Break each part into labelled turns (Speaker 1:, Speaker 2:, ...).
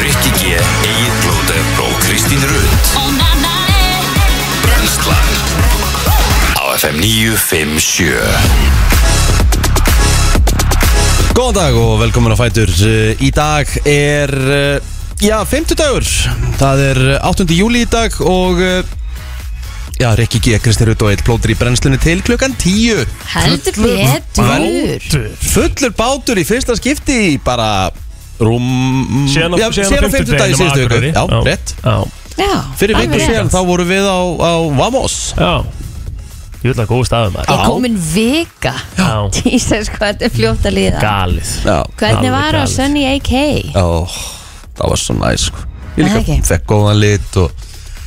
Speaker 1: Rikki G, Egil Blóter og Kristín Rund Brenslan Á FM 957
Speaker 2: Góðan dag og velkomin á Fætur Eh, Í dag er, eh, já, 50 dagur Það er eh, 8. júli í dag og eh, Já, Rikki G, Kristi Rutt og Eitt Plótur í brennslunni til klukkan 10
Speaker 3: Heldur
Speaker 2: Vel-
Speaker 3: betur
Speaker 2: Fullur bátur í fyrsta skipti í bara rúm
Speaker 4: Síðan á,
Speaker 2: já, síðan á 50 dag í síðustu viku Já, rétt
Speaker 4: Já,
Speaker 3: Já,
Speaker 2: Fyrir viku
Speaker 3: alveg
Speaker 2: síðan
Speaker 3: rétt.
Speaker 2: þá voru við á, á Vamos
Speaker 4: já Ég vil að góða staðum
Speaker 3: Það
Speaker 4: maður
Speaker 3: er komin vika
Speaker 4: Já,
Speaker 3: Jesus, hvað þetta er fljótt að líða
Speaker 4: galið
Speaker 2: Já,
Speaker 4: alveg
Speaker 3: Hvernig var á
Speaker 4: galið.
Speaker 3: Sunny AK?
Speaker 2: Ó, það var svo næs sko. Ég
Speaker 3: Það
Speaker 2: líka
Speaker 3: ekki.
Speaker 2: fekk góðan lit og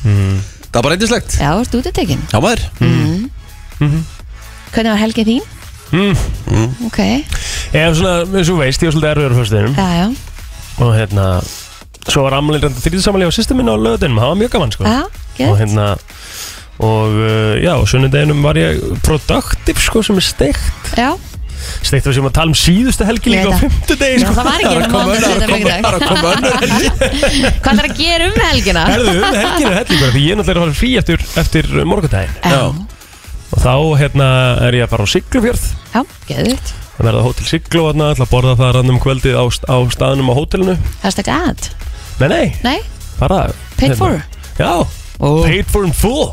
Speaker 4: Mm.
Speaker 2: Það var bara eindislegt
Speaker 3: Já, ertu útetekin
Speaker 2: Já maður
Speaker 4: Mhm.
Speaker 3: Hvernig var helgið þín? Mm. Ok,
Speaker 4: Ef svona, eins og þú veist, ég var svolítið erfiður á fyrstunum
Speaker 3: já, já
Speaker 4: Og hérna, svo var ammalinn reynda þrýðsamali á sýstum minna á löðunum Það var mjög gaman, sko
Speaker 3: Já,
Speaker 4: Og
Speaker 3: gett
Speaker 4: hérna, og uh, já, á sunnudeginum var ég produktiv, sko, sem er steikt
Speaker 3: Já,
Speaker 4: Steikt var sem að tala um síðustu helgi
Speaker 3: Ég
Speaker 4: líka á
Speaker 3: veit það.
Speaker 4: fymtudegin,
Speaker 3: Já,
Speaker 4: sko
Speaker 3: það var ekki hérna mánudag,
Speaker 2: önnur-
Speaker 3: sunnudag,
Speaker 2: það er
Speaker 3: miðvikudag.
Speaker 2: að koma önnur helgi
Speaker 3: Hvað er að gera um helgina?
Speaker 4: Herðu, um helginu hellingur Því ég er náttúrulega að fara frí eftir, eftir morgundaginn
Speaker 3: Já,
Speaker 4: Og þá, hérna, er ég að fara á Siglufjörð
Speaker 3: já, geðvitt
Speaker 4: Það verða hótel Siglu og ætla að borða það rannum kvöldið á, á staðnum á hótelinu
Speaker 3: Það er stakka að,
Speaker 4: Nei, nei,
Speaker 3: nei,
Speaker 4: bara
Speaker 3: paid
Speaker 4: hérna,
Speaker 3: for
Speaker 4: Já, paid for in full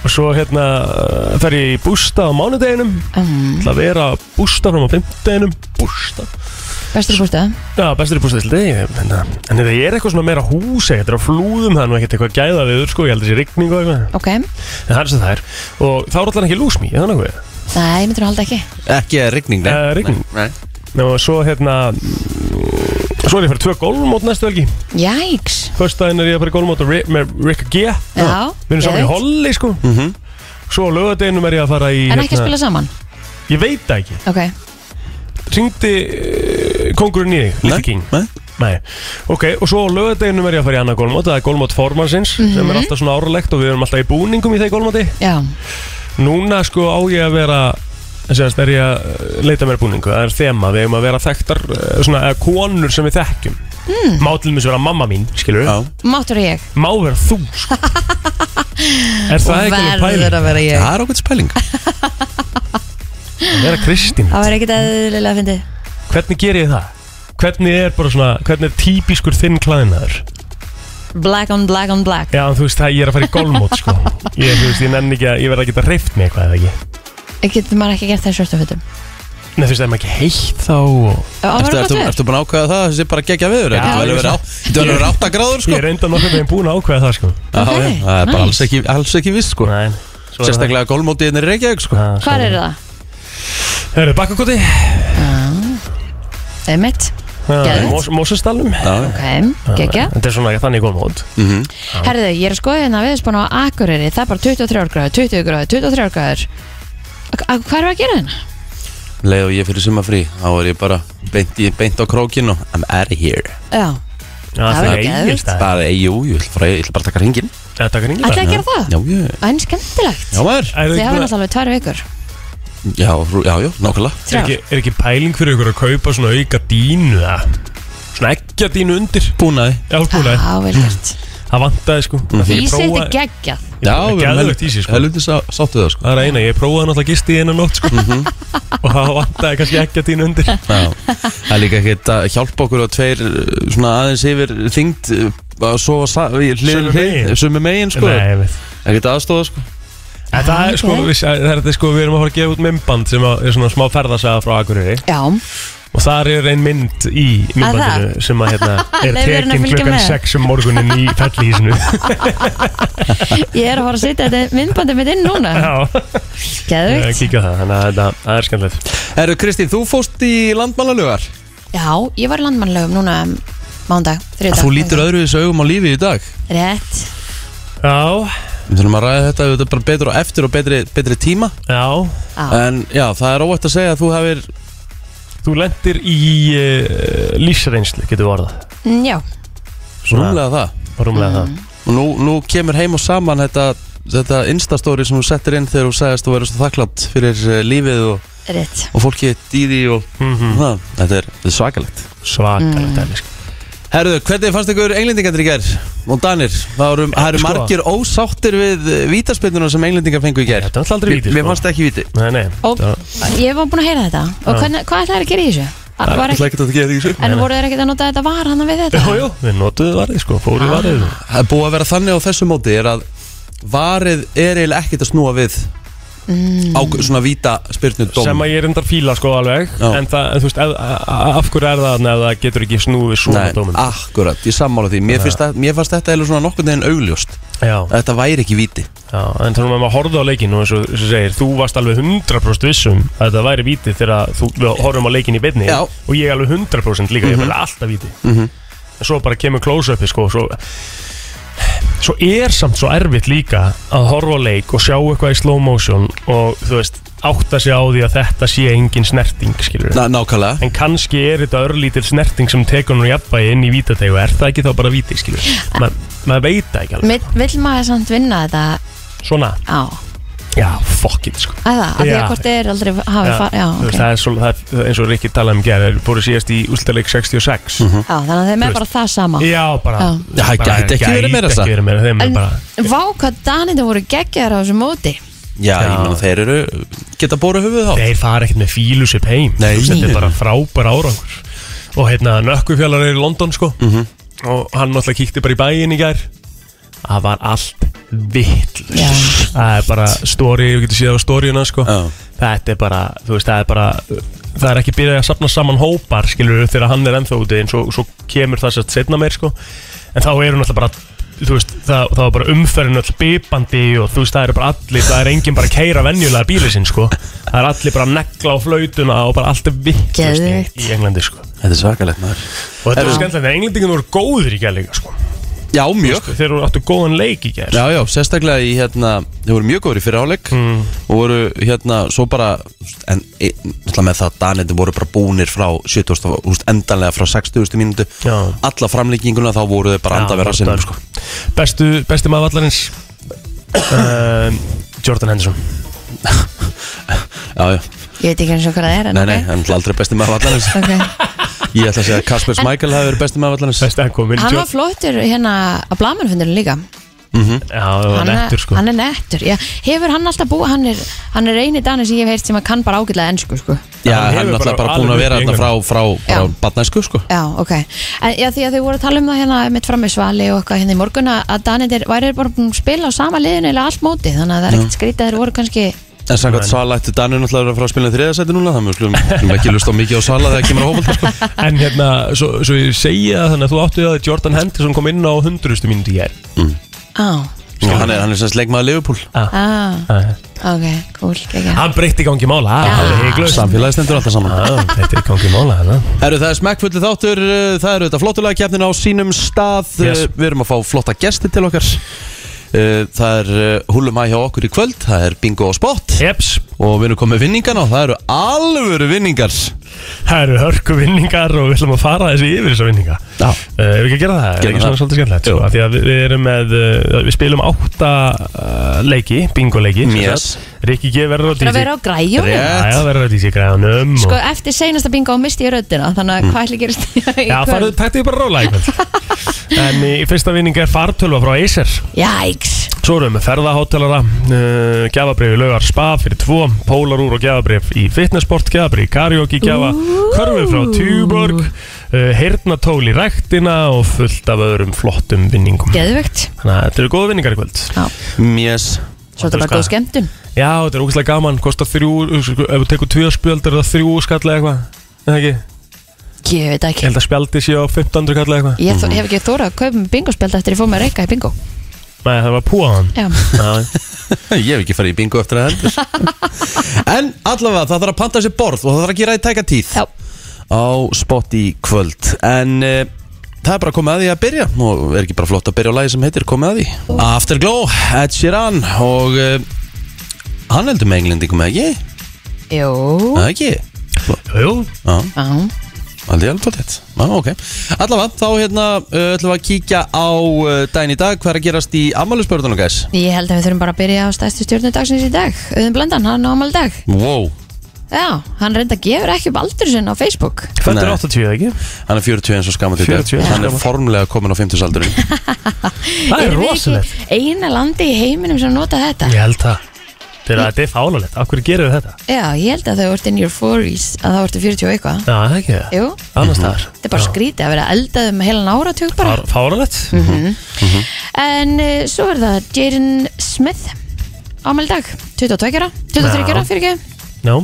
Speaker 4: Og svo hérna uh, fer ég í bústa á mánudeginum
Speaker 3: um,
Speaker 4: ætla að vera á bústa fram á fimmtudeginum Bústa
Speaker 3: Bestur í bústa
Speaker 4: Já, bestur í bústa þessi degi hérna. En þetta er eitthvað svona meira hús Þetta er á flúðum, það er nú ekkert eitthvað gæða viður sko Ég held þessi rigning og eitthvað
Speaker 3: Ok, nei,
Speaker 4: En það er sem það er Og þá er allan ekki lúsmi, eða nákvæm
Speaker 3: myndir að halda ekki
Speaker 2: Ekki rigning, nei
Speaker 4: uh, Rigning
Speaker 2: Nei.
Speaker 4: Og svo hérna mm, Svo er ég fyrir tvö gólmót næstu helgi
Speaker 3: Jæks,
Speaker 4: Föstudaginn er ég að fara í golfmót Ri- með Rick G Við
Speaker 3: já,
Speaker 4: erum saman í
Speaker 3: geðveikt.
Speaker 4: Holli sko
Speaker 2: Mhm.
Speaker 4: Svo á lögadeginum er ég að fara í hérna-
Speaker 3: En ekki að spila saman
Speaker 4: Ég veit það ekki
Speaker 3: Ok,
Speaker 4: Ringdi uh, kongurinn í þig Little King
Speaker 2: Nei.
Speaker 4: Nei Ok, og svo á lögadeginum er ég að fara í annað golfmót Það er golfmót formansins
Speaker 3: Mhm.
Speaker 4: Sem er alltaf svona áralegt Og við erum alltaf í búningum í þeir golfmóti
Speaker 3: já
Speaker 4: Núna sko á ég að vera Sérst er ég að eh, leita mér búningu Það er þema Við eigum að vera þekktar eh, Svona eh, konur sem við þekkjum
Speaker 3: Hmm.
Speaker 4: mm. Má til mér vera mamma mín Skilur
Speaker 2: Já.
Speaker 3: Máttur og ég
Speaker 4: má vera þú sko. Er það ekki alveg pæling?
Speaker 3: að vera ég
Speaker 2: Það er okkur spæling
Speaker 4: Að vera Kristín
Speaker 3: Það var ekkert eðlilega að fyndi
Speaker 4: Hvernig ger ég það? Hvernig er bara svona, hvernig er típiskur þinn klæðinaður?
Speaker 3: Black on black on black
Speaker 4: Já, en þú veist, það ég er að fara í golfmót, sko Ég, þú veist, ég nenni ekki að, ég verð að geta reyft mig eitthvað eða ekki
Speaker 3: Getur maður ekki gert það í svörtum fötum
Speaker 4: Nei, þú veist, það er maður ekki heitt þá og...
Speaker 3: Það
Speaker 2: Ertu,
Speaker 3: var
Speaker 2: ertu,
Speaker 3: gott verð
Speaker 2: ertu búin að ákveða það, þessi bara gegja viður
Speaker 4: Já,
Speaker 2: Þetta
Speaker 4: ég
Speaker 2: verður verið á- þetta verður verið 8 gráður sko
Speaker 4: Ég er enda nokkuð meginn búin að ákveða það, sko
Speaker 2: Já,
Speaker 3: Ok,
Speaker 2: já, Það er bara
Speaker 3: nice.
Speaker 2: alls ekki, alls ekki viss sko
Speaker 4: Nei, svo er
Speaker 2: Sérstaklega gólmótiðin er Reykjavík sko
Speaker 4: það
Speaker 3: Hvar er það?
Speaker 4: Hörru, bakkakoti
Speaker 3: Emmett Ah, Geðveikt.
Speaker 4: Mos Mosestalnum
Speaker 2: Já,
Speaker 3: Ah,
Speaker 2: Mhm.
Speaker 3: Ok, geggja
Speaker 4: Þetta er svona þannig golfmót
Speaker 3: Herðu, ég er að skoða hérna viðspun á Akureyri Það er bara 23 gráður, 20 gráður, 23 gráður Ak- ak- Hvað er að gera hérna?
Speaker 2: leið og ég fyrir sumafrí Þá er ég bara beint, í- beint á krókin og I'm out of here
Speaker 3: Já,
Speaker 4: Já,
Speaker 3: Það
Speaker 4: það
Speaker 3: var
Speaker 4: er
Speaker 3: geðveikt.
Speaker 4: eigilstæð
Speaker 2: Bara, ei, jú, ég ætla bara, ég ætla bara að taka hringin
Speaker 4: Þetta er
Speaker 3: ætlaði að
Speaker 4: engilstæð
Speaker 3: gera það?
Speaker 2: Já, ég,
Speaker 3: En skemmtilegt
Speaker 2: já maður
Speaker 3: Þið hafa náttúrulega alveg tvær vikur
Speaker 2: Já, rú- já, já, nákvæmlega
Speaker 4: er
Speaker 3: Þrjár
Speaker 4: ekki, er ekki pæling fyrir ykkur að kaupa svona auka dínu eða svona ekki að dínu undir
Speaker 2: Búnaði Mhm.
Speaker 4: Já, búinlega,
Speaker 3: Já, vel gert
Speaker 4: það vantaði sko mm -hmm.
Speaker 3: Ísið er geggjað
Speaker 2: Já,
Speaker 4: við erum helviti í sig sko
Speaker 2: Helviti sá, sáttu það sko
Speaker 4: Það er eina, ég prófaði náttúrulega gisti í einu nótt sko og það vantaði kannski ekki að dínu undir
Speaker 2: Já, það er líka ekkert að hjálpa okkur og tveir uh, svona aðeins yfir þyngd uh, að sofa
Speaker 4: Sömu megin.
Speaker 2: sumi megin sko,
Speaker 4: Nei, ég veit
Speaker 2: ekkert aðstóða sko
Speaker 4: En það er sko,
Speaker 3: Ok.
Speaker 4: við, það er, þetta, sko, við erum að fara að gefa út mymband sem að- er svona smá ferðasaga frá Akureyri
Speaker 3: Já,
Speaker 4: og þar er ein mynd í mymbandinu sem að hérna er
Speaker 3: Leyfðu henni að
Speaker 4: tekin
Speaker 3: fylgja
Speaker 4: klukkan
Speaker 3: með.
Speaker 4: 6 um morgunin í fellihísinu
Speaker 3: ég er að fara að setja þetta myndbandið mitt inn núna
Speaker 4: Já, ég
Speaker 3: Geðvikt
Speaker 4: kíkja á það, þannig að þetta- það er skemmtilegt
Speaker 2: Herru Kristín, þú fóst í landmannalögar
Speaker 3: Já, ég var í landmannlögum núna um, mándag, þriðdag
Speaker 2: Þú lítur öðru þessu augum á lífi í dag
Speaker 3: Rétt,
Speaker 4: Já,
Speaker 2: Við þurfum að ræða þetta auðvitað bara betur og eftir og betri, betri tíma
Speaker 4: já,
Speaker 3: já,
Speaker 2: En já, það er óvægt að segja að þú hefur
Speaker 4: Þú lendir í uh, lífsreynslu, getur við orðað
Speaker 3: Mm, já,
Speaker 2: rúmlega það
Speaker 4: Rúmlega það
Speaker 2: Og nú, nú kemur heim og saman þetta, þetta instastóri sem þú settir inn þegar þú segist þú verður svo þakklátt fyrir eh, lífið og,
Speaker 3: rétt
Speaker 2: og fólkið dýði og
Speaker 4: mm
Speaker 2: mm. það, þetta er, þetta er svakalegt
Speaker 4: Svakalegt mm. sko.
Speaker 2: Herðu, hvernig fannst ykkur englendingandir í gær? Og Danir, það eru, það eru
Speaker 4: Sko.
Speaker 2: margir ósáttir við vítaspinnuna sem englendingar fengu í gær
Speaker 4: Þetta er alltaf aldrei
Speaker 2: Mér,
Speaker 4: vítið
Speaker 2: mér fannst það ekki víti
Speaker 4: Nei, nei
Speaker 3: Og ég var búin að heyra þetta Og
Speaker 4: Já.
Speaker 3: hvernig, hvað ætlaði að gera í þessu? Það var ekki,
Speaker 2: að það gera því
Speaker 3: en voru þeir ekkert að nota þetta var hann við þetta?
Speaker 4: Jú, jú, við notuðu varðið sko, fóruðu varðið
Speaker 2: Það er búið að vera þannig á þessu móti er að varið er eiginlega ekkert að snúa við mm. á svona vítaspinnu
Speaker 4: sem að ég er endar fíla sko alveg
Speaker 2: Já.
Speaker 4: en, það, en þú veist, ef, a- af hverju er það þarna ef það getur ekki snúið svona
Speaker 2: Nei,
Speaker 4: dómum
Speaker 2: akkurat, ég sammála því Mér, finnst, að, mér fannst þetta eiginlega svona nokkurn veginn augljóst
Speaker 4: já,
Speaker 2: að Þetta væri ekki víti
Speaker 4: já, en þannig að maður horfði á leikin og eins og þú segir, þú varst alveg 100% vissum um að þetta væri víti þegar þú, við horfum á leikin í beinni
Speaker 2: Já. Mhm.
Speaker 4: og ég alveg 100% líka, ég var alltaf víti en svo bara kemur close-upi sko svo, svo er samt svo erfitt líka að horfa á leik og sjá eitthvað í slow motion og þú veist, átta sig á því að þetta sé engin snerting, skilur
Speaker 2: Na, Nákvæmlega
Speaker 4: En kannski er þetta örlítil snerting sem tekur hún jafnvægi inn í vítategu Er það ekki þá bara víti, skilur? Ma, maður veit það ekki alveg
Speaker 3: Mil- Vill maður samt vinna þetta
Speaker 4: Svona,
Speaker 3: á?
Speaker 4: já, fuck it, sko
Speaker 3: Að það, að því
Speaker 4: Já.
Speaker 3: að hvort þeir aldrei hafi
Speaker 4: Já,
Speaker 3: farið Já,
Speaker 4: þú
Speaker 3: ok
Speaker 4: veist, það er svo, það er, eins og Rikki talaði um gerð Þeir fóru síðast í úslutaleik 66
Speaker 2: Mhm.
Speaker 3: Já, þannig að þeim
Speaker 4: Þú
Speaker 3: er bara það sama
Speaker 4: Já, bara
Speaker 3: Já.
Speaker 2: Já, það
Speaker 4: bara
Speaker 2: gæti ekki verið meira
Speaker 4: Gæti
Speaker 2: það.
Speaker 4: ekki verið meira, þeim er
Speaker 3: En
Speaker 4: bara
Speaker 3: vá hvað Danindin voru geggjar á þessu móti
Speaker 2: Já, ég
Speaker 4: Já.
Speaker 2: meina þeir eru geta bóra höfuð á
Speaker 4: Þeir fara ekkert með fílus upp heim
Speaker 2: Nei.
Speaker 4: Þú veist, Þetta er bara frábær árangur Og hérna, nökkufjallar er í London sko
Speaker 2: Mhm.
Speaker 4: Og hann náttúrulega kíkti bara í bæinn í gær Það var allt
Speaker 3: Já.
Speaker 4: vittlust Það er bara story, við getum síðan á storyuna sko
Speaker 2: Já.
Speaker 4: Þetta er bara, þú veist, það er bara Það er ekki byrjað að sapna saman hópar Skilur þegar hann er ennþá úti En svo, svo kemur það sérst setna meir sko En þá eru náttúrulega bara Þú veist, það, það var bara umferðin öll bipandi og þú veist, það eru bara allir, það er enginn bara að keira venjulega bíli sinn, sko það er allir bara að negla á flautuna og bara allt er vitt í,
Speaker 3: Geðveikt.
Speaker 4: í Englandi, sko
Speaker 2: Þetta er svakalegt maður
Speaker 4: og þetta er skemmtilegt, en englendingin voru góðir í gæleika, sko
Speaker 2: Já, mjög
Speaker 4: þeir voru áttu góðan leik í gæl
Speaker 2: Já, já, sérstaklega í hérna Þeir voru mjög góður í fyrirháleik mm. Og voru hérna svo bara En e- náttúrulega með það Danindi voru bara búnir frá 70, úst, Endanlega frá 60. mínútu
Speaker 4: Já.
Speaker 2: Alla framlíkinguna þá voru þau bara andavera sinni sko.
Speaker 4: bestu, bestu maður vallarins
Speaker 2: Ehm,
Speaker 4: uh, Jordan Henderson
Speaker 2: Já, já,
Speaker 3: Ég veit ekki eins og hvað það er en
Speaker 2: nei, nei, hann er aldrei besti maður vallanins
Speaker 3: ok
Speaker 2: Ég ætla að segja að Kasper Smækjál hafi verið besti maður vallanins
Speaker 4: besti hann komin
Speaker 3: Hann var flottur hérna á blamanfundinu líka
Speaker 2: Mhm.
Speaker 4: já, það var
Speaker 3: hann, er-
Speaker 4: nettur, sko
Speaker 3: hann er nettur, já Hefur hann alltaf búið, hann er, hann er eini danir sem ég hef heyrt sem að kann bara ágætlega ensku sko.
Speaker 2: Já,
Speaker 4: Hann
Speaker 2: hann er
Speaker 4: hefur
Speaker 2: alltaf
Speaker 4: bara
Speaker 2: bara búin að
Speaker 4: alveg
Speaker 2: vera
Speaker 4: upp í
Speaker 2: þetta frá, frá, frá
Speaker 3: Já.
Speaker 2: batnæsku sko
Speaker 3: Já, ok en, Já, því að þau voru að tala um það hérna mitt fram með Svali og eitthvað hérna í morgun að- að danir væri bara búin að spila á sama liðinu eða allt móti, þannig að það er ekkert skrítið að þeir voru kannski
Speaker 2: En samkvæmt Sala ætti Danir náttúrulega að vera að fara að spila í þriðasæti núna Þannig að við skulum ekki lust á mikið á Sala þegar kemur á hófald sko.
Speaker 4: en hérna, svo, svo ég segja það þannig að þú áttu að Jordan Henderson kom inn á 100. mínúti í gæl
Speaker 3: Á,
Speaker 2: Og Mm. Hann er, hann er sérst leikmaður Liverpool
Speaker 4: Ah,
Speaker 2: Ah.
Speaker 3: á, ok, cool, ekki
Speaker 4: hann breytti gangi mála,
Speaker 3: Já.
Speaker 4: það er heiklust
Speaker 2: Samfélagi stendur alltaf saman
Speaker 4: þetta er gangi mála hérna.
Speaker 2: Herru, það er smekkfulli þáttur uh, Það eru þetta flottulega keppnin á sínum stað
Speaker 4: Yes.
Speaker 2: yes. Við erum að fá flotta gesti til okkar Uh, Það er uh, húlum hæ hjá okkur í kvöld Það er bingo og spot
Speaker 4: Jeps,
Speaker 2: Og við erum komið vinningana og það eru alvöru vinningar
Speaker 4: það eru hörku vinningar og við ætlum að fara þessi yfir þessa vinninga
Speaker 2: Já.
Speaker 4: Uh, Ef við ekki að gera það, er
Speaker 2: Gerum
Speaker 4: ekki svona
Speaker 2: það.
Speaker 4: svolítið skemmtilegt sko,
Speaker 2: Jú.
Speaker 4: af Því að við, við erum með, uh, við spilum átta uh, leiki, bingoleiki sem
Speaker 2: Yes.
Speaker 4: sagt. Rikki G verður á
Speaker 3: Það
Speaker 4: DJ
Speaker 3: vera á græjum
Speaker 2: Rétt.
Speaker 4: Já, já, verður á DJ græðanum
Speaker 3: Sko,
Speaker 4: og...
Speaker 3: eftir seinasta bingo misti ég röddina Þannig að hvað ætli gerist í
Speaker 4: Mm. Já,
Speaker 3: kvöld?
Speaker 4: farðu, taktu því bara róla í kvöld En í fyrsta vinninga er fartölva frá Acer
Speaker 3: Jæks
Speaker 4: Svo erum við með ferðahótelara, uh, gjafabrif í laugar spa fyrir tvo, pólarúr og gjafabrif í fitnessport, gjafabrif í karaoke, gjafa, körfu frá Tjúborg, uh, heyrnatól í ræktina og fullt af öðrum flottum vinningum.
Speaker 3: Geðvögt
Speaker 4: Þannig að þetta eru góða vinningar í kvöld.
Speaker 2: Mjöss
Speaker 3: Svo er þetta bara
Speaker 4: Sko.
Speaker 3: góð skemmtun
Speaker 4: Já, þetta er ógæslega gaman, kostar þrjú, ef við tekur tvö spjöld er það þrjú skall eða eitthvað. Er það ekki?
Speaker 3: Ég veit það
Speaker 4: Ég
Speaker 3: ekki
Speaker 4: held að spjaldi sé á 1500 kall eða eitthvað.
Speaker 3: Ég þó, hef ekki þórað að kaupa mig bingospjald eftir ég fóð með reyka í bingo
Speaker 4: Nei, það var púaðan.
Speaker 3: Já,
Speaker 4: Já,
Speaker 2: Ég hef ekki farið í bingo eftir að hendur En allavega, það þarf að panta sér borð og það þarf að gera í tæka tíð
Speaker 3: já,
Speaker 2: á spott í kvöld En uh, það er bara komið að því að byrja og er ekki bara flott að byrja á lagi sem heitir komið að því Afterglow, Ed Sheeran og uh, hann heldur með englendingum eða ekki?
Speaker 3: jú
Speaker 2: Eða ekki?
Speaker 4: jú,
Speaker 2: Já,
Speaker 3: Já,
Speaker 2: aldrei alveg tótt hér Já, ok Allavega, þá hérna uh, ætlum við að kíkja á uh, daginn í dag Hvað er að gerast í ammælusbörðunum, guys?
Speaker 3: ég held að við þurfum bara að byrja á stæstu stjórnu dagsins í dag Auðun Blendan, hann á ámæli í dag
Speaker 2: Wow,
Speaker 3: Já, hann reynda gefur ekki upp aldur sinna á Facebook
Speaker 4: Fættur
Speaker 2: Nei.
Speaker 4: 80 eða ekki?
Speaker 2: Hann er 40 eins og skamandi
Speaker 4: 41
Speaker 2: Hann er
Speaker 4: skamma.
Speaker 2: formlega komin á 50 saldurinn
Speaker 4: Það er
Speaker 3: Erum við
Speaker 4: rosalegt
Speaker 3: ekki Eina landi í heiminum sem nota þetta
Speaker 4: Ég held það Þegar þetta er fálanlegt, af hverju gerir þetta?
Speaker 3: Já, ég held að þau ert in your 40s að það ertu 40 og eitthvað
Speaker 4: Já, það er ekki það
Speaker 3: Jú,
Speaker 4: Annars þar
Speaker 3: þetta er bara skrítið að vera eldað um heilan áratug bara Mhm.
Speaker 4: Fálanlegt
Speaker 3: En uh, svo er það Jaden Smith ámældag, 22 ára 23 ára,
Speaker 4: Já.
Speaker 3: fyrir ekki
Speaker 4: Já,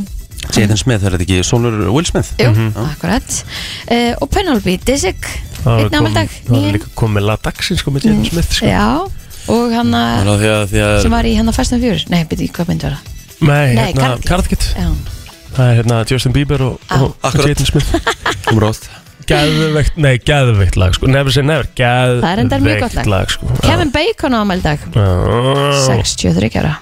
Speaker 2: Jaden Smith, er þetta ekki Sónur Will Smith?
Speaker 3: Jú, akkurat uh, Og Penelope Disick,
Speaker 4: það
Speaker 3: einn Mm. ámældag
Speaker 4: var líka komið lag dagsins komið Jaden Smith sko.
Speaker 3: Já, og hann að-
Speaker 2: Þannig að því að, því að
Speaker 3: sem var í hann að Fast and Furious Nei, byrju, hvað myndi var það?
Speaker 4: Nei,
Speaker 3: Nei,
Speaker 4: hérna,
Speaker 3: Karl- Ah.
Speaker 4: Karðkitt
Speaker 3: Já,
Speaker 4: Það er hérna Justin Bieber og, og
Speaker 2: Akkurat.
Speaker 4: Jaden Smith
Speaker 2: um rótt
Speaker 4: Gæðveikt, nei, gæðveikt lag sko Never say never, gæðveikt
Speaker 3: Það er endar mjög gott lag.
Speaker 4: lag sko
Speaker 3: Kevin Bacon ámældag
Speaker 4: Bacon
Speaker 3: 63 ára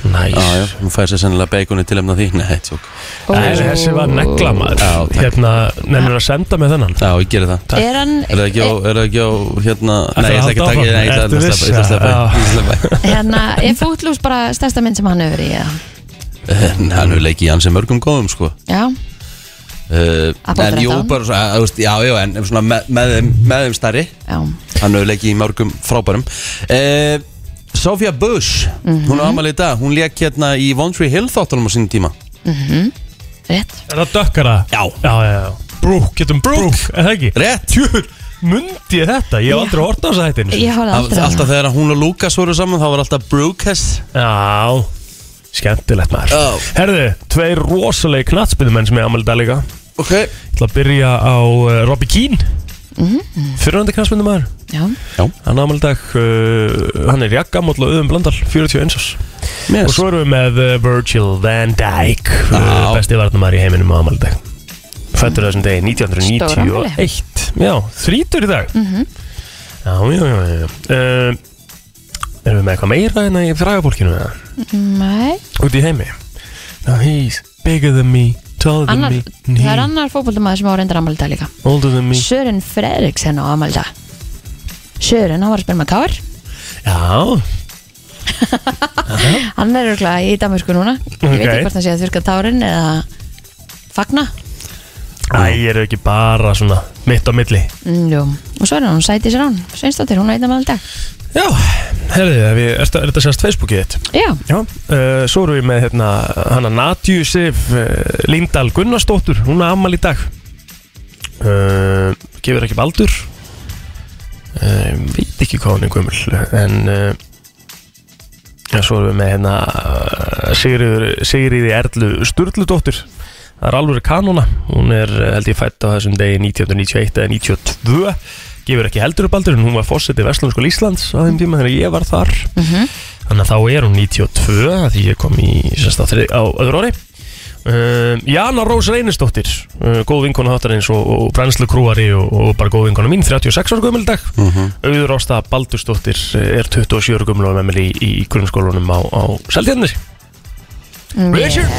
Speaker 2: Já, já,
Speaker 4: Næs
Speaker 2: hún fær sér sennilega beikoni til emna því Nei, tjók
Speaker 3: Ó.
Speaker 4: Æ, Þessi var neglamaður
Speaker 2: Já, takk.
Speaker 4: Hérna, nennir að senda með þennan
Speaker 2: Já, ég gerir það
Speaker 3: Er hann
Speaker 2: Er það ekki á, er það ekki á, hérna
Speaker 4: Ætlarðu
Speaker 2: Nei, ég
Speaker 4: að
Speaker 2: ætla ekki að
Speaker 4: halda
Speaker 2: taka,
Speaker 4: áfram?
Speaker 2: nei, ég
Speaker 4: Ertu
Speaker 2: ætla að
Speaker 4: viss?
Speaker 2: sleppa, ég ætla að sleppa,
Speaker 4: Já.
Speaker 2: ég ætla að sleppa
Speaker 3: hérna, er Footloose bara stærsta mynd sem hann hefur verið í eða?
Speaker 2: En Hann hefur leikið í hans mörgum góðum, sko
Speaker 3: Já,
Speaker 2: Uh,
Speaker 3: Apple
Speaker 2: en jú,
Speaker 3: 13.
Speaker 2: bara svona, að, þú veist, já, já, en svona með, með, þeim, með þeim starri
Speaker 3: já
Speaker 2: Hann hefur leikið í mörgum frábærum uh, Sofia Bush,
Speaker 3: Mhm.
Speaker 2: hún er ámæli í dag Hún leik hérna í One Tree Hill þáttunum á sínum tíma
Speaker 3: Mhm. Rétt
Speaker 4: Er það dökkara?
Speaker 2: Já.
Speaker 4: Já, já, já Brooke, getum Brooke, er það ekki?
Speaker 2: Rétt
Speaker 4: Tjúr, mundi ég þetta? Ég hef aldrei hort á þess að þetta
Speaker 3: Ég horfði
Speaker 2: Af-
Speaker 3: aldrei á
Speaker 2: Alltaf
Speaker 3: það
Speaker 2: þegar hún og Lucas voru saman þá var alltaf Brewcast
Speaker 4: Já, skemmtilegt maður
Speaker 2: Já.
Speaker 4: Herðu, tveir rosalegi knatsbyðumenn sem ég ámæli dag líka Ég
Speaker 2: Ok
Speaker 4: ætla að byrja á uh, Robbie Keane mm
Speaker 2: Mhm.
Speaker 4: -hmm. Fyrirhandi knatsbyðumaður
Speaker 3: Já,
Speaker 4: Hann ámæli dag, uh, hann er jakkamótla auðum blandal, 41 ás Og svo erum við með uh, Virgil van Dijk uh,
Speaker 2: Já.
Speaker 4: Besti varnamæður í heiminum á ámæli dag Fættur þessum degi 1991 Já, þrítur í dag
Speaker 2: Mhm.
Speaker 4: Já, já, já, já, já. Uh, Erum við með eitthvað meira hérna en að ég fræga fólkinu með það?
Speaker 3: nei
Speaker 4: út í heimi Now he's bigger than me, taller than
Speaker 3: annar,
Speaker 4: me and
Speaker 3: Það er
Speaker 4: he
Speaker 3: annar fótboltamaður sem á reyndar ámældag líka
Speaker 4: older than me
Speaker 3: Sören Fredriksen á ámældag Sören, hann var að spila með Kár
Speaker 4: Já,
Speaker 3: Hann er örgulega í Danmarku núna Ég veit
Speaker 4: Ok.
Speaker 3: ekki hvort hann sé að þurka tárin eða fagna
Speaker 4: æ, ég er ekki bara svona mitt á milli
Speaker 3: mm, jú. Og svo er hann sæti sér án Sveinsdóttir, hún er einnig með dag
Speaker 4: Já, herðu, ef ég- ertu- er þetta sérst Facebookið þitt?
Speaker 3: Já,
Speaker 4: Já uh, Svo erum við með hérna hana Natjú Sif uh, Lindahl Gunnarsdóttur, hún er afmæli í dag uh, Gefur ekki baldur uh, Veit ekki hvað hún er gömul En uh, já, Svo erum við með hérna uh, Sigriður, Sigriði Erlu Sturludóttur Það er alveg kanona Hún er eh, held ég fætt á þessum degi 1991 eða 92 Gefur ekki heldur upp aldur en hún var fórseti Vestlunarskóla Íslands á þeim tíma þegar ég var þar Þannig að þá er hún 92 að því ég kom í sérst á, þrið, á öðru ári um, Jana Rós Reynisdóttir uh, góð vinkona þáttarins og, og brennslu krúari og, og bara góð vinkona mín 36 ára gömul í dag Auður Ásta Baldursdóttir er 27 ára gömul og með mér í, í grunnskólanum á, á Seltjarnir Richard,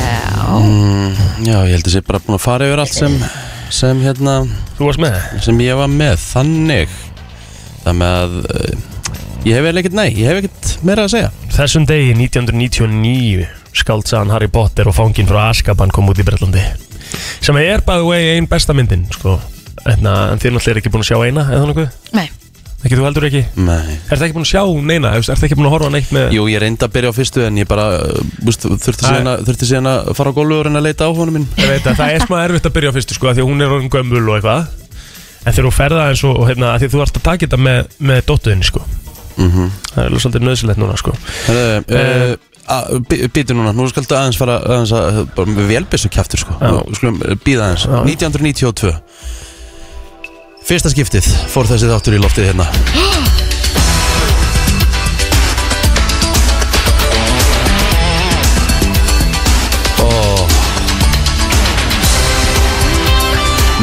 Speaker 4: Mm,
Speaker 2: Já, ég held að sé bara búin að fara yfir allt sem sem hérna
Speaker 4: þú varst með
Speaker 2: sem ég var með þannig það með að uh, ég hef ekkert nei, ég hef ekkert meira að segja
Speaker 4: Þessum degi 1999 skaldsaðan Harry Potter og fanginn frá Azkaban kom út í Bretlandi sem er by the way ein besta myndin sko. Etna, en þið náttúrulega er ekki búin að sjá eina eða nokkuð,
Speaker 3: nei,
Speaker 4: ekki þú heldur ekki
Speaker 2: Nei.
Speaker 4: Er það ekki búin að sjá neina? Er það ekki búin að horfa á neitt með
Speaker 2: Jú, ég reyndi að byrja á fyrstu en ég bara uh, búst,
Speaker 4: Æ.
Speaker 2: þurfti, síðan að, þurfti síðan að fara á gólfur en að leita á honum minn
Speaker 4: Ég veit að það er smá erfitt að byrja á fyrstu sko af Því að hún er orðin gömul og eitthvað En þegar þú ferða eins og og hérna af Því að þú ert að taka þetta með, með dóttuðinni sko Það er alveg svolítið nöðsilegt núna sko Eh.
Speaker 2: uh, uh, Býtu núna, nú skaldu aðeins fara aðeins að, bara með velbissu kjaftur sko
Speaker 4: Já.
Speaker 2: Nú skulum uh, býða aðeins
Speaker 4: Já.
Speaker 2: 1992 Fyrsta skiptið fór þessi þáttur í loftið hérna Ó.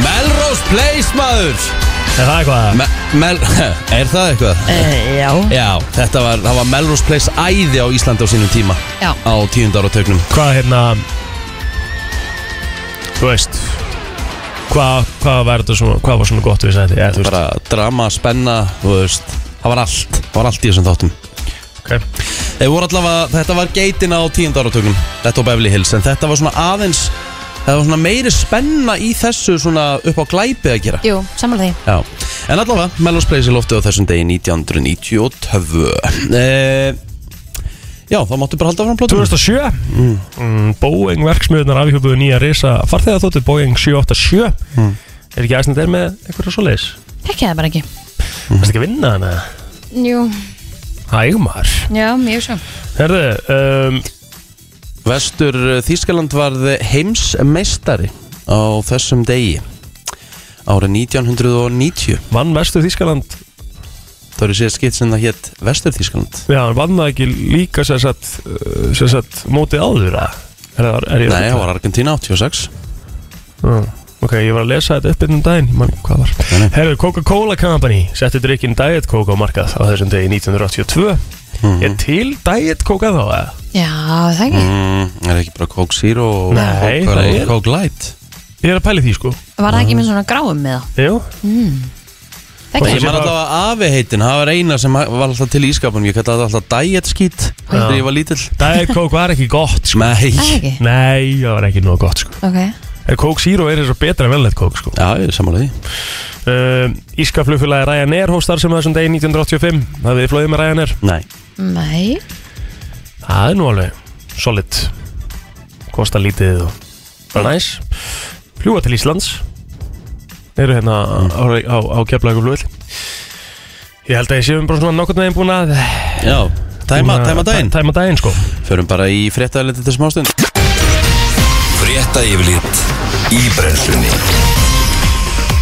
Speaker 2: Melrose Place maður
Speaker 4: Er það eitthvað?
Speaker 2: Me Mel Er það eitthvað?
Speaker 3: e, já
Speaker 2: Já, þetta var, það var Melrose Place æði á Íslandi á sínum tíma
Speaker 3: Já,
Speaker 2: á tíundar og tögnum
Speaker 4: Hvað hérna Þú veist Hvað, hvað var þetta svona Hvað var svona gott við sætti? Ja, þú veist,
Speaker 2: bara drama, spenna, þú veist það var allt, það var allt í þessum þáttum
Speaker 4: okay.
Speaker 2: Þeir voru allavega, þetta var geitin á tíund áratökum Þetta og Beverly Hills En þetta var svona aðeins Það var svona meiri spenna í þessu svona upp á glæpi að gera
Speaker 3: Jú, samanlega því
Speaker 2: Já En allavega, Mellows Place er loftið á þessum degi 1992 e Já, þá máttu bara halda fram plötum
Speaker 4: 2007 mm. Boeing verksmiðunar afhjópuðu nýja risa farþega þóttu Boeing 787
Speaker 2: Hmm.
Speaker 4: Er ekki aðsnið þeir með einhverja svoleiðis?
Speaker 3: Ekki það bara ekki
Speaker 2: Hmm.
Speaker 4: Það er ekki að vinna hana
Speaker 3: Jú,
Speaker 4: Hægumar
Speaker 3: já, mjög svo
Speaker 4: Herðu, um,
Speaker 2: Vestur Þískaland varð heimsmeistari á þessum degi Árið 1990
Speaker 4: vann Vestur Þískaland
Speaker 2: Það eru síðan skipt sem það hétt Vestur Þískaland
Speaker 4: Já, hann vann það ekki líka sem sagt, uh, sem sagt mótið áður að Er, er, er ég
Speaker 2: Nei, það var Argentina 86
Speaker 4: Mm, Ok, ég var að lesa þetta upp einnum daginn, ég man ekki hvað var
Speaker 2: nei.
Speaker 4: Herru, Coca-Cola Company setti drikkin Diet Coke á markað á þessum degi 1982
Speaker 2: Mhm.
Speaker 4: Er til Diet Coke þá eða?
Speaker 3: Já, það ekki
Speaker 2: mm, Er ekki bara Coke Zero og
Speaker 4: Nei,
Speaker 2: Coke,
Speaker 4: það er-
Speaker 2: Coke Light
Speaker 4: Ég er að pæli því sko
Speaker 3: Var það ekki með svona gráum með það?
Speaker 4: Jú,
Speaker 3: Það
Speaker 4: Og
Speaker 2: Ég
Speaker 3: ekki?
Speaker 4: sé
Speaker 2: man
Speaker 4: bara-
Speaker 2: alltaf að afi heitin, það var eina sem var alltaf til í ískapunum Ég kallaði það alltaf diet skít þegar ég var lítill
Speaker 4: Diet Coke var ekki gott sko
Speaker 2: Nei
Speaker 3: Það ekki?
Speaker 4: Nei, það var ekki nóg gott sko
Speaker 3: Ok
Speaker 4: En Coke Zero er eins og betra en velnett Coke sko
Speaker 2: Já, ég er sammála því
Speaker 4: uh, Íska flugfélagi Ryanair hóstar sem þessum degi 1985 Það við flóðið með Ryanair
Speaker 2: Nei,
Speaker 3: Nei
Speaker 4: Það er nú alveg solid Kosta lítið og bara næs Fljúa til Íslands Eru hérna á, á, á keflaugum flugvill Ég held að ég séum bara svona nokkurn veginn búin að
Speaker 2: já,
Speaker 4: búin
Speaker 2: tæma,
Speaker 4: að-
Speaker 2: tæma daginn
Speaker 4: Tæma daginn sko
Speaker 2: Förum bara í fréttaðaliti til smástund
Speaker 1: Frétta yfirlit í brennslunni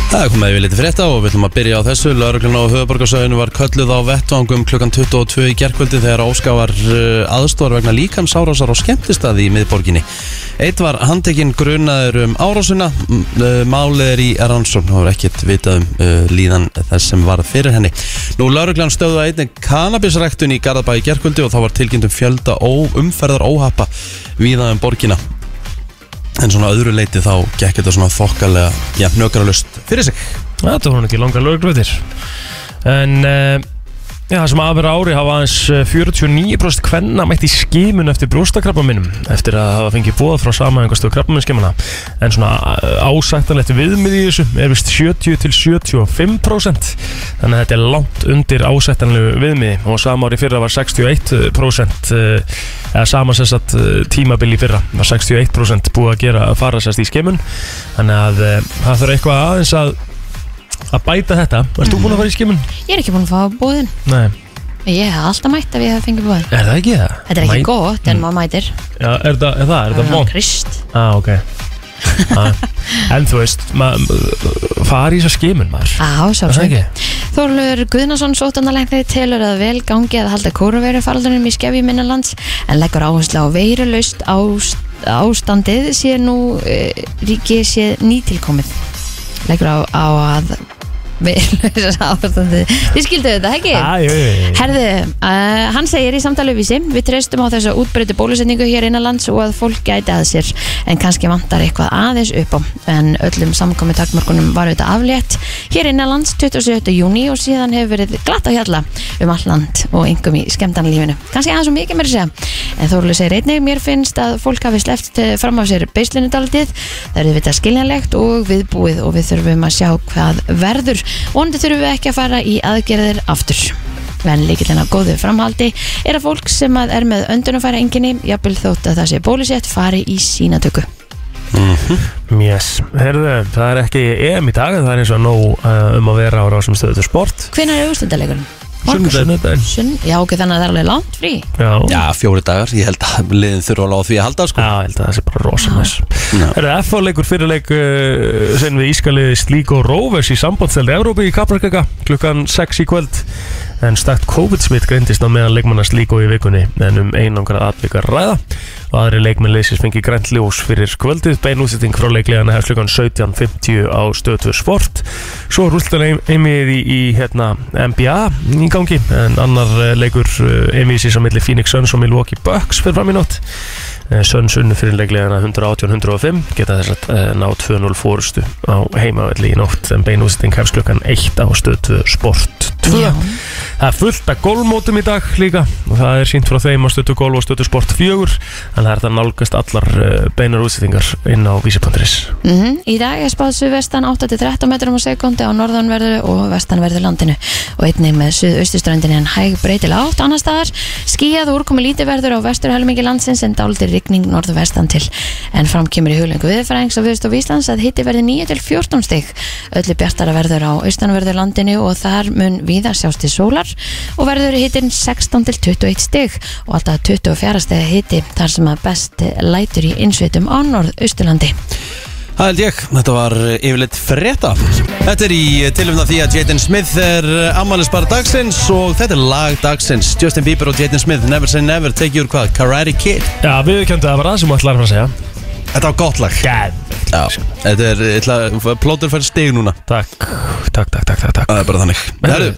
Speaker 2: Það er komið við litið frétta og við ætlum að byrja á þessu Lörglun á höfuborgarsöðinu var kölluð á vettvangum klukkan 22 í gerkvöldi þegar Óska var aðstofar vegna líkams árásar á skemmtistaði í miðborginni Eitt var handtekinn grunaður um árásuna m- eh, Málið er í Aransson og er ekkert vitað um eh, líðan þess sem var fyrir henni Nú Lörglun stöðu að einnig kannabisræktun í Garðabæi í gerkvöldi og þá var tilkynnt um fjölda ó, umferðar óhappa víða um borgina En svona að öðru leiti þá gekk þetta svona þokkalega, já, nökralust fyrir sig
Speaker 4: Þetta voru nú ekki langar lögurglöðir En uh, Já, það sem afur ári hafa aðeins eh, 49% kvenna mætt í skimun eftir brjóstakrabba minnum eftir að hafa fengið bóð frá samæðingastu krabbaminnskimana en svona eh, ásættanlegt viðmið í þessu er vist 70-75% þannig að þetta er langt undir ásættanlegu viðmiði og sama ári fyrra var 61% eh, eða sama sess að tímabil í fyrra var 61% búið að gera að fara sérst í skimun þannig að eh, það þarf eitthvað aðeins að að bæta þetta Varst þú búin að fara í skimun?
Speaker 3: Ég er ekki búin að fá búðin
Speaker 4: Nei
Speaker 3: Ég hef alltaf mætt ef ég hef fengið búðin
Speaker 4: Er það ekki það?
Speaker 3: Þetta
Speaker 4: Mæ-
Speaker 3: er ekki
Speaker 4: Mm. Hmm.
Speaker 3: gott en maður mætir
Speaker 4: Já, er það, er það, er það vond?
Speaker 3: Krist
Speaker 4: Á, ah, ok ah. En þú veist, maður fari í þess að skimun maður
Speaker 3: Á,
Speaker 4: Er það
Speaker 3: sjálfsög
Speaker 4: ekki?
Speaker 3: Þorlur Guðnason sótanalæknir telur að vel gangi að halda kóruveirufaldunum í skefji minnalands en leggur áherslu á veirulaust ást, ástandið sé nú e, ríkið sé nýtilkomið leggur á, á að veirulaust ástandið Þið skildu þetta, ekki?
Speaker 4: Æ, jú, jú, jú.
Speaker 3: Herðu, uh, hann segir í samtali við sim Við treystum á þessa útbreytu bólusetningu hér innanlands og að fólk gæti að sér en kannski vantar eitthvað aðeins upp á en öllum samkomi takmörkunum var auðvitað aflétt hér innanlands 27. júni og síðan hefur verið glatt á hjalla um all land og yngum í skemmtanlífinu kannski aðeins og mikið mér að segja en Þorlu segir einnig, mér finnst að fólk hafi sleppt eh, fram af sér beislinu daldið það er þetta skiljanlegt og viðbúið og við þurfum að sjá hvað verður vonandi þurfum við ekki að fara í aðgerðir aftur En líkillin að góðu framhaldi er að fólk sem að er með öndunafæra enginni, jafnvel þótt að það sé bólusett, fari í sínatöku.
Speaker 4: Yes, herðu, það er ekki EM í dag en það er eins og nóg uh, um að vera á rásum stöðu til sport
Speaker 3: Hvenær er úrstundalegunum?
Speaker 4: Sunnudaginn
Speaker 3: Sunn, já ok, þannig að það er alveg langt frí.
Speaker 4: Já, já,
Speaker 2: Já, fjóri dagar, ég held að liðin þurfa alveg á því að halda sko
Speaker 4: ég held að það sé bara rosamess
Speaker 2: Já.
Speaker 4: Herðu, FH leikur fyrirleik uh, sem við ískaliði Slíko Rovers í sambandstældi Európi í Kaprarkaka klukkan 6 í kvöld en stakt COVID-smitt greindist á meðan leikmanna Slíko í vikunni en um einangra atvika ræða og aðri leikmenn leysist fengi grænt ljós fyrir kvöldið bein útsetting frá leiklegana hefst klukkan 17.50 á stöðtöð sport svo rústan einmið í, í hérna, NBA í gangi en annar eh, leikur einmið sér á milli Phoenix Suns og Milwaukee Bucks fyrir fram í nótt Eh, Suns unnu fyrir leiklegana 118-105 geta þess að eh, ná 2-0 fórustu á heimavelli í nótt en beinústing hefst klukkan 1 á stöðtöð sport 2 Það er fullt af gólmótum í dag líka og það er sínt frá þeim á stötu gólf og stötu sport 4 en það er þetta nálgast allar eh, beinar útsettingar inn á vísi.is
Speaker 3: Mm Í dag er spáð suðvestan 8-13 metrum á sekundi á norðanverðu og vestanverðu landinu og einnig með suðaustuströndin en hæg breytilega átt annar staðar skíjað og úrkomi lítið verður á vesturhelmingi landsins en dáldir rigning norðvestan til en fram kemur í huglengu viðfærings á viðstof Íslands að hitti verði 9-14 stig öllu bjartara verður á austanverðu landinu og þar mun víða sjást til sólar og verður hittin 16-21 stig og alltaf 24 stig hitti þar sem að best lætur í innsveitum á norðausturlandi
Speaker 2: Það held ég, þetta var eh, yfirleitt frétta Þetta er í tilumna því að Jaden Smith er ammælisbar dagsins og þetta er lag dagsins Justin Bieber og Jaden Smith, Never Say Never, tekið úr hvað? Karate Kid
Speaker 4: Já, viðurkjöndu að var það sem ætlaði að fara að segja
Speaker 2: Þetta var gott lag
Speaker 4: Gæð
Speaker 2: Já, þetta er, ég ætla- plótur fyrir stig núna
Speaker 4: Takk, takk, takk, takk, takk, takk.
Speaker 2: Það er bara þannig Herru,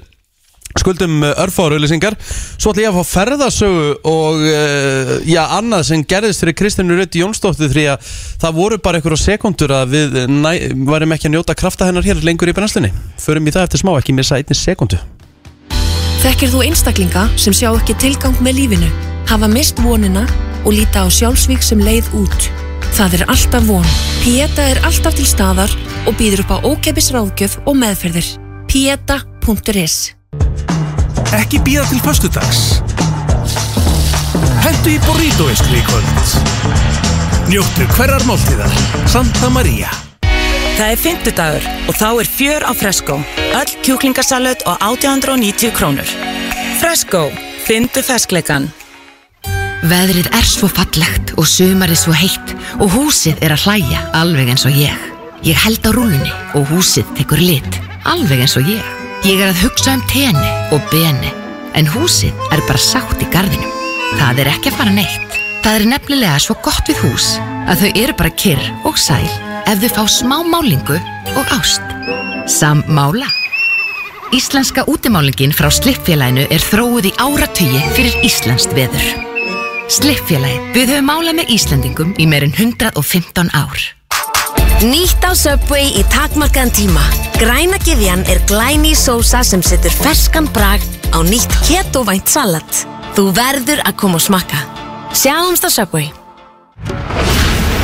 Speaker 2: skuldum örfárauðlýsingar Svo ætla ég að fá ferðasögu og uh, já, annað sem gerðist fyrir Kristjánu Rutt Jónsdóttir því að það voru bara einhverja sekundur að við næ, varum ekki að njóta krafta hennar hér lengur í brennslunni Förum í það eftir smá, ekki missa einni sekundu
Speaker 5: Þekkir þú einstaklinga sem sjá ekki tilgang með lífinu, hafa mist vonina og líta á sjálfsvík sem leið út? Það er alltaf von. Pieta er alltaf til staðar og býður upp á ókeppis ráðgjöf og meðferðir. Pieta.is
Speaker 6: Ekki býða til föstudags Hentu í Burrito-veislu í kvöld Njóttu hverjar máltíðar Santa Maria
Speaker 7: Það er fymtudagur og þá er fjör á Fresco. Öll kjúklingasalut og 890 krónur. Fresco, fyndu feskleikan.
Speaker 8: Veðrið er svo fallegt og sumarið svo heitt og húsið er að hlæja alveg eins og ég. Ég held á rúlunni og húsið tekur lit alveg eins og ég. Ég er að hugsa um tenni og beni en húsið er bara sátt í garðinum. Það er ekki að fara neitt. Það er nefnilega svo gott við hús að þau eru bara kyrr og sæl ef þau fá smá málingu og ást. Sammála. Íslenska útimálingin frá Slippfélaginu er þróið í áratugi fyrir Íslenskt veður. Slippfélagi, við höfum málað með Íslendingum í meirinn 115 ár.
Speaker 9: Nýtt á Subway í takmarkaðan tíma. Græna geðjan er glæni sósa sem setur ferskan brag á nýtt ketovænt salat. Þú verður að koma og smakka. Sjáumst á Subway.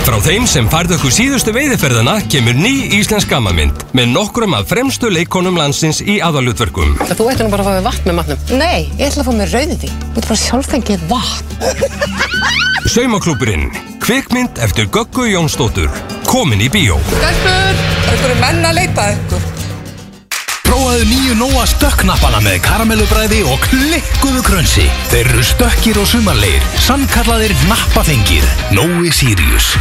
Speaker 1: Frá þeim sem færðu okkur síðustu veiðiferðana kemur ný íslensk gammamynd með nokkrum af fremstu leikonum landsins í aðalutverkum.
Speaker 10: Þú ætti nú bara að fá mér vatn með matnum. Nei, ég ætla að fá mér rauðið í. Þú ætti bara sjálfengið vatn.
Speaker 1: Saumaklúburinn, kvikmynd eftir Göggu Jónsdóttur, komin í bíó.
Speaker 10: Stelpur, einhverju menn að leita að ykkur.
Speaker 6: Prófaðu nýju Nóa stökknappana með karamellubræði og klikkuðu krönsi. Þeir eru stökkir og sumarleir, sannkallaðir nappafengir. Nói Sirius.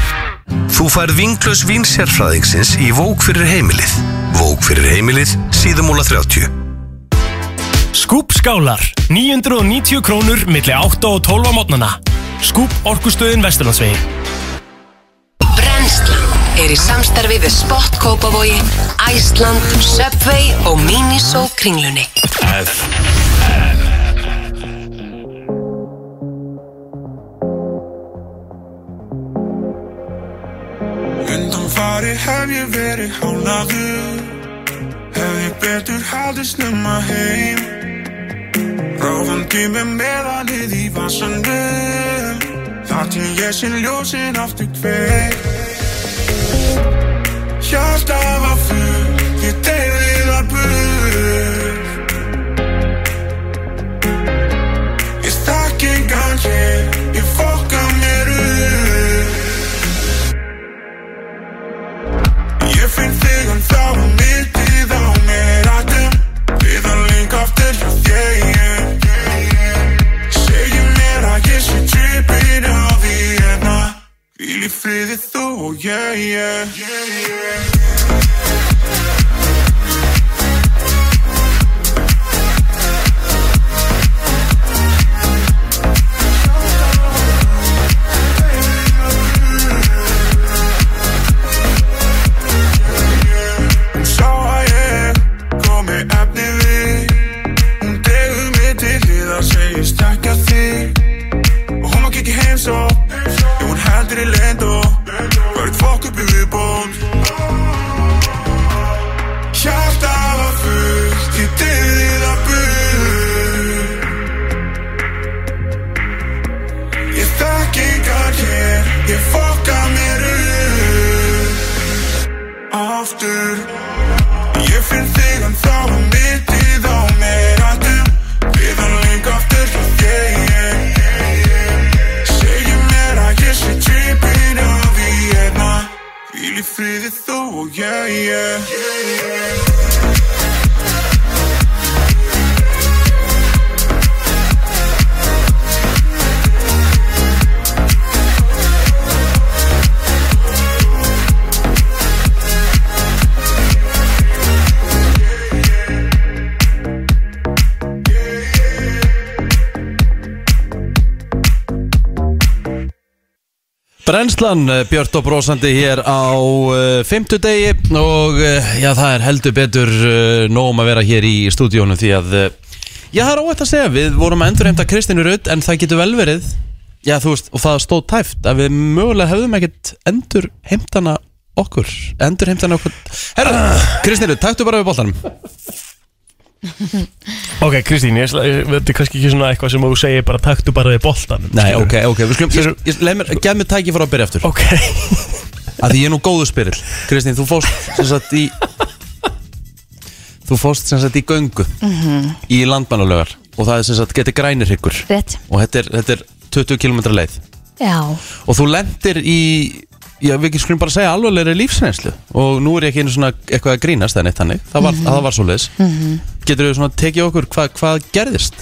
Speaker 11: Þú færð vinklaus vinsérfræðingsins í Vók fyrir heimilið. Vók fyrir heimilið, síðumúla 30.
Speaker 6: Skúpskálar, 990 krónur milli 8 og 12 á mótnana. Skúp orkustöðin Vesturlandsvegi.
Speaker 8: Brennslan er í samstarfi við Spott Kópavogi, Æsland, Subway og Miniso kringlunni.
Speaker 11: Undan fari hef ég verið hálaður Hef ég betur haldið snemma heim Ráfandi með meðalið í vassandum Þar til ég sé ljósin aftur hver Hjarta var full, ég deyði það burt Ég stakk engan hér, ég fokka mér upp Ég finn þig en þá var mildið á mér aðum Við hann link aftur hjá þér Segir mér að ég sé trippin á því hérna Vil í friði þú og ég, ég Hún sá að ég kom með efni við Hún degur mig til hliðar, segist ekki að þig Og hún makk ekki heim svo Jú, hún heldur í leynd og Verð fokk upp í viðbót hérna.
Speaker 2: Brennslan, eh, Björt og Brósandi hér á uh, fimmtudegi og uh, já, það er heldur betur uh, nóg um að vera hér í stúdíónu því að uh, já, það er óvægt að segja, við vorum að endurheimta Kristínu Rutt en það getur vel verið já, þú veist, og það stóð tæft að við mögulega hefðum ekkert endurheimtana okkur, endurheimtana okkur Herra, Kristínu, taktu bara við boltanum
Speaker 4: Ok, Kristín, ég, ætla- ég- þetta er kannski ekki svona eitthvað sem þú segir bara taktu bara við boltan
Speaker 2: Nei, ok, ok, við skulum, ég, ég, leið mér, gef mér tæki fyrir að byrja aftur
Speaker 4: Ok
Speaker 2: að því ég er nú góðu spyrill Kristín, þú fórst sem sagt í þú fórst sem sagt í göngu
Speaker 3: Mhm.
Speaker 2: í landmannalögar og það er sem sagt getið grænir ykkur
Speaker 3: Rétt.
Speaker 2: og þetta er, þetta er 20 km leið
Speaker 3: Já,
Speaker 2: og þú lendir í já, við skulum bara segja alveglega lífsreynslu og nú er ég ekki einu svona eitthvað að grínast en eitt hannig, það var,
Speaker 3: Mhm.
Speaker 2: það var svo leiðis
Speaker 3: Mhm.
Speaker 2: getur við svona tekið okkur hva, hvað gerðist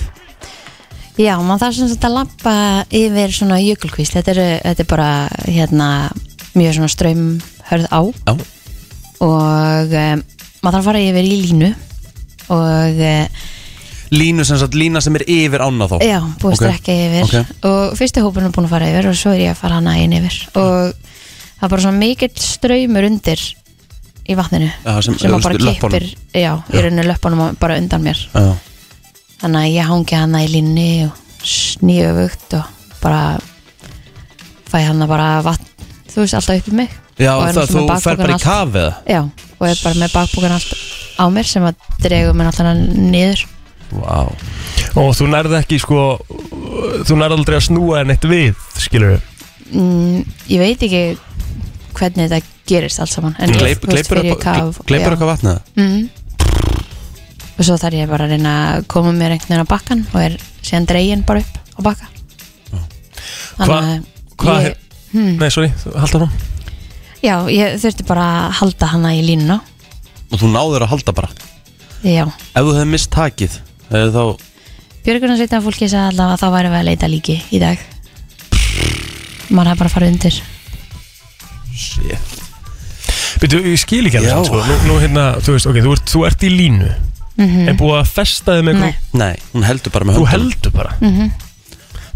Speaker 3: já, maður þarf sem sagt að lappa yfir svona jökulkvísl þetta, eru, þetta er bara hérna mjög svona strömmhörð á
Speaker 2: Já.
Speaker 3: og um, maður þarf að fara yfir í línu og um,
Speaker 2: línu sem sagt, lína sem er yfir ána þá
Speaker 3: Já, búið okay.
Speaker 2: Ok.
Speaker 3: strekka yfir
Speaker 2: Ok.
Speaker 3: og fyrsti hópurinn er búin að fara yfir og svo er ég að fara hana einn yfir og það er bara svona mikill straumur undir í vatninu
Speaker 2: Já, sem-
Speaker 3: sem að bara
Speaker 2: löppunum.
Speaker 3: kippir já,
Speaker 2: Já.
Speaker 3: í rauninu löppunum og bara undan mér
Speaker 2: Já.
Speaker 3: þannig að ég hangi hana í línni og snýðu vögt og bara fæ hana bara vatn þú veist, alltaf upp í mig
Speaker 2: Já,
Speaker 3: Og er
Speaker 2: það-
Speaker 3: náttúrulega
Speaker 2: þú
Speaker 3: með
Speaker 2: ferð bara í
Speaker 3: bakpokann
Speaker 2: kaf eða?
Speaker 3: alltaf- Já, og er bara með bakbúkan allt á mér sem að dregu mér náttúrulega niður
Speaker 2: Vá wow.
Speaker 4: Og þú nærði ekki sko Þú nærði aldrei að snúa henni eitt við Skilur við
Speaker 3: mm, ég veit ekki hvernig þetta gerist allt saman en
Speaker 2: Gleip- gleipur upp- gleipur eitthvað vatnið?
Speaker 3: mm. og svo þarf ég bara að reyna að koma mér einhvern veginn á bakkan og er síðan dregin bara upp á bakka
Speaker 4: Hvað- Hvað
Speaker 3: ég, Hmm.
Speaker 4: er Nei, sorry, halda frá
Speaker 3: já, ég þurfti bara að halda hana í línuna
Speaker 2: og þú náður að halda bara
Speaker 3: já,
Speaker 2: ef þú hefði mist takið hefði þá
Speaker 3: björgunarsveitan fólki sagði allavega að þá væri við að leita líki í dag maður hafði bara farið undir
Speaker 2: Shit
Speaker 4: Býtu, ég skil ekki alveg
Speaker 2: Já.
Speaker 4: samt, sko. nú, nú hérna, þú veist, ok, þú ert, þú ert í línu
Speaker 3: Mhm.
Speaker 4: En búið að festa þig með
Speaker 3: Nei.
Speaker 2: Nei, hún heldur bara með
Speaker 4: Þú
Speaker 2: höndunum.
Speaker 4: heldur bara
Speaker 3: mm -hmm.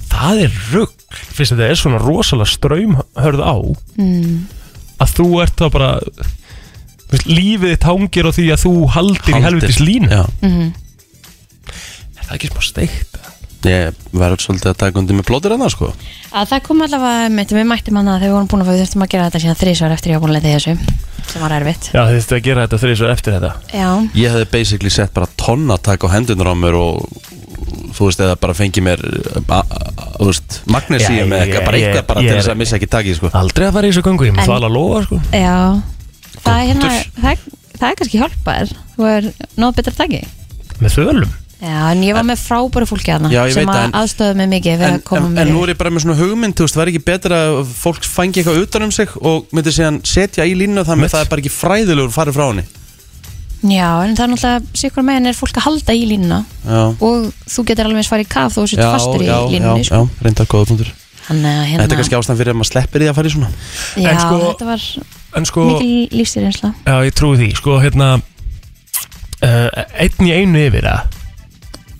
Speaker 4: Það er rugg Fyrst þetta er svona rosalega strömhörð á
Speaker 3: mm.
Speaker 4: Að þú ert þá bara þú veist, Lífið þitt hangir á því að þú haldir, í
Speaker 2: Haldir.
Speaker 4: helvitis línu
Speaker 2: Já.
Speaker 3: Mhm.
Speaker 4: Er það ekki smá steikt?
Speaker 2: ég verður svolítið að taka undir með blótir hennar sko
Speaker 3: Að það kom allavega, mitt, við mættum hana þegar við vorum búin að við þurftum að gera þetta síðan þrísvar eftir ég var búin að leta í þessu sem var erfitt
Speaker 4: Já, þið þurftu að gera þetta þrið svo eftir þetta
Speaker 3: Já,
Speaker 2: ég hefði basically sett bara tonnatak á hendunar á mér og þú veist eða bara fengið mér a- a- a- þú veist
Speaker 4: Já,
Speaker 2: magnesíum eða eitthvað
Speaker 4: ég-
Speaker 2: bara eitthvað
Speaker 4: ég-
Speaker 2: bara
Speaker 4: ég
Speaker 2: til
Speaker 4: er-
Speaker 2: þess að missa ekki takið sko
Speaker 4: aldrei að fara í þessu göngu ég
Speaker 3: En-
Speaker 4: með það alveg að lofa sko
Speaker 3: já Það er hérna, það, er- það er kannski hjálpar Þú er nóð betra taki
Speaker 4: með þölum
Speaker 3: Já, en ég var með frábæru fólki hana
Speaker 2: Já, ég
Speaker 3: sem
Speaker 2: veit það,
Speaker 3: að
Speaker 2: en-
Speaker 3: aðstöðu mig mikið við
Speaker 2: En,
Speaker 3: að koma
Speaker 2: en,
Speaker 3: mér
Speaker 2: en nú er ég bara með svona hugmynd, þú veist, væri ekki betra að fólk fængi eitthvað utan um sig og myndi síðan setja í línu þannig að það er bara ekki fræðilegur farið frá henni
Speaker 3: Já, en það er náttúrulega sikur meginn er fólk að halda í línuna
Speaker 2: Já,
Speaker 3: og þú getur alveg eins farið í kaf þú sittur fastur í
Speaker 2: já,
Speaker 3: línunni
Speaker 2: já,
Speaker 3: sko.
Speaker 2: já, reyndar góða punktur
Speaker 3: Þannig að
Speaker 2: Þetta er
Speaker 3: hérna,
Speaker 2: kannski ástæðan fyrir að maður sleppir í að fara í svona
Speaker 3: já,
Speaker 4: En sko-
Speaker 3: þetta var
Speaker 4: en sko,
Speaker 3: mikil lífstýrinsla
Speaker 4: já ég trúi því sko hérna uh, einn í einu yfir það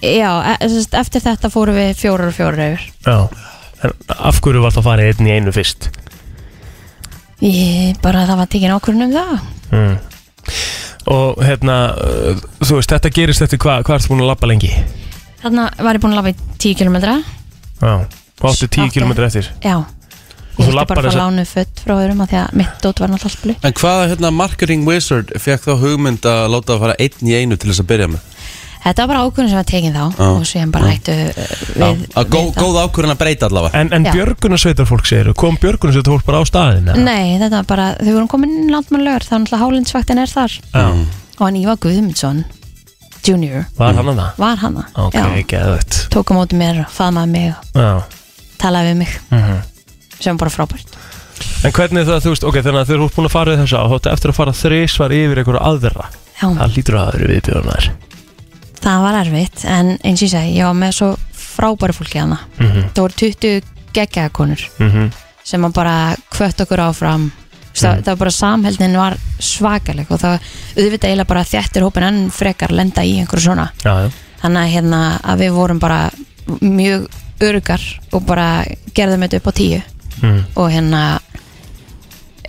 Speaker 3: Já, e sem sagt, eftir þetta fórum við fjórar og fjórar yfir
Speaker 4: já en af hverju var það farið einn í einu fyrst
Speaker 3: Ég bara það var tekin ákvörðun um það
Speaker 4: mm. og hérna uh, þú veist þetta gerist eftir hvað hvað ertu búin að labba lengi
Speaker 3: Þarna var ég búin að labba í 10 km
Speaker 4: já og áttu tíu
Speaker 3: Átti.
Speaker 4: kilometri eftir
Speaker 3: Já
Speaker 4: Og þú
Speaker 3: Ég vildi
Speaker 4: labbar
Speaker 3: bara að
Speaker 4: þessa-
Speaker 3: fá lánu fött frá öðrum að því að mitt dót var náttúrulega allt blöð
Speaker 2: En hvaða hérna, marketing wizard fekk þá hugmynd að láta það fara einn í einu til þess að byrja með?
Speaker 3: Þetta var bara ákvörðun sem var tekin þá
Speaker 2: Já.
Speaker 3: og síðan bara hættu uh, við
Speaker 2: að gó, góð ákvörðin að breyta allavega
Speaker 4: en, en
Speaker 3: Já.
Speaker 4: björgunarsveitarfólk segir kom björgunarsveitarfólk bara á staðina
Speaker 3: Nei, þetta var bara, þau vorum komin inn landmannlögur þá náttúrulega hálindsvaktin er þar
Speaker 4: já.
Speaker 3: og hann Ívar Guðmundsson junior
Speaker 4: var hann að það
Speaker 3: var hann
Speaker 4: ok, geðvett
Speaker 3: tók á móti mér og faðmaði mig og
Speaker 4: já
Speaker 3: talaði við mig
Speaker 4: mhm
Speaker 3: sem var bara frábært
Speaker 4: En hvernig það, þú veist, ok, þannig að þegar þú ert búin að fara við þessa og þá áttu eftir að fara þrísvar yfir einhverja aðra
Speaker 3: Já.
Speaker 4: Það lítur að aðra viðbjörnar
Speaker 3: Það var erfitt en eins og ég segi, ég var með svo frábæru fólki hana
Speaker 4: Mhm.
Speaker 3: Það voru 20 geggjakonur
Speaker 4: mm -hmm.
Speaker 3: sem að bara kvött okkur áfram Þú veist, það, það var bara samheldin var svakaleg og það auðvitað eiginlega bara þjættir hópin enn frekar lenda í einhverju svona
Speaker 4: Já, já
Speaker 3: þannig að, hérna, að við vorum bara mjög örugar og bara gerðum þetta upp á tíu
Speaker 4: Mm.
Speaker 3: og hérna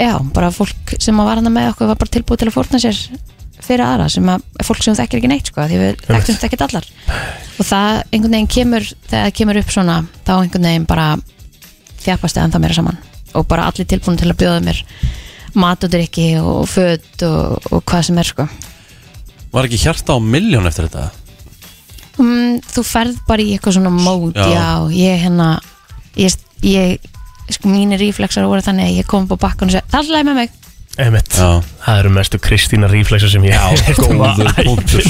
Speaker 3: já, bara fólk sem var hann með okkur var bara tilbúið til að fórna sér fyrir aðra sem að fólk sem þú þekkir ekki neitt sko, af því við
Speaker 12: Einmitt.
Speaker 3: þekktum þetta ekkert allar og það einhvern veginn kemur þegar það kemur upp svona, þá einhvern veginn bara þjapast eða ennþá meira saman og bara allir tilbúin til að bjóða mér mat og drikki og föt og, og hvað sem er sko
Speaker 2: Var ekki hjarta á milljón eftir þetta?
Speaker 3: mm, þú ferð bara í eitthvað svona mót
Speaker 2: Já.
Speaker 3: já, ég hérna ég, ég sko mínir ríflexar voru þannig að ég kom upp á bakkan og segi, það er alltaf með mig
Speaker 4: Einmitt. Það eru mestu Kristína ríflexar sem ég um Já,
Speaker 2: góður punktur.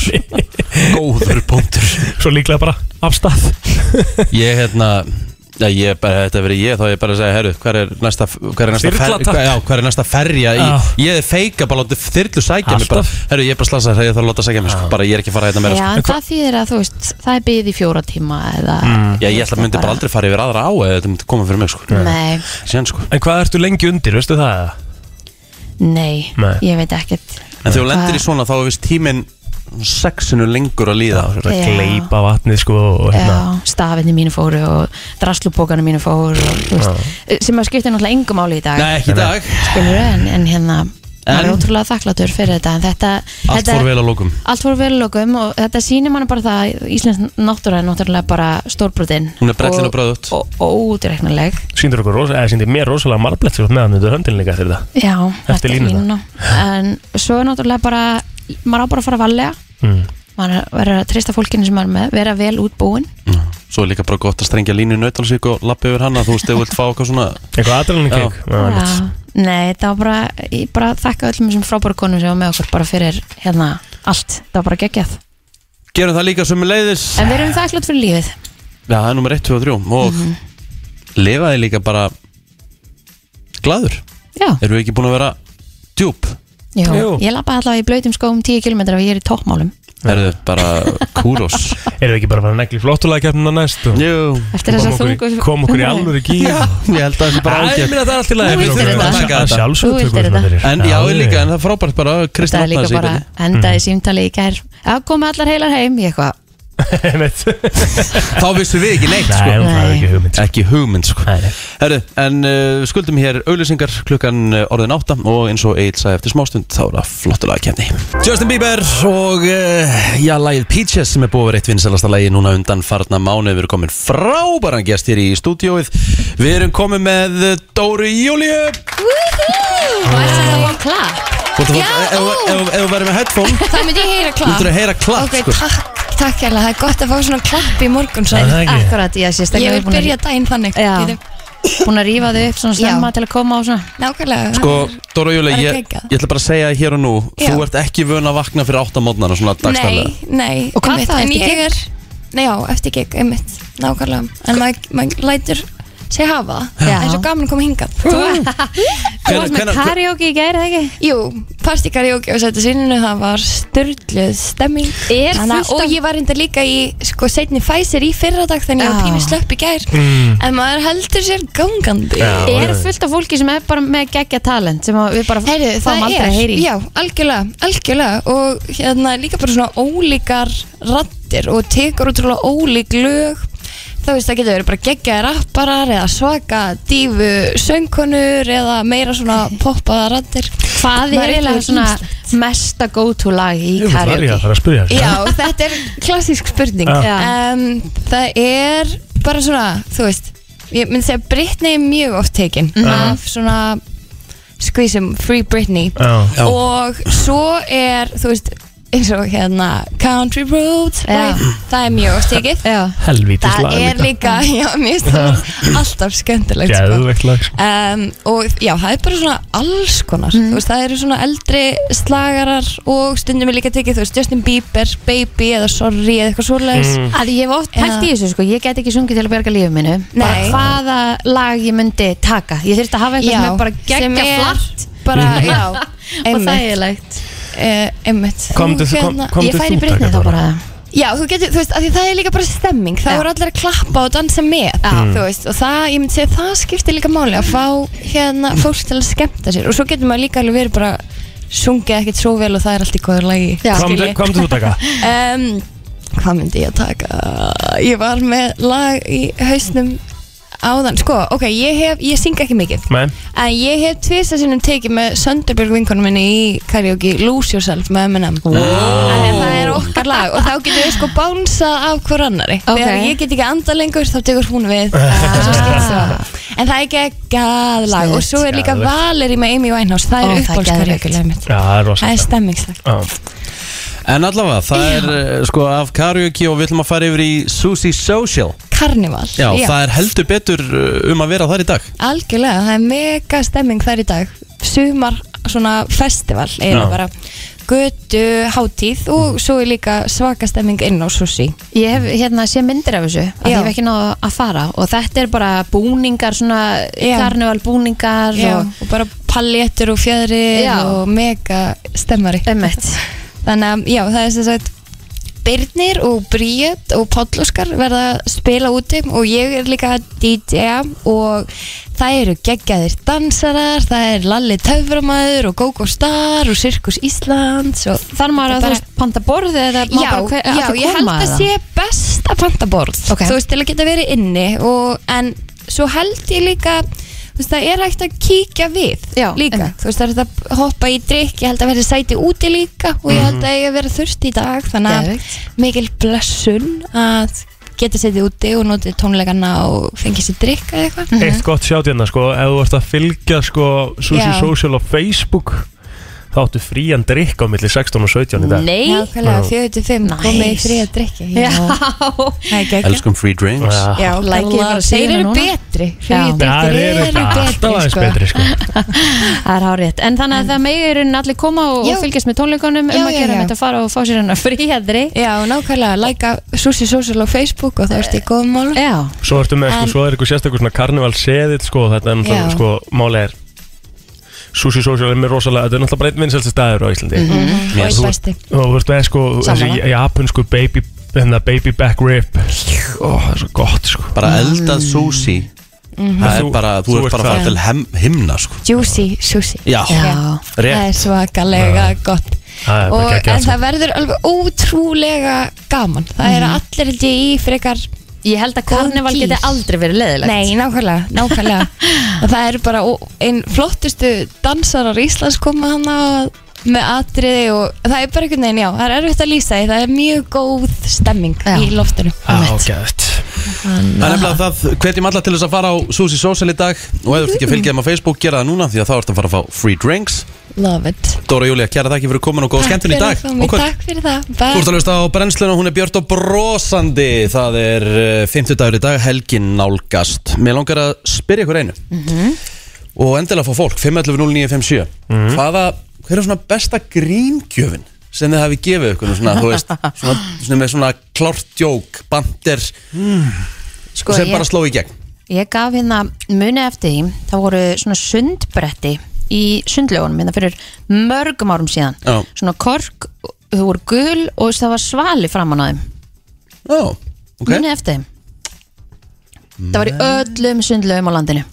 Speaker 2: Góður punktur
Speaker 4: Svo líklega bara af stað
Speaker 2: Ég hérna Já, ég bara, þetta verið ég, þá ég bara að segja, herru, hver er næsta, hver er næsta,
Speaker 4: Þyrla, takk.
Speaker 2: hver, já, hver er næsta ferja í,
Speaker 4: Já.
Speaker 2: ég er feika, bara láti þyrlu sækja mig, bara,
Speaker 4: Alltaf.
Speaker 2: herru, ég er bara slasað, ég þarf að láta sækja mig, sko, bara, ég er ekki að fara hérna meira,
Speaker 3: já,
Speaker 2: sko.
Speaker 3: en það þýðir að þú veist það er byggð í fjóra tíma eða
Speaker 4: Mm.
Speaker 2: Já, ég ætla að myndi bara aldrei fara yfir aðra á eða þetta myndi koma fyrir mig, sko.
Speaker 3: nei,
Speaker 2: Sén, sko.
Speaker 4: En hvað ertu lengi undir, veistu það? eða?
Speaker 3: nei,
Speaker 4: Nei.
Speaker 3: ég veit ekkert
Speaker 2: En þegar þú lendir í svona, þá er vist tíminn sexinu lengur að líða.
Speaker 3: að Já. gleypa
Speaker 4: vatnið, sko, og
Speaker 2: hérna-
Speaker 3: Já, stafinni mínu fóru og draslupókanu mínu fóru og, þú veist, Eh, sem að skipta náttúrulega engum máli í dag
Speaker 2: Nei, ekki í dag.
Speaker 3: skilur en, en hérna maður er ótrúlega þakklátur fyrir þetta en þetta,
Speaker 2: Allt
Speaker 3: þetta
Speaker 2: fór vel að lókum.
Speaker 3: allt fór vel að lokum og þetta sýnir mann bara það að Íslands náttúra er náttúrulega bara stórbrotin
Speaker 4: Hún er brellin og
Speaker 2: bröðut
Speaker 3: og, og ódreiknuleg
Speaker 4: Sýndir okkur rosa, eða sýndir mér rosalega marblet sér meðan undir höndin líka eftir það
Speaker 3: já,
Speaker 4: Eftir línuna.
Speaker 3: en svo er náttúrulega bara maður á bara að fara að valja
Speaker 4: mm.
Speaker 3: maður er- verður að treysta fólkinu sem maður er með vera vel útbúin
Speaker 2: Svo er líka bara gott að strengja línu í nautalsík og lappa yfir hana, þú veist, ef þú vilt fá eitthvað svona...
Speaker 4: Eitthvað adrenalin kick.
Speaker 3: Já, nei, það var bara, ég bara þakka öllum þessum frábæru konum sem var með okkur bara fyrir hérna allt, það var bara geggjað
Speaker 2: Gerum það líka sömu leiðis.
Speaker 3: en við erum Mhm. þakklátt fyrir lífið
Speaker 2: Já, það er nummer 1, 2 og 3 og mm lifaði líka bara gladur
Speaker 3: Já.
Speaker 2: Erum við ekki búin að vera djúb?
Speaker 3: Jú, ég lappa allavega í blöytum skóum 10 km og ég er í toppmálum
Speaker 2: Erðu bara kúros
Speaker 4: Erum við ekki bara að fara að negli flottulega kemna næst og
Speaker 2: Jú
Speaker 3: Eftir þessa þungu-
Speaker 4: Kom okkur í alvöru gíl
Speaker 2: Já, ég held að það sé bara
Speaker 4: Æ,
Speaker 2: ágætt
Speaker 4: ég meina, það er allt í lagi
Speaker 2: Þú
Speaker 4: fyrir
Speaker 2: vildir
Speaker 4: okkur.
Speaker 2: þetta.
Speaker 4: Að sjálfsögðu Að sjálfsögðu hérna
Speaker 3: Þú vildir tökum við þetta. þetta fyrir.
Speaker 2: En já,
Speaker 4: Já, já.
Speaker 2: líka, en það er frábært bara Kristján
Speaker 3: það er líka
Speaker 2: opnaði sig
Speaker 3: bara
Speaker 2: hvernig.
Speaker 3: endaði símtali í gær að koma allar heilar heim í eitthvað
Speaker 2: Þá vissum við ekki neitt
Speaker 4: Nei,
Speaker 2: sko.
Speaker 4: hún hafði ekki hugmynd
Speaker 2: Ekki hugmynd sko. Herru, en uh, skuldum hér auðlýsingar klukkan uh, orðin átta og eins og Egil sagði eftir smástund þá er það flottulega kemni Justin Bieber og uh, já, lagið Peaches sem er búið að vera eitt vinsalasta lagi núna undan farna mánu við erum komin frábæran gest hér í stúdióið við erum komin með eh, Dóri Júlíu
Speaker 3: Var það one clap?
Speaker 2: Þú ert að fá- ef- ef- ef- ef þú verður með headphone
Speaker 12: Það myndi ég heyra
Speaker 2: þú
Speaker 12: klapp
Speaker 2: ert að heyra klapp
Speaker 12: Ok,
Speaker 2: sko.
Speaker 12: takk, takk hérlega, það er gott að fá svona klapp í morgun
Speaker 2: Er það ekki?
Speaker 3: Akkurat, já,
Speaker 12: Ég
Speaker 3: sérstaklega við
Speaker 12: vil
Speaker 3: erum búin að-
Speaker 12: byrja daginn þannig
Speaker 3: Já, búin að rífa þau upp svona snemma til að koma á svona
Speaker 12: Nákvæmlega
Speaker 2: Sko, Dóra Júlíu,
Speaker 12: Bara
Speaker 2: ég,
Speaker 12: geggjað.
Speaker 2: ég ætla bara að segja þér hér og nú
Speaker 12: Já.
Speaker 2: þú ert ekki vön að vakna fyrir átta mótnana svona dagstæðlega
Speaker 12: Nei, nei
Speaker 3: Og hvað
Speaker 12: einmitt,
Speaker 3: þá,
Speaker 12: en ég
Speaker 3: eftir gig?
Speaker 12: er- Nei, já, eftir gig, einmitt, nákvæmlega En maður maður lætur sig hafa það
Speaker 3: Já.
Speaker 12: Það er svo gaman að koma hingað Þú
Speaker 2: Hvenær- varst með hvenær- hve-
Speaker 12: karaoke í gæri, það ekki? Jú, fast í karaoke og sætti síninu Það var störluð stemming
Speaker 3: Er
Speaker 12: Þannig að-
Speaker 3: fullt af-
Speaker 12: Og ég var enda líka í, sko, setni Pfizer í fyrradag Þannig að ég var
Speaker 3: Já.
Speaker 12: pínu slöpp í gær
Speaker 3: Mm.
Speaker 12: En maður heldur sér gangandi
Speaker 3: Já, Er já, já. fullt af fólki sem er bara með geggja talent sem að við bara Heyri,
Speaker 12: það
Speaker 3: fáum aldrei
Speaker 12: er,
Speaker 3: að heyri
Speaker 12: já, algjörlega, algjörlega og hérna líka bara svona ólíkar rattir og tekur útrúlega ólík lög þá veist það getur verið bara geggjaði rapparar eða svaka dífu söngkonur eða meira svona poppaða rattir
Speaker 3: Hvað er eiginlega svona mesta go-to lag í
Speaker 4: Ég var
Speaker 3: karaoke?
Speaker 4: að fara að spyrja þessu.
Speaker 12: Já, þetta er klassísk spurning
Speaker 4: Já.
Speaker 12: um, Það er bara svona, þú veist ég myndi segja Britney er mjög oft tekin
Speaker 4: Já.
Speaker 12: af svona skvísum Free Britney
Speaker 4: Já. Já.
Speaker 12: og svo er, þú veist eins og hérna Country Roads right? það er mjög oft tekið
Speaker 4: Helvítis
Speaker 12: það
Speaker 4: lag
Speaker 12: er líka, já, mér finnst það alltaf skemmtilegt sko.
Speaker 4: Geðvegt lag sko.
Speaker 12: Um, og já, það er bara svona alls konar
Speaker 3: Mm.
Speaker 12: þú veist, það eru svona eldri slagarar og stundum er líka tekið, þú veist, Justin Bieber Baby eða Sorry eða eitthvað svoleiðis
Speaker 3: Mm. Að ég hef oft pælt í þessu sko, ég get ekki sungið til að berga lífið mínu bara
Speaker 12: Nei.
Speaker 3: hvaða lag ég myndi taka ég þurfti að hafa eitthvað sem er bara
Speaker 12: sem
Speaker 3: geggja
Speaker 12: er
Speaker 3: flatt
Speaker 12: bara,
Speaker 3: Mhm.
Speaker 12: já,
Speaker 3: og
Speaker 12: einmitt.
Speaker 3: þægilegt
Speaker 12: Eh, einmitt Þú,
Speaker 3: Komdu þú- kom-
Speaker 12: hérna-
Speaker 3: komdu Ég færi þú Britney taka þá það. bara.
Speaker 12: Já, þú getur, þú veist, af því það er líka bara stemming þá eru allir að klappa og dansa með
Speaker 3: Mm.
Speaker 12: þú veist, og það, ég myndi segja, það skiptir líka máli að fá hérna fólk til að skemmta sér og svo getur maður líka alveg verið bara sungið ekkert svo vel og það er allt í góður lagi
Speaker 4: Hvað myndir- hvað myndir þú taka?
Speaker 12: um, hvað myndi ég að taka? Ég var með lag í hausnum á áðan Sko, ok, ég hef, ég syng ekki mikið
Speaker 4: Nei,
Speaker 12: En ég hef tvista sinnum tekið með Sönderbjörg vinkonum minni í karaoke Lose Yourself með M&M wow. Það er okkar lag og þá getum við sko bánsa af hver annari Þegar ég get ekki anda lengur þá tekur hún við og svo skipt svo. En það er geggjað lag og svo er líka
Speaker 4: Geðveikt.
Speaker 12: Valeri með Amy Winehouse Það er
Speaker 3: Ó, það er geðveikt.
Speaker 12: uppáhalskaraoke mitt
Speaker 4: já, það er rosa
Speaker 12: Það er stemmingslag
Speaker 2: En allavega, það er eh, sko af karaoke og við ætlum að fara yfir í Susi Social
Speaker 12: Karnival
Speaker 2: Já, það er heldur betur eh, um að vera þar í dag
Speaker 12: Algjörlega, það er mega stemming þar í dag Sumar svona festival
Speaker 2: Já. Mhm.
Speaker 12: eiginlega bara Götu, hátíð og svo er líka svaka stemming inn á sushi
Speaker 3: Ég hef hérna sé myndir af þessu að
Speaker 12: Já.
Speaker 3: ég hef ekki náðu að fara og þetta er bara búningar svona
Speaker 12: Já.
Speaker 3: karneval búningar
Speaker 12: Já,
Speaker 3: og,
Speaker 12: og bara paljettur og fjæðri
Speaker 3: Já.
Speaker 12: og mega stemmari
Speaker 3: Emmett
Speaker 12: Þannig að já, það er sem sagt Birnir og Bríett og Pállóskar verða að spila úti og ég er líka DJ og það eru geggjaðir dansarar, það er Lalli Töframæður og Gogo Star og Sirkus Íslands og
Speaker 3: Þar maður að þú veist panta borð eða má
Speaker 12: já,
Speaker 3: bara hver-
Speaker 12: já,
Speaker 3: allir
Speaker 12: ég held
Speaker 3: koma
Speaker 12: að
Speaker 3: eða?
Speaker 12: sé best að panta borð
Speaker 3: Ok.
Speaker 12: þú veist, til að geta verið inni og, en svo held ég líka þú veist, það er hægt að kíkja við já, líka, þú veist, það er hægt að hoppa í drikk ég held að verið sæti úti líka og ég held að ég að vera þurft í dag þannig að mikil blessun að geta setið úti og notið tónleikana og fengið sér drikk eða eitthvað
Speaker 4: Eitt gott sjátt hérna sko, ef þú ert að fylgja sko Susi
Speaker 12: Já.
Speaker 4: Social á Facebook þá áttu frían drikk á milli 16 og 17 í dag
Speaker 3: Nei
Speaker 12: Nákvæmlega, 45, komið í
Speaker 3: Nice.
Speaker 12: frí að drikki
Speaker 3: Já.
Speaker 12: Það er gegn
Speaker 2: Elskum free drinks
Speaker 12: Já,
Speaker 3: like ég bara að segja
Speaker 12: þeir
Speaker 3: það
Speaker 12: eru
Speaker 3: núna.
Speaker 12: betri
Speaker 3: Já.
Speaker 12: Hreyfidrektir
Speaker 4: Það er alltaf aðeins betri sko
Speaker 3: Það er hárétt, en þannig að það megi eru allir koma og, og fylgjast með tónleikunum
Speaker 12: Já,
Speaker 3: um að
Speaker 12: já,
Speaker 3: gera
Speaker 12: já.
Speaker 3: þetta að fara og fá sér hennar fríhæðri
Speaker 12: Já, nákvæmlega, læka Susi Social á Facebook og það ertu í góðum málum
Speaker 3: Já,
Speaker 4: Svo ertu með, sko,
Speaker 12: En-
Speaker 4: svo er eitthvað sérstakur svona karnival seðill, sko, þetta er náttúrulega,
Speaker 12: Já.
Speaker 4: sko, máli er Sushi Social er mér rosalega, þetta er náttúrulega bara einn vinsælsti staður á Íslandi
Speaker 12: Mhm. Og einn
Speaker 4: Þú-
Speaker 12: besti.
Speaker 4: Og þú veist með, sko, þessi
Speaker 12: Sammála.
Speaker 4: japansku baby, hérna, baby back rib Ó, það er svo gott, sko
Speaker 2: Bara eldað sushi
Speaker 12: Mhm.
Speaker 2: Það er
Speaker 4: Þú-
Speaker 2: bara, þú,
Speaker 4: þú
Speaker 2: ert
Speaker 4: ert
Speaker 2: bara að fara
Speaker 12: það.
Speaker 2: til hem, himna sko
Speaker 12: Juicy Susi
Speaker 2: Já. Já. Rétt.
Speaker 12: Það er svakalega gott
Speaker 4: Það er
Speaker 12: og,
Speaker 4: bara
Speaker 12: En
Speaker 2: sko.
Speaker 4: geggjað, sko.
Speaker 12: það verður alveg ótrúlega gaman Það eru allir held ég í frekar
Speaker 3: Mhm. Ég held að karneval geti aldrei verið leðilegt
Speaker 12: Nei, nákvæmlega, nákvæmlega Og það eru bara ó- einn flottustu dansarar Íslands koma hana og- með atriði og það er bara einhvern veginn, já, það er erfitt að lýsa því, það er mjög góð stemming í loftinu
Speaker 4: sko Ágæðt
Speaker 2: Það er nefnilega það, hvetjum alla til þess að fara á Susi Social í dag og ef þú ert ekki að fylgja þeim á Facebook, gera það núna því að þá ertu að fara að fá free drinks
Speaker 12: Love it
Speaker 2: Dóra Júlia, kæra þakki fyrir komin og góð skemmtun í dag og kvöld.
Speaker 12: Takk fyrir það
Speaker 2: Þú ert að hlusta á brennsluna, hún er björt og brosandi Það er 50 dagur í dag, helgin nálgast Mér langar að spyrja ykkur einu Og endilega fá fólk, 511-0957 Hvaða, hver er svona besta gríngjöfin sem þið hafi gefið ykkur svona, þú veist, svona, svona með svona klárt djók, bandir
Speaker 3: Sko,
Speaker 2: sem
Speaker 3: ég-
Speaker 2: bara sló í gegn
Speaker 3: Ég gaf hérna muni eftir því það voru svona sundbretti í sundlögunum hérna fyrir mörgum árum síðan
Speaker 2: Já.
Speaker 3: svona kork, þau voru gul og það var svali framan á þeim
Speaker 2: Já, ok
Speaker 3: muni eftir þeim það var í öllum sundlögum á landinu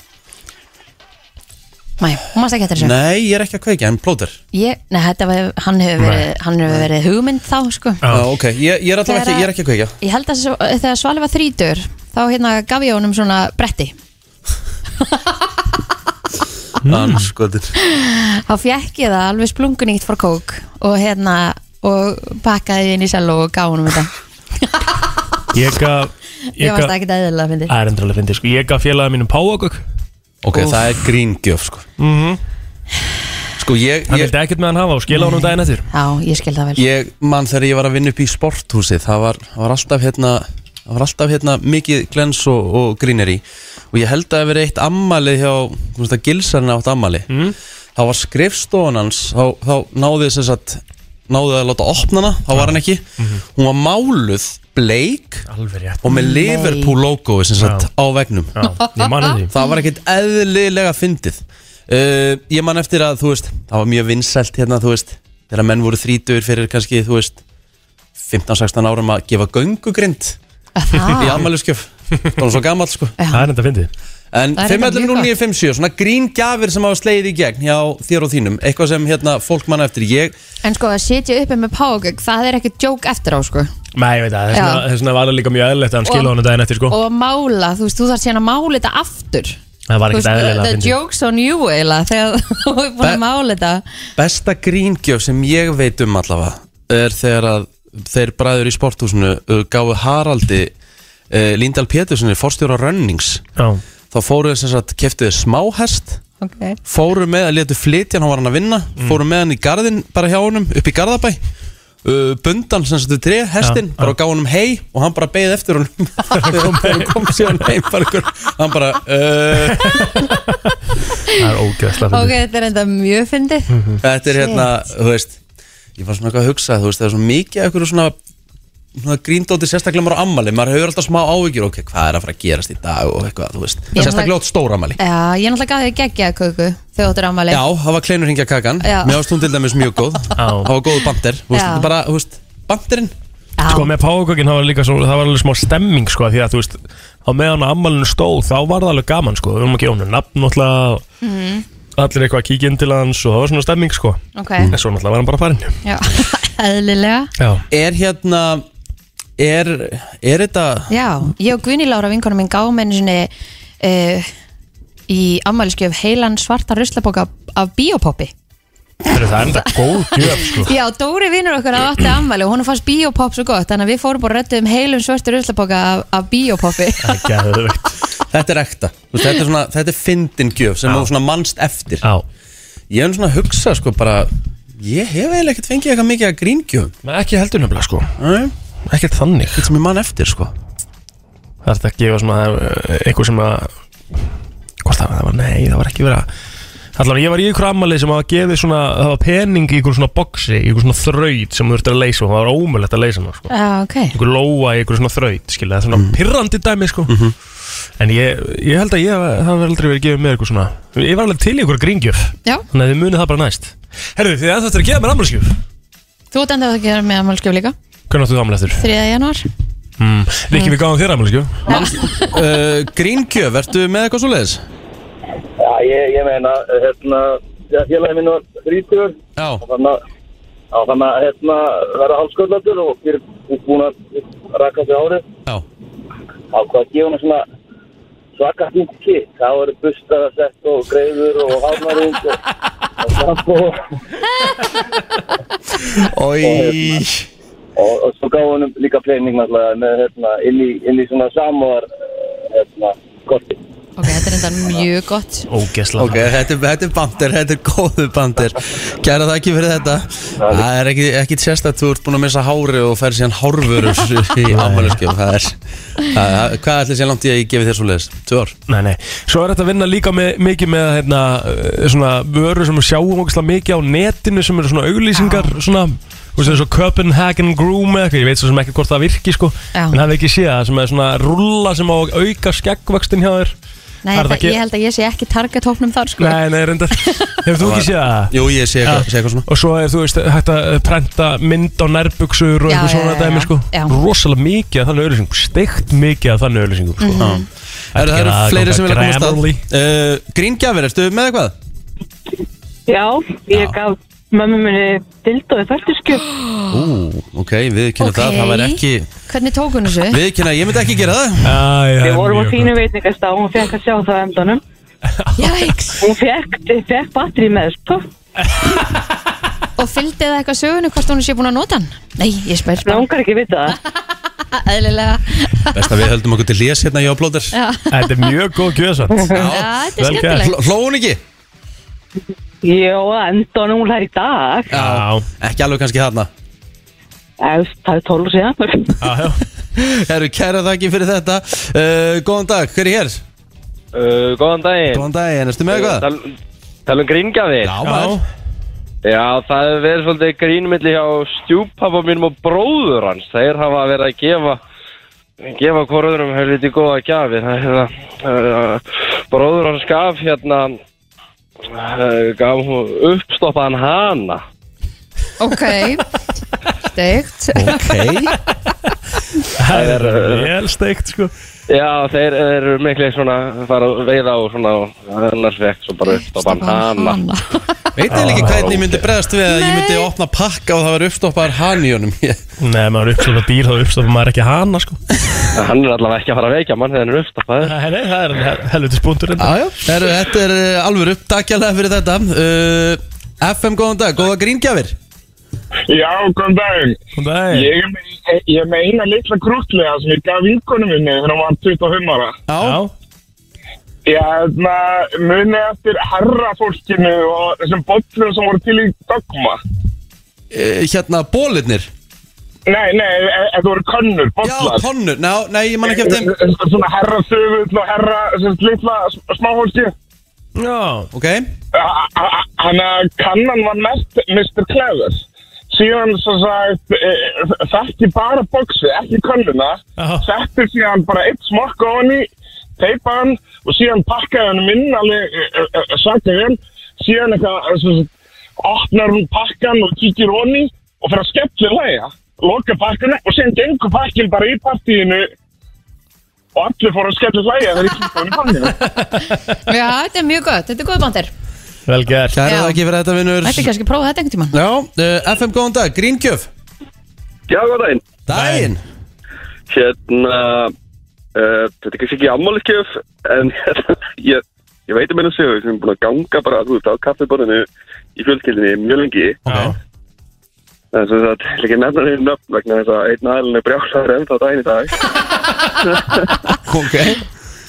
Speaker 3: Mæ, hún mást ekki eftir þessu
Speaker 2: Nei, ég er ekki að kveikja, en plóter
Speaker 3: ég, nei, þetta var, hann hefur verið, hann hefur verið hugmynd þá, sko
Speaker 2: Já, Ah, ok, ég, ég er alltaf ekki,
Speaker 3: Þegar-
Speaker 2: ég er ekki að kveikja
Speaker 3: Ég held að svo, þegar Svali var þrítur þá hérna gaf ég honum svona bretti
Speaker 2: Anskotir
Speaker 3: þá fekk ég það alveg splungunýtt for kók og hérna og pakkaði því inn í sel og gaf honum þetta
Speaker 4: Ég gaf
Speaker 3: ég varst
Speaker 4: gaf-
Speaker 3: ekki það eðlilega að fyndi
Speaker 4: Það er endurlega fyndið, sko, ég gaf félagið mínum Páagögg
Speaker 2: Ok,
Speaker 4: Úff.
Speaker 2: það er gríngjöf, sko
Speaker 4: Mhm.
Speaker 2: Sko, ég,
Speaker 4: Hann vildi ekkert með hann hafa og skila honum daginn eftir
Speaker 3: Já, ég skil það vel
Speaker 2: Ég man þegar ég var að vinna upp í sporthúsið Það var, það var alltaf hérna Það var alltaf hérna mikið glens og, og gríneri Og ég held að það hafi verið eitt ammali Hjá, þú veist að gilsarinn átt ammali mm. Þá var skrifstofan hans Þá, þá náði þess að Náði að láta opna hana, þá var hann ekki Hún var máluð, bleik
Speaker 4: Mhm. Alveg rétt
Speaker 2: Og með Liverpool logoið sem sagt á vegnum
Speaker 4: Já, ég mani því
Speaker 2: Það var ekkert eðlilega fyndið uh, Ég man eftir að, þú veist Það var mjög vinsælt hérna, þú veist Þegar menn voru þrítur fyrir kannski, þú veist 15-16 árum að gefa göngugrind
Speaker 3: Það? Ah.
Speaker 2: Í afmæluskjöf Það var svo gamall, sko
Speaker 4: Það er enda fyndið
Speaker 2: En
Speaker 3: Það er þetta mjög
Speaker 2: 511957, svona gríngjafir sem hafa slegið í gegn hjá þér og þínum Eitthvað sem hérna fólk manna eftir ég
Speaker 3: En sko að sitja uppi með págögg, það er ekkert djók eftir á sko
Speaker 4: Nei, ég veit það,
Speaker 3: Já.
Speaker 4: þess vegna var það líka mjög eðlilegt að hann
Speaker 3: Og-
Speaker 4: skilja honum daginn eftir sko
Speaker 3: Og mála, þú veist, þú þarf síðan að mála þetta aftur
Speaker 4: Það var
Speaker 3: Þú
Speaker 4: ekkert
Speaker 3: veist,
Speaker 4: eðlilega
Speaker 3: The
Speaker 4: fyndið.
Speaker 3: joke's on you eiginlega Þegar þú er búin
Speaker 2: Be-
Speaker 3: að mála þetta
Speaker 2: Besta gríngjöf sem ég veit um allavega er þegar að þeir bræður í sporthúsinu uh, gáðu Haraldi uh, Líndal Péturssoni, forstjóra Rönnings
Speaker 4: Já.
Speaker 2: þá fóruðu sem sagt, keftiðu smáhest
Speaker 3: okay.
Speaker 2: fóru með að letu flytja hann, hann var hann að vinna
Speaker 4: Mm.
Speaker 2: fóru með hann í garðin, bara hjá honum upp í garðabæ uh, bundan sem sagt við tré, hestin,
Speaker 4: Já,
Speaker 2: bara gá honum hei og hann bara beigð eftir honum þegar hann kom, kom síðan heim bara, einhver- hann bara uh,
Speaker 4: Það er Hm. ógeðslega
Speaker 3: Ok, þetta er enda mjög fyndið
Speaker 2: Þetta er
Speaker 3: Mhm. Shit.
Speaker 2: hérna, þú veist Ég var svona eitthvað að hugsa, þú veist, það er svo mikið af einhverju svona, svona gríndóti sérstaklega maður á ammali, maður hefur alltaf smá áhyggjur ok, hvað er að fara að gerast í dag og eitthvað, þú veist
Speaker 3: Já,
Speaker 2: sérstaklega átt stóra ammali
Speaker 3: Já, ég náttúrulega gaf þér geggjað köku Þegar þú áttur ámali
Speaker 2: Já, það var kleinur hingja kakan,
Speaker 3: Já.
Speaker 2: mér ást hún til dæmis mjög góð það var góð bandir, þú veist,
Speaker 3: Já.
Speaker 2: þetta er bara, þú veist bandirinn
Speaker 4: Sko með páfagögginn það var líka svo, það var alveg smá stemming sko Því að þú veist, á meðan á ammalinu stóð þá var það alveg gaman sko Við vorum að gefa honum nafn náttúrulega og
Speaker 3: Mhm.
Speaker 4: Allir eitthvað að kíkja inn til hans og það var svona stemming sko
Speaker 3: Ok.
Speaker 4: En svo náttúrulega var hann bara farinn
Speaker 3: Já, eðlilega
Speaker 4: Já
Speaker 2: Er hérna, er er þetta,
Speaker 3: Já, ég og Gunni Lára vinkonum minn gáum einu sinni uh, í afmæliskef heilan svarta ruslaboka af biopoppi
Speaker 4: Fyrir það er enda góð gjöf sko
Speaker 3: Já, Dóri vinnur okkar að átti afmæli og hún fannst biopopp svo gott þannig að við fórum bara röddum heilum svarta ruslaboka af, af biopoppi
Speaker 4: Geðveikt.
Speaker 2: þetta er ekta Þú veist, þetta er svona, þetta er fyndin gjöf sem þú svona mannst eftir
Speaker 4: Já.
Speaker 2: Ég hef svona að hugsa, sko, bara ég hef eiginlega ekkert fengið eitthvað mikið að gríngjöfum
Speaker 4: Nei, Ekki heldur nefnilega sko
Speaker 2: Nei.
Speaker 4: Ekkert þannig Ekkert
Speaker 2: sem ég mann eftir sko
Speaker 4: Það er þetta að gefa svona eh, eitthvað sem að Hvort það var, það var, nei það var ekki verið að Allan, ég var í ykkur ammali sem að gefið svona Það var pening í ykkur svona boxi Í ykkur svona þraut sem þú ert að leysa og Það var ómulegt að leysa hana sko
Speaker 3: Já, ok
Speaker 4: Ykkur lóa í ykkur svona þraut skilja Það er svona
Speaker 2: Mhm.
Speaker 4: pirrandi dæmi sko En ég, ég held að ég, það var aldrei verið gefið mér ykkur svona Ég var alveg til í ykkur gringjöf
Speaker 3: Já.
Speaker 4: Þannig að þið munið það bara næst Herðu, þið að þetta er að gefa mér ammalskjöf
Speaker 3: Þú ert enda að gera með afmæliskef líka
Speaker 4: Hvernig áttu það ammali eftir?
Speaker 3: 3. janúar
Speaker 4: Mm. Rikki, við gáðum þér ammalskjöf
Speaker 2: uh, Gríngjöf, ertu með eitthvað svo leiðis?
Speaker 13: Já, ég, ég meina, hérna, já, félagin minn var þrítur.
Speaker 2: Já.
Speaker 13: Þannig að, já, þannig að, hérna, vera halsköldandur og við erum búin að raka þessu árið.
Speaker 2: Já.
Speaker 13: Á hvað að gefa henni svona svaka fínt kitt. Það voru bustaða sett og greiður og hafnarinn og, og sambo.
Speaker 2: Ói.
Speaker 13: hérna, Og, og svo gaf henni líka fleining náttúrulega með, hérna, inn í, inn í svona samúar, hérna, korti.
Speaker 3: Ok, þetta er enda mjög gott
Speaker 4: Ógesla
Speaker 2: Ok, þetta er, þetta er bandir, þetta er góðu bandir Kæra það ekki fyrir þetta Það er ekki, ekki sérstætt, þú ert búin að missa hári og fer síðan hárvöru í ammæliskef Það er, það- hvað ætli sér langt í að ég gefi þér svo leiðis? Tvö ár?
Speaker 4: Nei, nei, svo er þetta að vinna líka með, mikið með hérna, eh, svona vöru sem við sjáum ógeðslega mikið á netinu sem eru svona auglýsingar svona, þú veist eins og Copenhagen Groom eða eitthvað, ég veit svo sem ekki hvort það virki sko,
Speaker 3: Já.
Speaker 4: en hafði ekki séð það sem er svona rulla sem á að auka skeggvöxtin hjá þér
Speaker 3: Nei,
Speaker 4: Það er
Speaker 3: það,
Speaker 4: það ekki-
Speaker 3: ég held að ég sé ekki targethóknum þar sko
Speaker 4: Nei, nei, reyndar Hefur þú ekki séð það?
Speaker 2: Jú, ég sé eitthvað- sé eitthvað svona
Speaker 4: Og svo er, þú veist, hægt að prenta mynd á nærbuksur og
Speaker 3: Já,
Speaker 4: eitthvað svona
Speaker 3: já, já,
Speaker 4: dæmi,
Speaker 3: já.
Speaker 4: sko
Speaker 3: Já.
Speaker 4: Rosalega mikið af þannig auðlýsingum, steikt mikið af þannig auðlýsingum, sko
Speaker 2: Mhm. Það eru- það eru fleiri sem vilja komast að uh, Gríngjafir, ertu með eitthvað?
Speaker 14: Já, ég gaf mömmu minni dildóði fættiskjöf.
Speaker 2: Ú, ok, við kynna það, það væri ekki
Speaker 3: Hvernig tók hún þessu?
Speaker 2: Við kynna, ég myndi ekki gera það
Speaker 4: Æ,
Speaker 14: Við vorum á fínu veitingast og hún fekk að sjá það á endanum.
Speaker 3: Jæks.
Speaker 14: Hún fekk, fekk batteri með, sko.
Speaker 3: Og fylgdi það eitthvað sögunu hvort hún sé búin að nota hann? Nei, ég spyr
Speaker 14: bara Langar ekki vita
Speaker 3: það Eðlilega
Speaker 2: Best að við höldum okkur til lés hérna hjá Blóter
Speaker 3: Já.
Speaker 4: Þetta er mjög góð gjöðsvart
Speaker 3: Já, þetta er skemmtilegt
Speaker 2: Hló hún ekki?
Speaker 14: Jó, á endanum hún hlær í dag.
Speaker 2: Já, ekki alveg kannski þarna
Speaker 14: Efst, það er tólur síðan.
Speaker 2: Herru, kæra þakki fyrir þetta uh, Góðan dag, hver er hér?
Speaker 15: Uh, góðan daginn Eh,
Speaker 2: Góðan daginn, erstu með eitthvað?
Speaker 15: Tal, tala um gríngjafir
Speaker 2: Já, maður.
Speaker 15: Já, það hefur verið svolítið grínmilli hjá stjúpappa mínum og bróður hans Þeir hafa verið að gefa gefa hvoraðurum helviti góða gjafir Það er það uh, Bróður hans gaf hérna uh, gaf hún uppstoppaðan hana
Speaker 3: Ok Steikt
Speaker 2: Ok
Speaker 4: Það er
Speaker 15: eh,
Speaker 4: vel steikt sko
Speaker 15: Já, þeir eru miklu svona að fara að veiða og svona og annars vekk svo bara upp á banana
Speaker 2: Veit þið ekki hvernig ég myndi bregðast við að ég myndi opna pakka og það var uppstoppar hann í honum Ég-
Speaker 4: Nei, maður uppstofa dýr þá uppstofa maður ekki hana sko
Speaker 15: Hann er allavega ekki að fara að veikja mann þegar hann er uppstoppaður
Speaker 4: Nei, nei, það er helvitis búndur
Speaker 2: Jájá, Herru, þetta er uh, alvöru, takk alveg fyrir þetta uh, FM, góðan dag, góða gríngjafir
Speaker 16: Já, góðan daginn.
Speaker 4: Góðan daginn.
Speaker 16: Ég er með, ég er með eina litla krútlega sem ég gaf vinkonum minni þegar hún var 25 ára.
Speaker 4: Já.
Speaker 16: Ég hérna muni eftir herrafólkinu og þessum bollum sem voru til í dogma.
Speaker 2: uh, Hérna, bólirnir
Speaker 16: Nei, nei, e- e- þetta voru könnur, bollar.
Speaker 2: Já, konnur, ná, nei, ég man ekki eftir þeim
Speaker 16: þeim. Svona herra þöfull og herra, sem sagt, litla s- smáfólki.
Speaker 4: Já,
Speaker 2: ok
Speaker 16: Þannig að kannan var mest Mr. Clever. Síðan svo sagt, e, þekki bara boxi, ekki könnuna. Setti síðan bara eitt smokk á henni, teipa hann og síðan pakkaði hann minn alveg e, e, e, svaka vel. Síðan eitthvað, svo sagt, opnar hún pakkan og kíkir honni og fyrir að skemmtilega hlæja. Loka pakkanu og síðan gengur pakkin bara í partíinu og allir fóru að skemmtilega hlæja þegar ég kíkti hann í pakkinu.
Speaker 3: Já, þetta er mjög gott, þetta er góð bandir
Speaker 4: Vel gert
Speaker 2: Kæra
Speaker 3: Já.
Speaker 2: það ekki fyrir þetta, vinnur
Speaker 3: Þetta er kannski að prófa þetta einhvern tímann
Speaker 2: Já, uh, FM, góðan dag, gríngjöf
Speaker 17: Já, góð daginn
Speaker 2: Daginn
Speaker 17: Hérna uh, Þetta er kannski ekki ammáliskef En hérna, ég, ég veit um einu sögu sem er búin að ganga bara Þú veist á kaffiborðinu í fjölskyldinni mjög lengi
Speaker 4: okay.
Speaker 17: En sem sagt, ég ekki nefna þeir nöfn vegna þess að einn aðlun er brjálæður ennþá daginn í dag
Speaker 2: Ok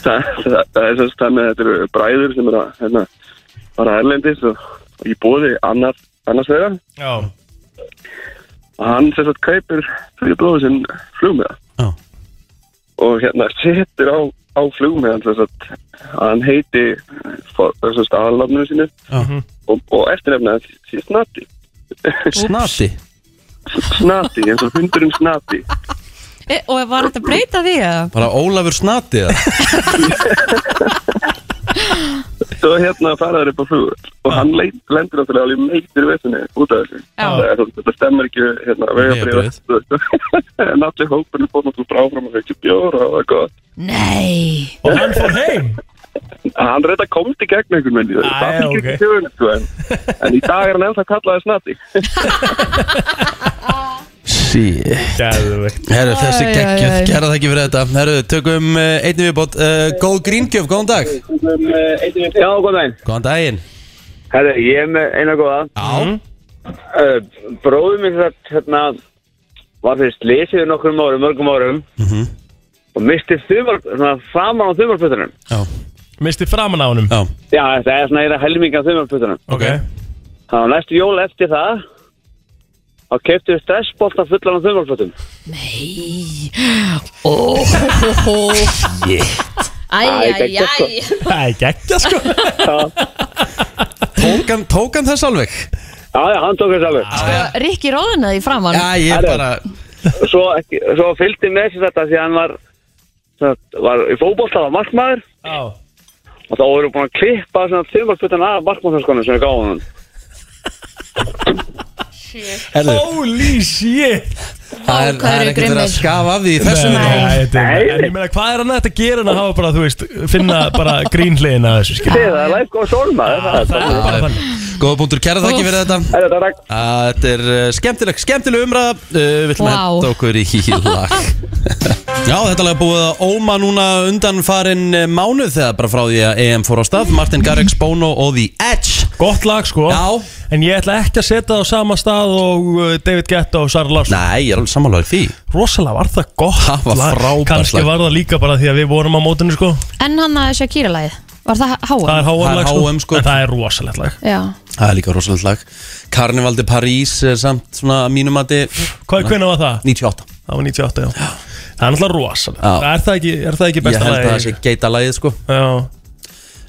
Speaker 17: Það það- það er sem sagt þannig að þetta eru bræður sem er að hérna, fara erlendis og, og ég bóði annars, annars þeirra
Speaker 4: Já
Speaker 17: og hann sem sagt kaupir fyrir bróðu sinn flugmiða
Speaker 2: Já.
Speaker 17: og hérna setur á, á flugmiðan sem sagt að hann heiti eh, aðalafninu sínu
Speaker 4: Mhm.
Speaker 2: Já.
Speaker 17: og, og eftirnefna hans sé snati
Speaker 2: Snati
Speaker 17: snati, eins og hundurinn snati
Speaker 3: e, Og var þetta að breyta því eða?
Speaker 2: Bara Ólafur Snati eða?
Speaker 17: svo hérna faraður upp á flug og hann leit, lendur náttúrulega alveg meitir vesinni út af þessu Það er, þú veist, þetta stemmar ekki við, hérna, vegabrið en allir hópurinn fór náttúrulega bara áfram að vekja bjóra og það gott
Speaker 3: Nei
Speaker 4: Og hann fór heim
Speaker 17: Hann reynda komst í gegn einhvern veginn Það
Speaker 4: Æ,
Speaker 17: er
Speaker 4: ok.
Speaker 17: ekki tjóðin sko, en, en í dag er hann ennþá kallaði snatti
Speaker 2: Shit Herru, þessi
Speaker 17: Æ, æ,
Speaker 2: geggjöf,
Speaker 17: æ.
Speaker 2: kæra það ekki fyrir þetta Herru, tökum uh, einni viðbót uh, Góð gríngjöf, góðan dag
Speaker 18: Já, góðan daginn
Speaker 2: Góðan daginn
Speaker 18: Herri, ég er með eina góða Já uh, Bróðum minn þetta, hérna Var fyrir slysið nokkrum árum, mörgum árum
Speaker 2: Mhm.
Speaker 18: Og misti þumar, svona framan á þumarputtunum
Speaker 4: Misti framan á honum
Speaker 2: Já
Speaker 18: Já, þetta er svona eira helming af þumarputtunum
Speaker 4: Ok
Speaker 18: Þannig að næstu jól eftir það Þá keftu við stressbolta fullan á þumarputtum
Speaker 3: Nei Óhóhóhó
Speaker 18: sko.
Speaker 3: Æjæjæj
Speaker 4: Það er geggja sko
Speaker 2: Tók hann, tók hann þess alveg?
Speaker 18: Já, já, hann tók þess alveg
Speaker 3: Rikki róðina því framann
Speaker 18: Herru, Svo, ekki, svo fylgdi með sér þetta því að hann var, sem sagt, var í fótbolta var markmaður
Speaker 4: Já
Speaker 18: og þá voru búin að klippa svona þumarputtan af markmannskonu sem við gáðum hann
Speaker 2: Herru.
Speaker 4: Holy shit
Speaker 2: Það er, það er ekkert verið að skafa af því í þessu
Speaker 4: Nei,
Speaker 2: núna.
Speaker 4: þetta er- En ég meina, hvað er hann að þetta gera en að hafa bara, þú veist, finna bara grínhliðina að þessu skil
Speaker 18: Þið, það er life goes on maður Það er bara-
Speaker 2: Góða punktur, kæra það ekki fyrir þetta
Speaker 18: Herru, takk
Speaker 2: Að Þetta er uh, skemmtileg, skemmtileg umræða uh, Við ætlum að
Speaker 3: Vá.
Speaker 2: henda okkur í lag Já, þetta lag er búið að óma núna undan farin mánuð þegar bara frá því að EM fór á stað Martin Garrix, Bono og The Edge
Speaker 4: Gott lag sko Já En ég ætla ekki að setja það á sama stað og uh, David Guetta og Sara Larsson
Speaker 2: Nei, ég er alveg sammálaður því
Speaker 4: Rosalega var það gott Það
Speaker 2: var frábært
Speaker 4: Kanski
Speaker 2: lag.
Speaker 4: var það líka bara því að við vorum á mótinu sko
Speaker 3: En hann að Shakira-læð, var það háa?
Speaker 4: Það er
Speaker 2: Það
Speaker 4: háum
Speaker 2: er
Speaker 4: lag sko,
Speaker 2: HM, sko.
Speaker 4: En það er rosalegt lag
Speaker 3: Já,
Speaker 2: Það er líka rosalegt lag Carnival de Paris er samt svona að mínum að þið
Speaker 4: Hvað, hvernig var það?
Speaker 2: 98
Speaker 4: Það var 98, já Það er alltaf rosalegt
Speaker 2: Já.
Speaker 4: Það er það ekki, er það ekki besta
Speaker 2: Ég held að
Speaker 4: lagið?
Speaker 2: það sé geitalagið sko
Speaker 4: Já.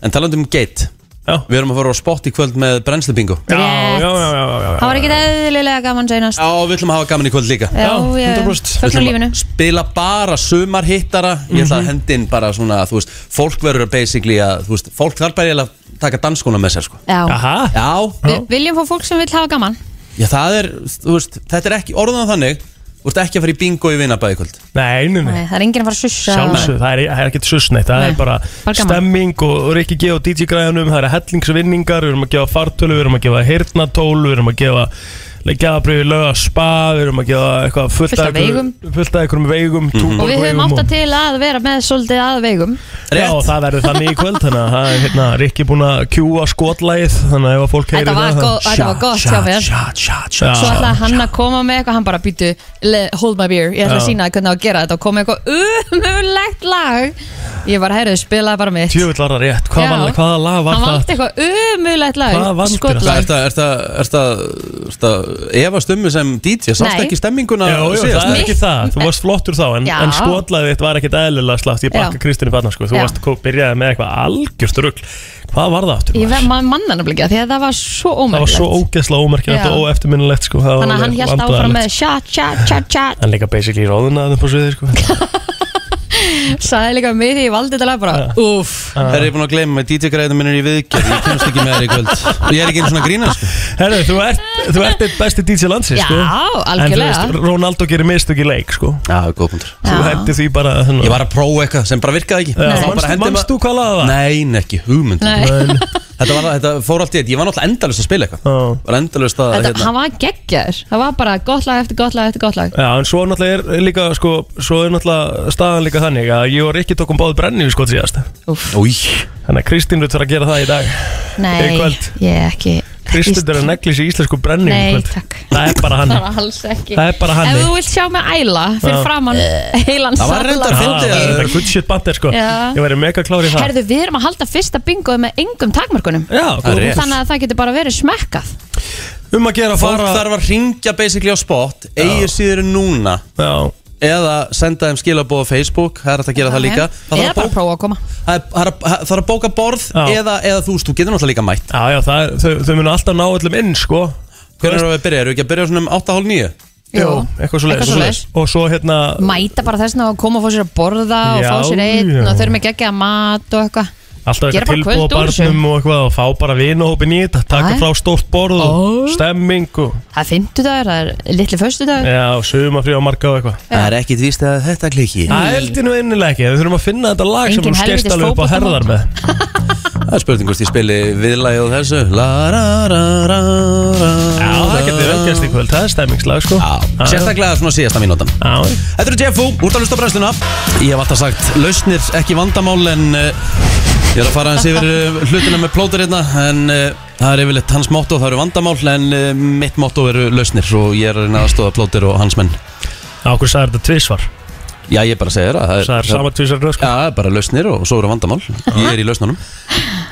Speaker 2: En talandi um geit
Speaker 4: Já.
Speaker 2: Við erum að fara á spott í kvöld með brennslubingo
Speaker 4: Já, já, já, já, já, já.
Speaker 3: það var ekkit eðlilega gaman seinast
Speaker 2: Já, við ætlum að hafa gaman í kvöld líka
Speaker 3: Já, já, já. 100%. Fögnum
Speaker 2: Við ætlum að Spila bara sumarhittara Ég
Speaker 3: Mhm.
Speaker 2: ætla að hendi inn bara svona Þú veist, fólk verður basically að Þú veist, fólk þarf bara eiginlega að taka danskona með sér sko
Speaker 3: Já. Aha.
Speaker 2: Já,
Speaker 3: Við viljum fá fólk sem vil hafa gaman
Speaker 2: já það er, þú veist, þetta er ekki orðan þannig Þú ert ekki að fara í bingo í vinnabæði kvöld
Speaker 4: Nei, nei, nei
Speaker 3: Nei, það er enginn að fara að sussa
Speaker 4: Sjálfsög, það er, það er ekkert susneitt Það
Speaker 3: Nei,
Speaker 4: er bara
Speaker 3: bara gaman.
Speaker 4: stemming og Rikki G og DJ græðanum Það eru hellingsvinningar, við erum að gefa fartölu Við erum að gefa heyrnatól, við erum að gefa Gjafabriði löga spa Við erum að gefa eitthvað fullt
Speaker 3: Fullt af veigum.
Speaker 4: Fullt af einhverjum veigum
Speaker 3: og, og við höfum átt að til að vera með svolítið að veigum
Speaker 4: Já, það verður þannig í kvöld Þannig að það er, hérna, Rikki búin að kjúa skotlæð Þannig að ef að fólk heyrir
Speaker 3: Þetta var,
Speaker 4: það,
Speaker 3: góð, þetta var gott hjá mér Svo
Speaker 4: shot,
Speaker 3: ætlaði hann að koma með eitthvað Hann bara býtu, hold my beer Ég ætla að
Speaker 4: Já.
Speaker 3: sína þér hvernig á að gera þetta Og koma með eitthvað umulegt lag Ég var heyrðu, spilaði bara mitt
Speaker 4: Djöfull var það rétt, hvað
Speaker 3: Já.
Speaker 4: var, hvaða lag var
Speaker 3: Hann
Speaker 4: það?
Speaker 3: valdi eitthvað umulegt lag
Speaker 2: Er
Speaker 3: Skotlag
Speaker 2: þetta efast um mig sem DJ? Sást
Speaker 3: Nei.
Speaker 2: ekki stemminguna
Speaker 4: Jú, jú,
Speaker 2: hérna síðast?
Speaker 4: það er ekki það, þú varst flottur þá en,
Speaker 3: Já.
Speaker 4: en skotlaðið þitt var ekkit eðlilega slast ég
Speaker 3: Já.
Speaker 4: bakka Kristínu Barnar sko, þú
Speaker 3: Já.
Speaker 4: varst kó- byrjaði með eitthvað algjörst rugl hvað var það aftur?
Speaker 3: Ég verð maður manna nefnilega Því að það var svo
Speaker 4: Það var
Speaker 3: ómögulegt
Speaker 4: svo ógeðslega ómerkilegt
Speaker 3: Já.
Speaker 4: og óeftirminnilegt sko, það var
Speaker 3: Þannig að hann
Speaker 4: alveg
Speaker 3: hjælt áfram
Speaker 4: vandræðalegt.
Speaker 3: með Shot, shot, shot, shot
Speaker 4: Hann líka basically róðunaðið upp á sviðið sko
Speaker 3: Sæði líka mig því ég valdi þetta lag bara Úf
Speaker 2: Það er ég búin að gleyma með DJ-græðinu minnir í viðgerð Ég kemst ekki með þér í kvöld Og ég er ekki einu svona grínar sko.
Speaker 4: Herru, þú ert, þú ert eitt besti DJ landsins
Speaker 3: Já,
Speaker 4: sko
Speaker 3: algjörlega.
Speaker 4: En þú veist, Ronaldo gerir mistök í leik sko
Speaker 2: Já, góð punktur
Speaker 4: Þú hendir því bara Ég
Speaker 2: var að prófa eitthvað sem bara virkaði ekki
Speaker 4: Já, manstu- manstu hvað laga það?
Speaker 2: Nein, ekki hugmynd
Speaker 3: Nei. Nei.
Speaker 2: þetta, var, þetta fór allt í þetta Ég var náttúrulega endalust að spila eitthvað Var endalust að
Speaker 3: Þetta,
Speaker 2: hérna,
Speaker 3: hann var geggjar, það var bara gott lag eftir gott lag eftir gott lag
Speaker 4: Já, en svo náttúrulega er líka sko, svo er náttúrulega staðan líka þannig að ég og Rikki tókum báð brennivín sko síðast
Speaker 2: Új
Speaker 4: Þannig að Kristín Rutt þarf að gera það í dag
Speaker 3: Nei,
Speaker 4: Í kvöld.
Speaker 3: ég ekki
Speaker 4: Kristín er að negli sér íslensku brennivín í
Speaker 3: Nei,
Speaker 4: kvöld
Speaker 3: takk.
Speaker 4: Það er bara hann
Speaker 3: Það var alls ekki
Speaker 4: Það er bara hann.
Speaker 3: Ef þú vilt sjá mig æla fyrir
Speaker 4: Já.
Speaker 3: framann heilan
Speaker 4: Það var reyndar
Speaker 3: salat.
Speaker 4: fyndið Það Ah, er good shit bandir sko
Speaker 3: Já.
Speaker 4: Ég væri mega klár í það
Speaker 3: Herðu, við erum að halda fyrsta bingoð með engum takmörkunum
Speaker 4: Já, góð punktur.
Speaker 3: Þannig að það getur bara verið smekkað
Speaker 4: Um að gera
Speaker 2: Fólk þarf að ringja basically á spot Egið síður en núna
Speaker 4: Já.
Speaker 2: Eða senda þeim skilaboð á Facebook Það er hægt að gera það líka
Speaker 3: Eða
Speaker 2: Það þarf að
Speaker 3: bara
Speaker 2: bóka-
Speaker 3: prófa að koma
Speaker 2: það er- það er að- það þarf að bóka borð eða, eða þú veist, þú getur náttúrulega líka mætt
Speaker 4: Já, já, það er, þau, þau munu alltaf ná öllum inn sko
Speaker 2: Hvernig erum við að byrja? Erum við ekki að byrja svona um 8.30-9?
Speaker 4: Jú, eitthvað svo
Speaker 3: Eitthvað svoleiðis.
Speaker 4: Og svo hérna
Speaker 3: Mæta bara þessna og koma og fá sér að borða og
Speaker 4: Já,
Speaker 3: fá sér einn
Speaker 4: já.
Speaker 3: og þau eru með geggjað mat og eitthvað
Speaker 4: Alltaf
Speaker 3: Gera
Speaker 4: eitthvað tilbúið á
Speaker 3: bara kvöld úr þessu.
Speaker 4: barnum og eitthvað og fá bara vinahópin í þetta taka
Speaker 3: Æ.
Speaker 4: frá stórt borð
Speaker 3: Ó.
Speaker 4: og stemming og
Speaker 3: Það er fimmtudagur, það er litli föstudagur
Speaker 4: Já, sögumafrí á marga og eitthvað
Speaker 2: Það er ekkit víst að þetta klikki
Speaker 4: Það heldur nú innilega ekki, við þurfum að finna þetta lag sem
Speaker 3: Engin
Speaker 4: hún skeist
Speaker 3: helvitis
Speaker 4: alveg upp á herðar með
Speaker 2: Það er spurning hvort ég spili viðlagi og þessu La ra ra ra ra
Speaker 4: Já, það getur vel gæst í kvöld, það er stemmingslag sko Já,
Speaker 2: Sérstaklega svona síðasta mínútan
Speaker 4: Já,
Speaker 2: Þetta eru Jeffú, úrt að lusta brennsluna Ég hef alltaf sagt, lausnir ekki vandamál En uh, ég er að fara hans yfir uh, hlutina með plótur hérna En uh, það er yfirleitt hans motto, það eru vandamál En uh, mitt motto eru lausnir Og ég er að reyna að stóða plótur og hans menn
Speaker 4: Já, okkur sagði þetta tvísvar
Speaker 2: Já, ég bara segir það
Speaker 4: Það er sama tvísvar sko. röð
Speaker 2: Já, það er bara lausnir og svo eru vandamál Ég er í lausnunum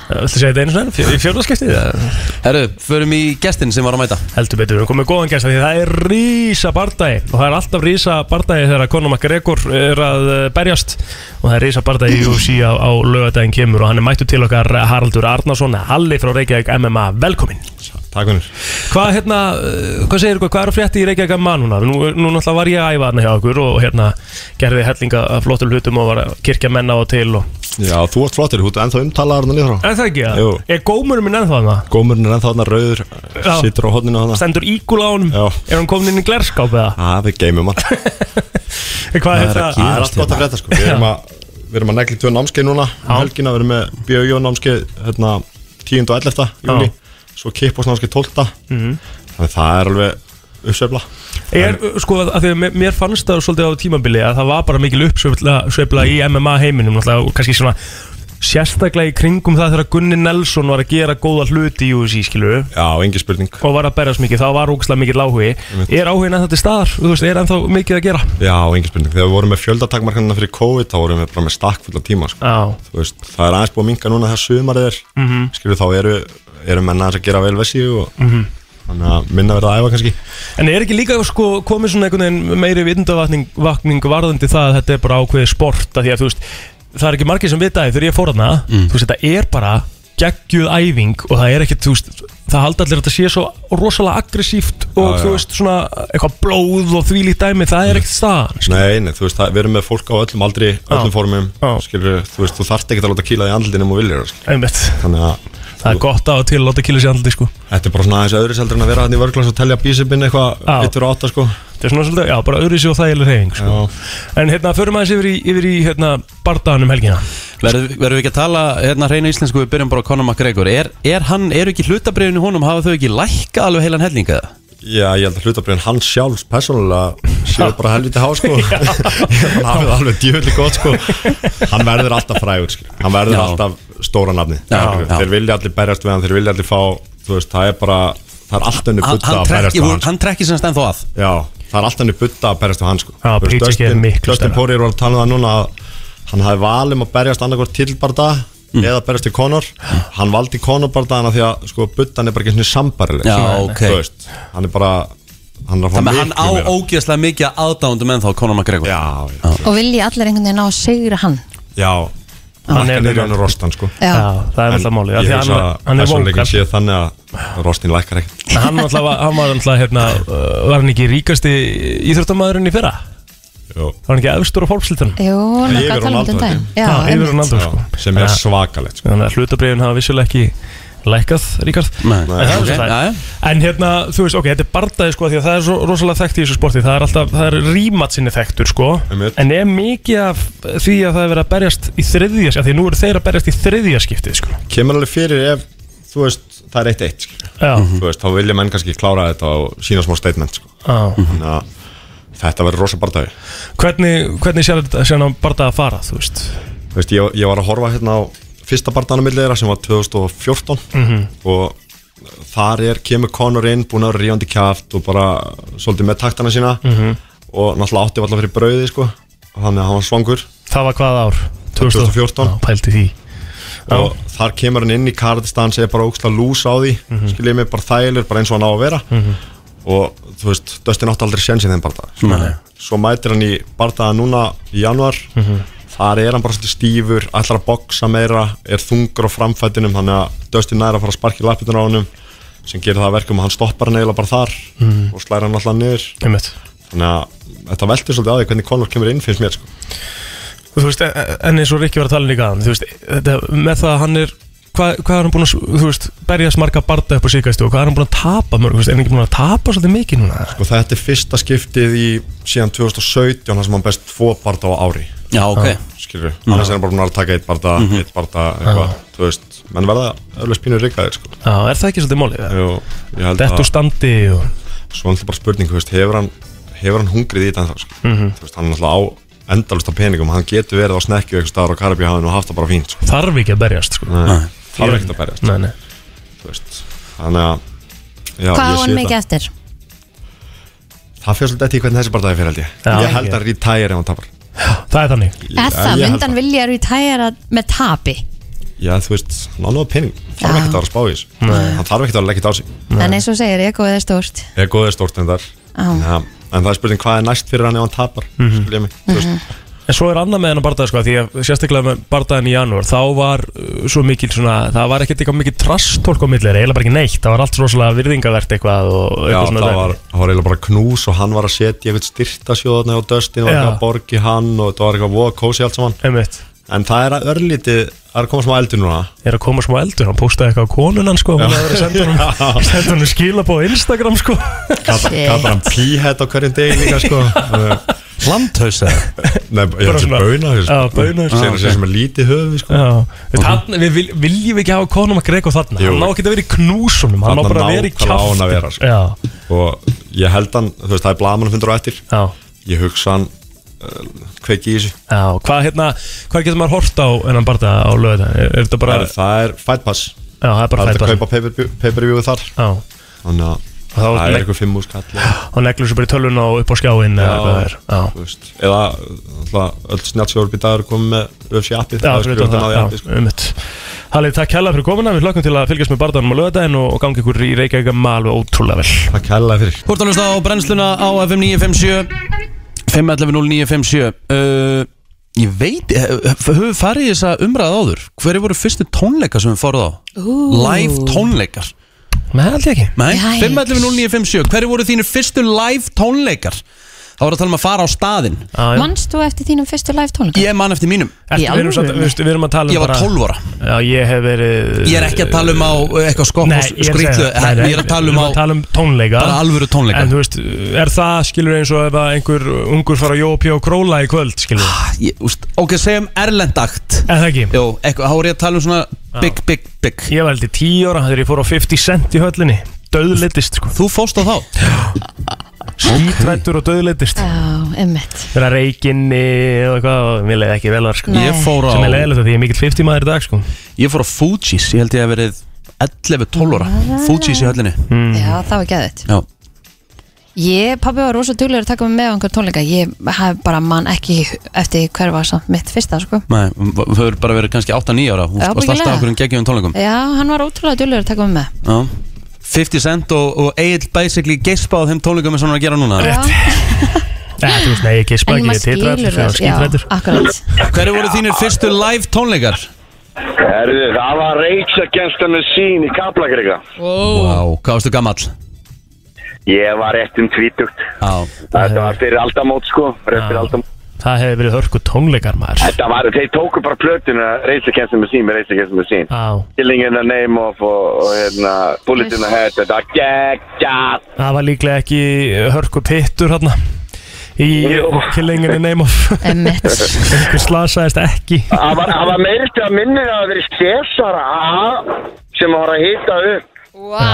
Speaker 4: Viltu segja þetta einu svona, Fjör- í fjórðarskiptið?
Speaker 2: Herru, förum í gestin sem var að mæta
Speaker 4: Heldur betur, við erum komið góðan gæst af Því það er rísa bardagi Og það er alltaf rísa bardagi þegar Conor McGregor er að eh, berjast Og það er rísa bardagi í UFC á, á lögadaginn kemur Og hann er mættu til okkar eh, Haraldur Arnason Halli frá Reykjavík MMA, velkomin
Speaker 19: Takk fyrir
Speaker 4: Hvað hérna, eh, hvað segir ykkur, hvað er að frétti í Reykjavík MMA núna? Nú, nú náttúrulega var ég að æfa hérna hjá okkur og hérna gerði hellinga af flottum hlutum og var að kirkja menna og til og
Speaker 19: Já, þú ert flottir, þú ert ennþá umtalaður hann líður á
Speaker 4: Er það ekki það?
Speaker 19: Jú.
Speaker 4: Er gómurinn minn ennþá það?
Speaker 19: Gómurinn er ennþá hann rauður,
Speaker 4: Já.
Speaker 19: situr á hodninu hann
Speaker 4: Stendur íkul á honum?
Speaker 19: Já
Speaker 4: Er hann komin inn í glerskáp eða?
Speaker 19: Já, við geymum hann
Speaker 4: Hvað
Speaker 19: Það er
Speaker 4: hérna?
Speaker 19: að Það er allt gott að frétta sko Við erum að, við erum að negli tvö námskeið núna um helgina, við erum með BJO námskeið hérna 10. og 11. júli Svo kippos námskeið 12.
Speaker 4: Mhm.
Speaker 19: Þannig að það er alveg uppsveifla
Speaker 4: Er, sko, að því að mér- mér fannst það svolítið á tímabili að það var bara mikil uppsveifla sveifla í MMA heiminum náttúrulega, og kannski svona sérstaklega í kringum það þegar Gunni Nelson var að gera góða hluti í UFC, skilur
Speaker 19: Já, engi spurning
Speaker 4: og var að berjast mikið, þá var ógslag mikil áhugi Er áhugin ennþá til staðar? Þú veist, er ennþá mikið að gera?
Speaker 19: Já, engi spurning Þegar við vorum með fjöldatakmarkanina fyrir COVID þá vorum við bara með stakkfulla tíma sko.
Speaker 4: Já
Speaker 19: Þú veist, Það er aðeins búið að minka núna þegar sumarið er
Speaker 4: Mhm.
Speaker 19: Skilur þá eru, eru menna að gera vel vessi og
Speaker 4: Mhm.
Speaker 19: þannig að minna verða að æfa kannski
Speaker 4: En er ekki líka sko, komið svona einhvern veginn meiri vindavatning varðandi það að þetta er bara ákveðið sport að því að þú veist, það er ekki margir sem vitaði þegar ég fór hana,
Speaker 19: Mm.
Speaker 4: þú veist, þetta er bara geggjuð æfing og það er ekkert þú veist, það halda allir að þetta sé svo rosalega aggressíft og
Speaker 19: Já, já.
Speaker 4: þú veist svona eitthvað blóð og þvílíkt dæmi það er ekkert staðan
Speaker 19: Nei, nei, þú veist, það, við erum með fólk á öllum aldri, öllum formum skilur, þú veist, þú þarft ekki að láta kýla því andlinum og viljir skilur.
Speaker 4: einmitt,
Speaker 19: þannig að
Speaker 4: það er gott á og til að láta kýla sér andli sko
Speaker 19: þetta er bara svona aðeins öðru seldur en að vera hann í vörglans og telja bísipinn eitthvað,
Speaker 4: Já.
Speaker 19: yttur og átta sko
Speaker 4: Þetta er svona svolítið, já, bara öðru og þægileg reyfing sko. En hérna, förum aðeins yfir í, yfir í hérna, bardaðan um helgina
Speaker 2: Verðum verðum við ekki að tala hérna hreina íslensku við byrjum bara á Conor McGregor er, er hann, eru ekki hlutabriðinu honum hafa þau ekki lækka alveg heilan hellinga
Speaker 19: Já, ég held að hlutabriðin hans sjálfs persónulega séu bara helviti há sko Ég held að hann hafið það alveg djöfulli gott sko Hann verður alltaf frægur sko Hann verður
Speaker 2: Já.
Speaker 19: alltaf stóra nafni
Speaker 2: Já, já.
Speaker 19: Þeir vilja allir berjast við hann, þeir vilja allir fá Þú veist, það er bara, það er alltaf henni
Speaker 2: Hann-
Speaker 19: butta
Speaker 2: hann
Speaker 19: að berjast
Speaker 2: trekki-
Speaker 19: við hann sko.
Speaker 2: hann trekki sem stendur að
Speaker 19: Já, það er alltaf henni butta að berjast við hann sko
Speaker 4: Já,
Speaker 19: Þú veist,
Speaker 4: Paige er
Speaker 19: Dustin-
Speaker 4: miklu
Speaker 19: Dustin
Speaker 4: stærra.
Speaker 19: Poirier var að tala um það núna að Hann hafi valum að berjast annarkvort tilbarda mm. eða berjast í Conor Hann valdi Conor bardaðana því að sko, buttan er bara ekki einu sinni sambærileg
Speaker 2: Já,
Speaker 19: sko.
Speaker 2: ok.
Speaker 19: Þú veist, Hann er bara hann er að fá
Speaker 2: þannig að hann
Speaker 19: miklu
Speaker 2: á
Speaker 19: meira.
Speaker 2: ógeðslega mikið að aðdándum ennþá Conor McGregor
Speaker 19: Já, já,
Speaker 3: Og vilji allir einhvern veginn á að segra hann
Speaker 19: Já, hann er niður í hann rostan sko
Speaker 3: Já. Já,
Speaker 4: það er
Speaker 19: En
Speaker 4: náttúrulega málið, af
Speaker 19: Ég
Speaker 4: því að
Speaker 19: hugsa
Speaker 4: hann-
Speaker 19: að
Speaker 4: hann er
Speaker 19: persónuleikin
Speaker 4: vókal.
Speaker 19: sé þannig að rostin lækkar ekkert
Speaker 4: En Hann, náttúrulega var- hann var alltaf, hérna, uh, var hann ekki ríkasti íþróttamaðurinn í fyrra?
Speaker 19: Jó.
Speaker 4: Var hann ekki efstur á fólkslitunum?
Speaker 3: Jú, hann var að tala um þetta um daginn Já,
Speaker 4: yfir
Speaker 3: einmitt.
Speaker 4: Ronaldo sko.
Speaker 19: Já, sem er svakalegt
Speaker 4: sko. Þannig að hlutabriðin hafa vissulega ekki lækkað, Ríkard Nei,
Speaker 2: Nei, ok,
Speaker 4: En hérna, þú veist, ok, þetta er bardaði sko því að það er svo rosalega þekkt í þessu sporti það er alltaf, það er rímat sinni þekktur sko en er mikið af því að það er verið að berjast í þriðja skipti því að nú eru þeir að berjast í þriðja skiptið sko
Speaker 19: Kemur alveg fyrir ef, þú veist, það er eitt eitt sko.
Speaker 4: Já.
Speaker 19: Þú veist, þá vilja menn kannski klára þetta og sína smá statement sko
Speaker 4: Já.
Speaker 19: Þannig að þetta verður rosa bardagi
Speaker 4: Hvernig, hvernig sér þetta sér hann bardaði að fara, þú veist
Speaker 19: Þú veist, ég, ég var að horfa hérna á fyrsta bardaðanum millir þeirra sem var 2014
Speaker 4: Mhm.
Speaker 19: og þar er kemur Conor inn, búin að ríðandi kjaft og bara svolítið með taktana sína
Speaker 4: Mhm.
Speaker 19: og náttúrulega átti alltaf fyrir brauði sko þannig að hann var svangur
Speaker 4: Það var hvað ár?
Speaker 19: 2014
Speaker 4: Já, Pældi því
Speaker 19: og þar kemur hann inn í kardistan segir bara ógstlega lús á því mm
Speaker 4: Mhm.
Speaker 19: skiljið mig bara þægilegur, bara eins og hann á að vera
Speaker 4: Mhm.
Speaker 19: og þú veist, Dustin átti aldrei sjensi þeim barða
Speaker 4: Nei.
Speaker 19: svo mætir hann í barða núna í januar
Speaker 4: Mhm.
Speaker 19: þar er hann bara svolítið stífur ætlar að boksa meira, er þungur á framfætinum þannig að Dustin næra að fara að sparki lappitun á honum sem gerir það að verkum að hann stoppar hann eiginlega bara þar
Speaker 4: Mhm.
Speaker 19: og slæra hann alltaf niður
Speaker 4: Einmitt.
Speaker 19: þannig að þetta veldur svolítið á því hvernig Conor kemur inn finnst mér sko.
Speaker 4: Þú veist, en- en eins og Rikki var að tala líka að hann, þú veist, þetta, með það að hann er hvað, hvað er hann búin að, þú veist, berjast marga barda upp á síkæstu og hvað er hann búin að tapa mörg, þú veist, er hann ekki búin að tapa svolítið mikið núna?
Speaker 19: Sko þetta er fyrsta skiptið í síðan 2017 þar sem hann best tvo barða á ári
Speaker 2: Já, ok. Já.
Speaker 19: Skilur, annars er hann bara búin að taka eitt barða,
Speaker 4: Mhm.
Speaker 19: eitt barða eitthvað, þú veist, menn verða öðru spínur rikaðir sko
Speaker 4: Já, er það ekki svolítið málið? eða?
Speaker 19: Jú, ég held
Speaker 4: Dett úr standi og...
Speaker 19: Svo er alltaf bara spurning, þú veist, hefur hann, hefur hann hungrið í þetta ennþá sko
Speaker 4: Mhm.
Speaker 19: Þú veist, hann er alltaf á endalust af peningum, hann getur verið á snekkju eitthvað staðar á Karabíhafinu og haft það bara fínt sko
Speaker 4: Þarf ekki að berjast, sko.
Speaker 19: Nei, Þarf ekkert að berjast
Speaker 4: Nei, nei.
Speaker 19: Þú veist, þannig að
Speaker 3: Hvað á
Speaker 19: já, ég sé
Speaker 3: hann
Speaker 19: þetta.
Speaker 3: mikið eftir?
Speaker 19: Það fyrir svolítið eftir í hvernig þessi bardaði fyrir held ég
Speaker 4: Já.
Speaker 19: Ég held að retire ef hann tapar
Speaker 4: Það er þannig
Speaker 3: Er það, myndan vilja eru í tæra með tapi
Speaker 19: Já, þú veist, hann á náðu pening þarf ekkert að vera að spá í þessu hann þarf ekkert að leggja þetta á sig
Speaker 3: En eins og þú segir, ég góðið er stórt
Speaker 19: ég er góðið stórt en þar
Speaker 3: Já.
Speaker 19: ja, en það er spurning hvað er næst fyrir hann ef hann tapar mm
Speaker 4: Mhm.
Speaker 19: -hmm. skilja mig þú veist.
Speaker 3: Mhm.
Speaker 4: En svo er annað með hennar bardaði sko, því að sérstaklega með bardaðin í janúar, þá var uh, svo mikil svona, það var ekkert eitthvað mikið trastólk á millir, eiginlega bara ekki neitt, það var allt rosalega virðingavert eitthvað og
Speaker 19: Já,
Speaker 4: eitthvað
Speaker 19: það var, það var eiginlega bara knús og hann var að setja eitthvað styrtasjóðna og Dustin var
Speaker 4: Já.
Speaker 19: eitthvað að borgi hann og þetta var eitthvað voða kósi allt saman
Speaker 4: Einmitt.
Speaker 19: en það er að örlítið það er að koma smá eldur núna
Speaker 4: er að koma smá eldur, hann postaði eitthvað á konunan sko, hún
Speaker 19: Já.
Speaker 4: hefði verið að senda honum, senda honum skilabóð á Instagram sko
Speaker 19: Kallar- kallar hann píhett á hverjum degi líka sko
Speaker 2: Landhausa
Speaker 19: Nei, ég
Speaker 4: Bara
Speaker 19: held
Speaker 4: svona-
Speaker 19: að baunaður sko.
Speaker 4: Já, baunaður.
Speaker 19: Segir
Speaker 4: Já, ok.
Speaker 19: sem er lítið höfuð sko
Speaker 4: Já, Við þarna- við vil- viljum ekki hafa konum að greka þarna,
Speaker 19: Jú.
Speaker 4: hann má ekki að vera í knúsunum, Um, hann má bara að vera í
Speaker 19: Þarna nákvæmlega á hann að vera
Speaker 4: kjátt
Speaker 19: sko. og ég held hann, þú veist, það er blaman fundur á eftir
Speaker 4: já.
Speaker 19: ég hugsa hann uh, kveiki í þessu
Speaker 4: Já, hvað hérna, hvað getur maður hort á hennan bardaði á löðu er, er þetta bara,
Speaker 19: það, er, það er Fight Pass
Speaker 4: já, það er bara
Speaker 19: það er að
Speaker 4: fætbað
Speaker 19: kaupa pay-per-view- pay-per-view þar
Speaker 4: Já.
Speaker 19: þannig að
Speaker 4: þá
Speaker 19: það
Speaker 4: legg-
Speaker 19: er eitthvað fimm úr skall
Speaker 4: og neglur svo bara í tölvun og upp á skjáin eða hvað það er
Speaker 19: þú veist, eða alltaf, öll snjátsjóður býtaður komið með UFC
Speaker 4: Já,
Speaker 19: appið það
Speaker 4: fyrir
Speaker 19: er skrifað
Speaker 4: utan
Speaker 19: þarna á
Speaker 4: það,
Speaker 19: því
Speaker 4: já,
Speaker 19: appi, sko.
Speaker 4: ummitt Hallið, takk kærlega fyrir komuna, við hlökkum til að fylgjast með barðanum á löðdæðin og, og gangi ykkur í Reykjavík að alveg ótrúlega vel
Speaker 19: Takk kærlega fyrir
Speaker 2: Þú ert að hlusta á brennsluna á FM 957 511-0957 uh, Ég veit, höfum við farið í þessa umræð áður Hverju voru fyrstu tónleikar sem við fóruð á?
Speaker 3: Ú.
Speaker 2: Live tónleikar
Speaker 4: Nei, held ég ekki
Speaker 2: Nei,
Speaker 3: Jæks.
Speaker 2: 511-0957 Hverju voru þínu fyrstu live tónleikar? þá var það að tala um að fara á staðinn
Speaker 3: Manst þú eftir þínum fyrstu live tónleika?
Speaker 2: Ég man eftir mínum
Speaker 3: Ertu- við erum samt-
Speaker 4: Þú veist, Við erum að tala um
Speaker 2: Ég var
Speaker 4: bara-
Speaker 2: 12 ára.
Speaker 4: Já, ég hef verið
Speaker 2: Ég er ekki að tala um á uh, eitthvað skokk
Speaker 4: Nei,
Speaker 2: og
Speaker 4: ég er að segja það.
Speaker 2: skrýtlu
Speaker 4: sko, Nei, nei,
Speaker 2: Ég er að tala
Speaker 4: við
Speaker 2: um á
Speaker 4: erum að tala um tónleika
Speaker 2: Bara alvöru tónleika.
Speaker 4: En þú veist, er það skilur eins og ef að einhver ungur fara að jópi og króla í kvöld skilur
Speaker 2: Ah, ég, úst, Ok, segjum erlendakt
Speaker 4: En það ekki
Speaker 2: Jó, eitthvað, þá er ég að tala um svona big, big, big
Speaker 4: Ég var heldur 10 ára þegar ég fór á 50 cent í höllinni Döðleitist sko
Speaker 2: Þú fórst á þá?
Speaker 4: Skítrættur og döðleitist
Speaker 3: Já, emmitt
Speaker 4: Verða reykinni og eitthvað og Mér leiði ekki vel þar sko
Speaker 2: Ég fór á-
Speaker 4: Sem er leiðilegt af því ég er mikill 50 maður í dag sko
Speaker 2: Ég fór á Fugees, ég held ég að verið 11-12 ára Fugees í höllinni
Speaker 4: Hmm.
Speaker 3: Já, það var geðið
Speaker 2: Já.
Speaker 3: Ég, pabbi var rosa duglegur að taka mig með á einhver tónleika Ég hef bara mann ekki eftir hver var samt mitt fyrsta sko.
Speaker 2: Nei, þau eru bara verið kannski 8-9 ára Þú
Speaker 3: Já,
Speaker 2: varst alltaf
Speaker 3: ábyggilega.
Speaker 2: okkur um geggjum tónleikum
Speaker 3: Já, hann var ótrúlega duglegur að taka mig með
Speaker 2: Já. 50 Cent og, og Egil basically gespa á þeim tónleikum sem hann er að gera núna
Speaker 4: Nei, þú veist, nei, ég gispa
Speaker 3: En
Speaker 4: ekki,
Speaker 3: maður
Speaker 4: ég titrættur
Speaker 3: skilur
Speaker 4: þegar
Speaker 3: það, já,
Speaker 4: skítrættur
Speaker 3: akkurat
Speaker 2: Hverju voru þínir fyrstu live tónleikar?
Speaker 20: Herðu, það var Rage Against the Machine í Kaplakrika.
Speaker 2: Vá, hvað varstu gamall?
Speaker 20: Ég var rétt um tvítugt.
Speaker 2: Já.
Speaker 20: Þetta var fyrir aldamót, sko. Rétt fyrir aldamót.
Speaker 4: Það hefði verið hörku tónleikar maður
Speaker 20: Þetta var, þeir tóku bara plötuna Rage Against the Machine með Rage Against the Machine.
Speaker 4: Já.
Speaker 20: Killing in the Name of og, og hérna, Bullet in the Head. Þetta var geggjað.
Speaker 4: Það var líklega ekki hörku pittur hérna Í killinginni name of
Speaker 3: Emmett
Speaker 4: Einhver slasaðist ekki
Speaker 20: Það var, það var meirist að minnið að það verið stjæsara sem var að hýta upp.
Speaker 3: Vá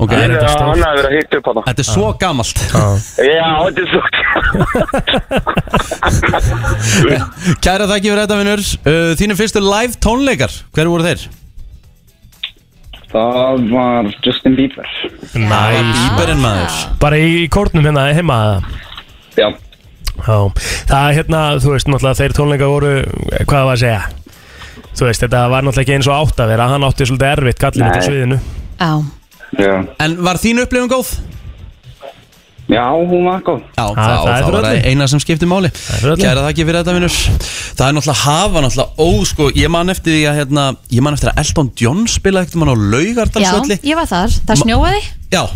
Speaker 2: Ok,
Speaker 20: Hann hann hafði verið að hýta upp á það.
Speaker 2: Þetta er svo gammalt
Speaker 20: Já, þetta er svo...
Speaker 2: Kæra þakki fyrir þetta vinnur uh, Þínir fyrstu live tónleikar, hverju voru þeir?
Speaker 21: Það var Justin Bieber
Speaker 4: Næs
Speaker 2: Bíberinn maður
Speaker 4: Bara í, í kórnum hérna heima
Speaker 21: Já
Speaker 4: Já Það er hérna, þú veist, náttúrulega þeir tónleika voru Hvað var að segja? Þú veist, þetta var náttúrulega ekki eins og átt að vera Hann átti svolítið erfitt gallin
Speaker 21: Nei.
Speaker 4: þetta sviðinu
Speaker 3: Já
Speaker 21: Já,
Speaker 2: En var þín upplifun góð?
Speaker 21: já hún var góð
Speaker 2: Já,
Speaker 4: Ah,
Speaker 21: það- það
Speaker 2: það,
Speaker 21: er
Speaker 2: það
Speaker 21: fyrir
Speaker 2: var
Speaker 21: öllu.
Speaker 2: eina sem skipti máli Kæra þakki fyrir þetta vinnur Það er náttúrulega hafa náttúrulega ó sko Ég man eftir því að hérna Ég man eftir að Elton John spila ekkert mann á
Speaker 3: Já,
Speaker 2: laugardalsvölli
Speaker 3: ég var þar, það
Speaker 2: Ma-
Speaker 3: snjóaði
Speaker 2: Já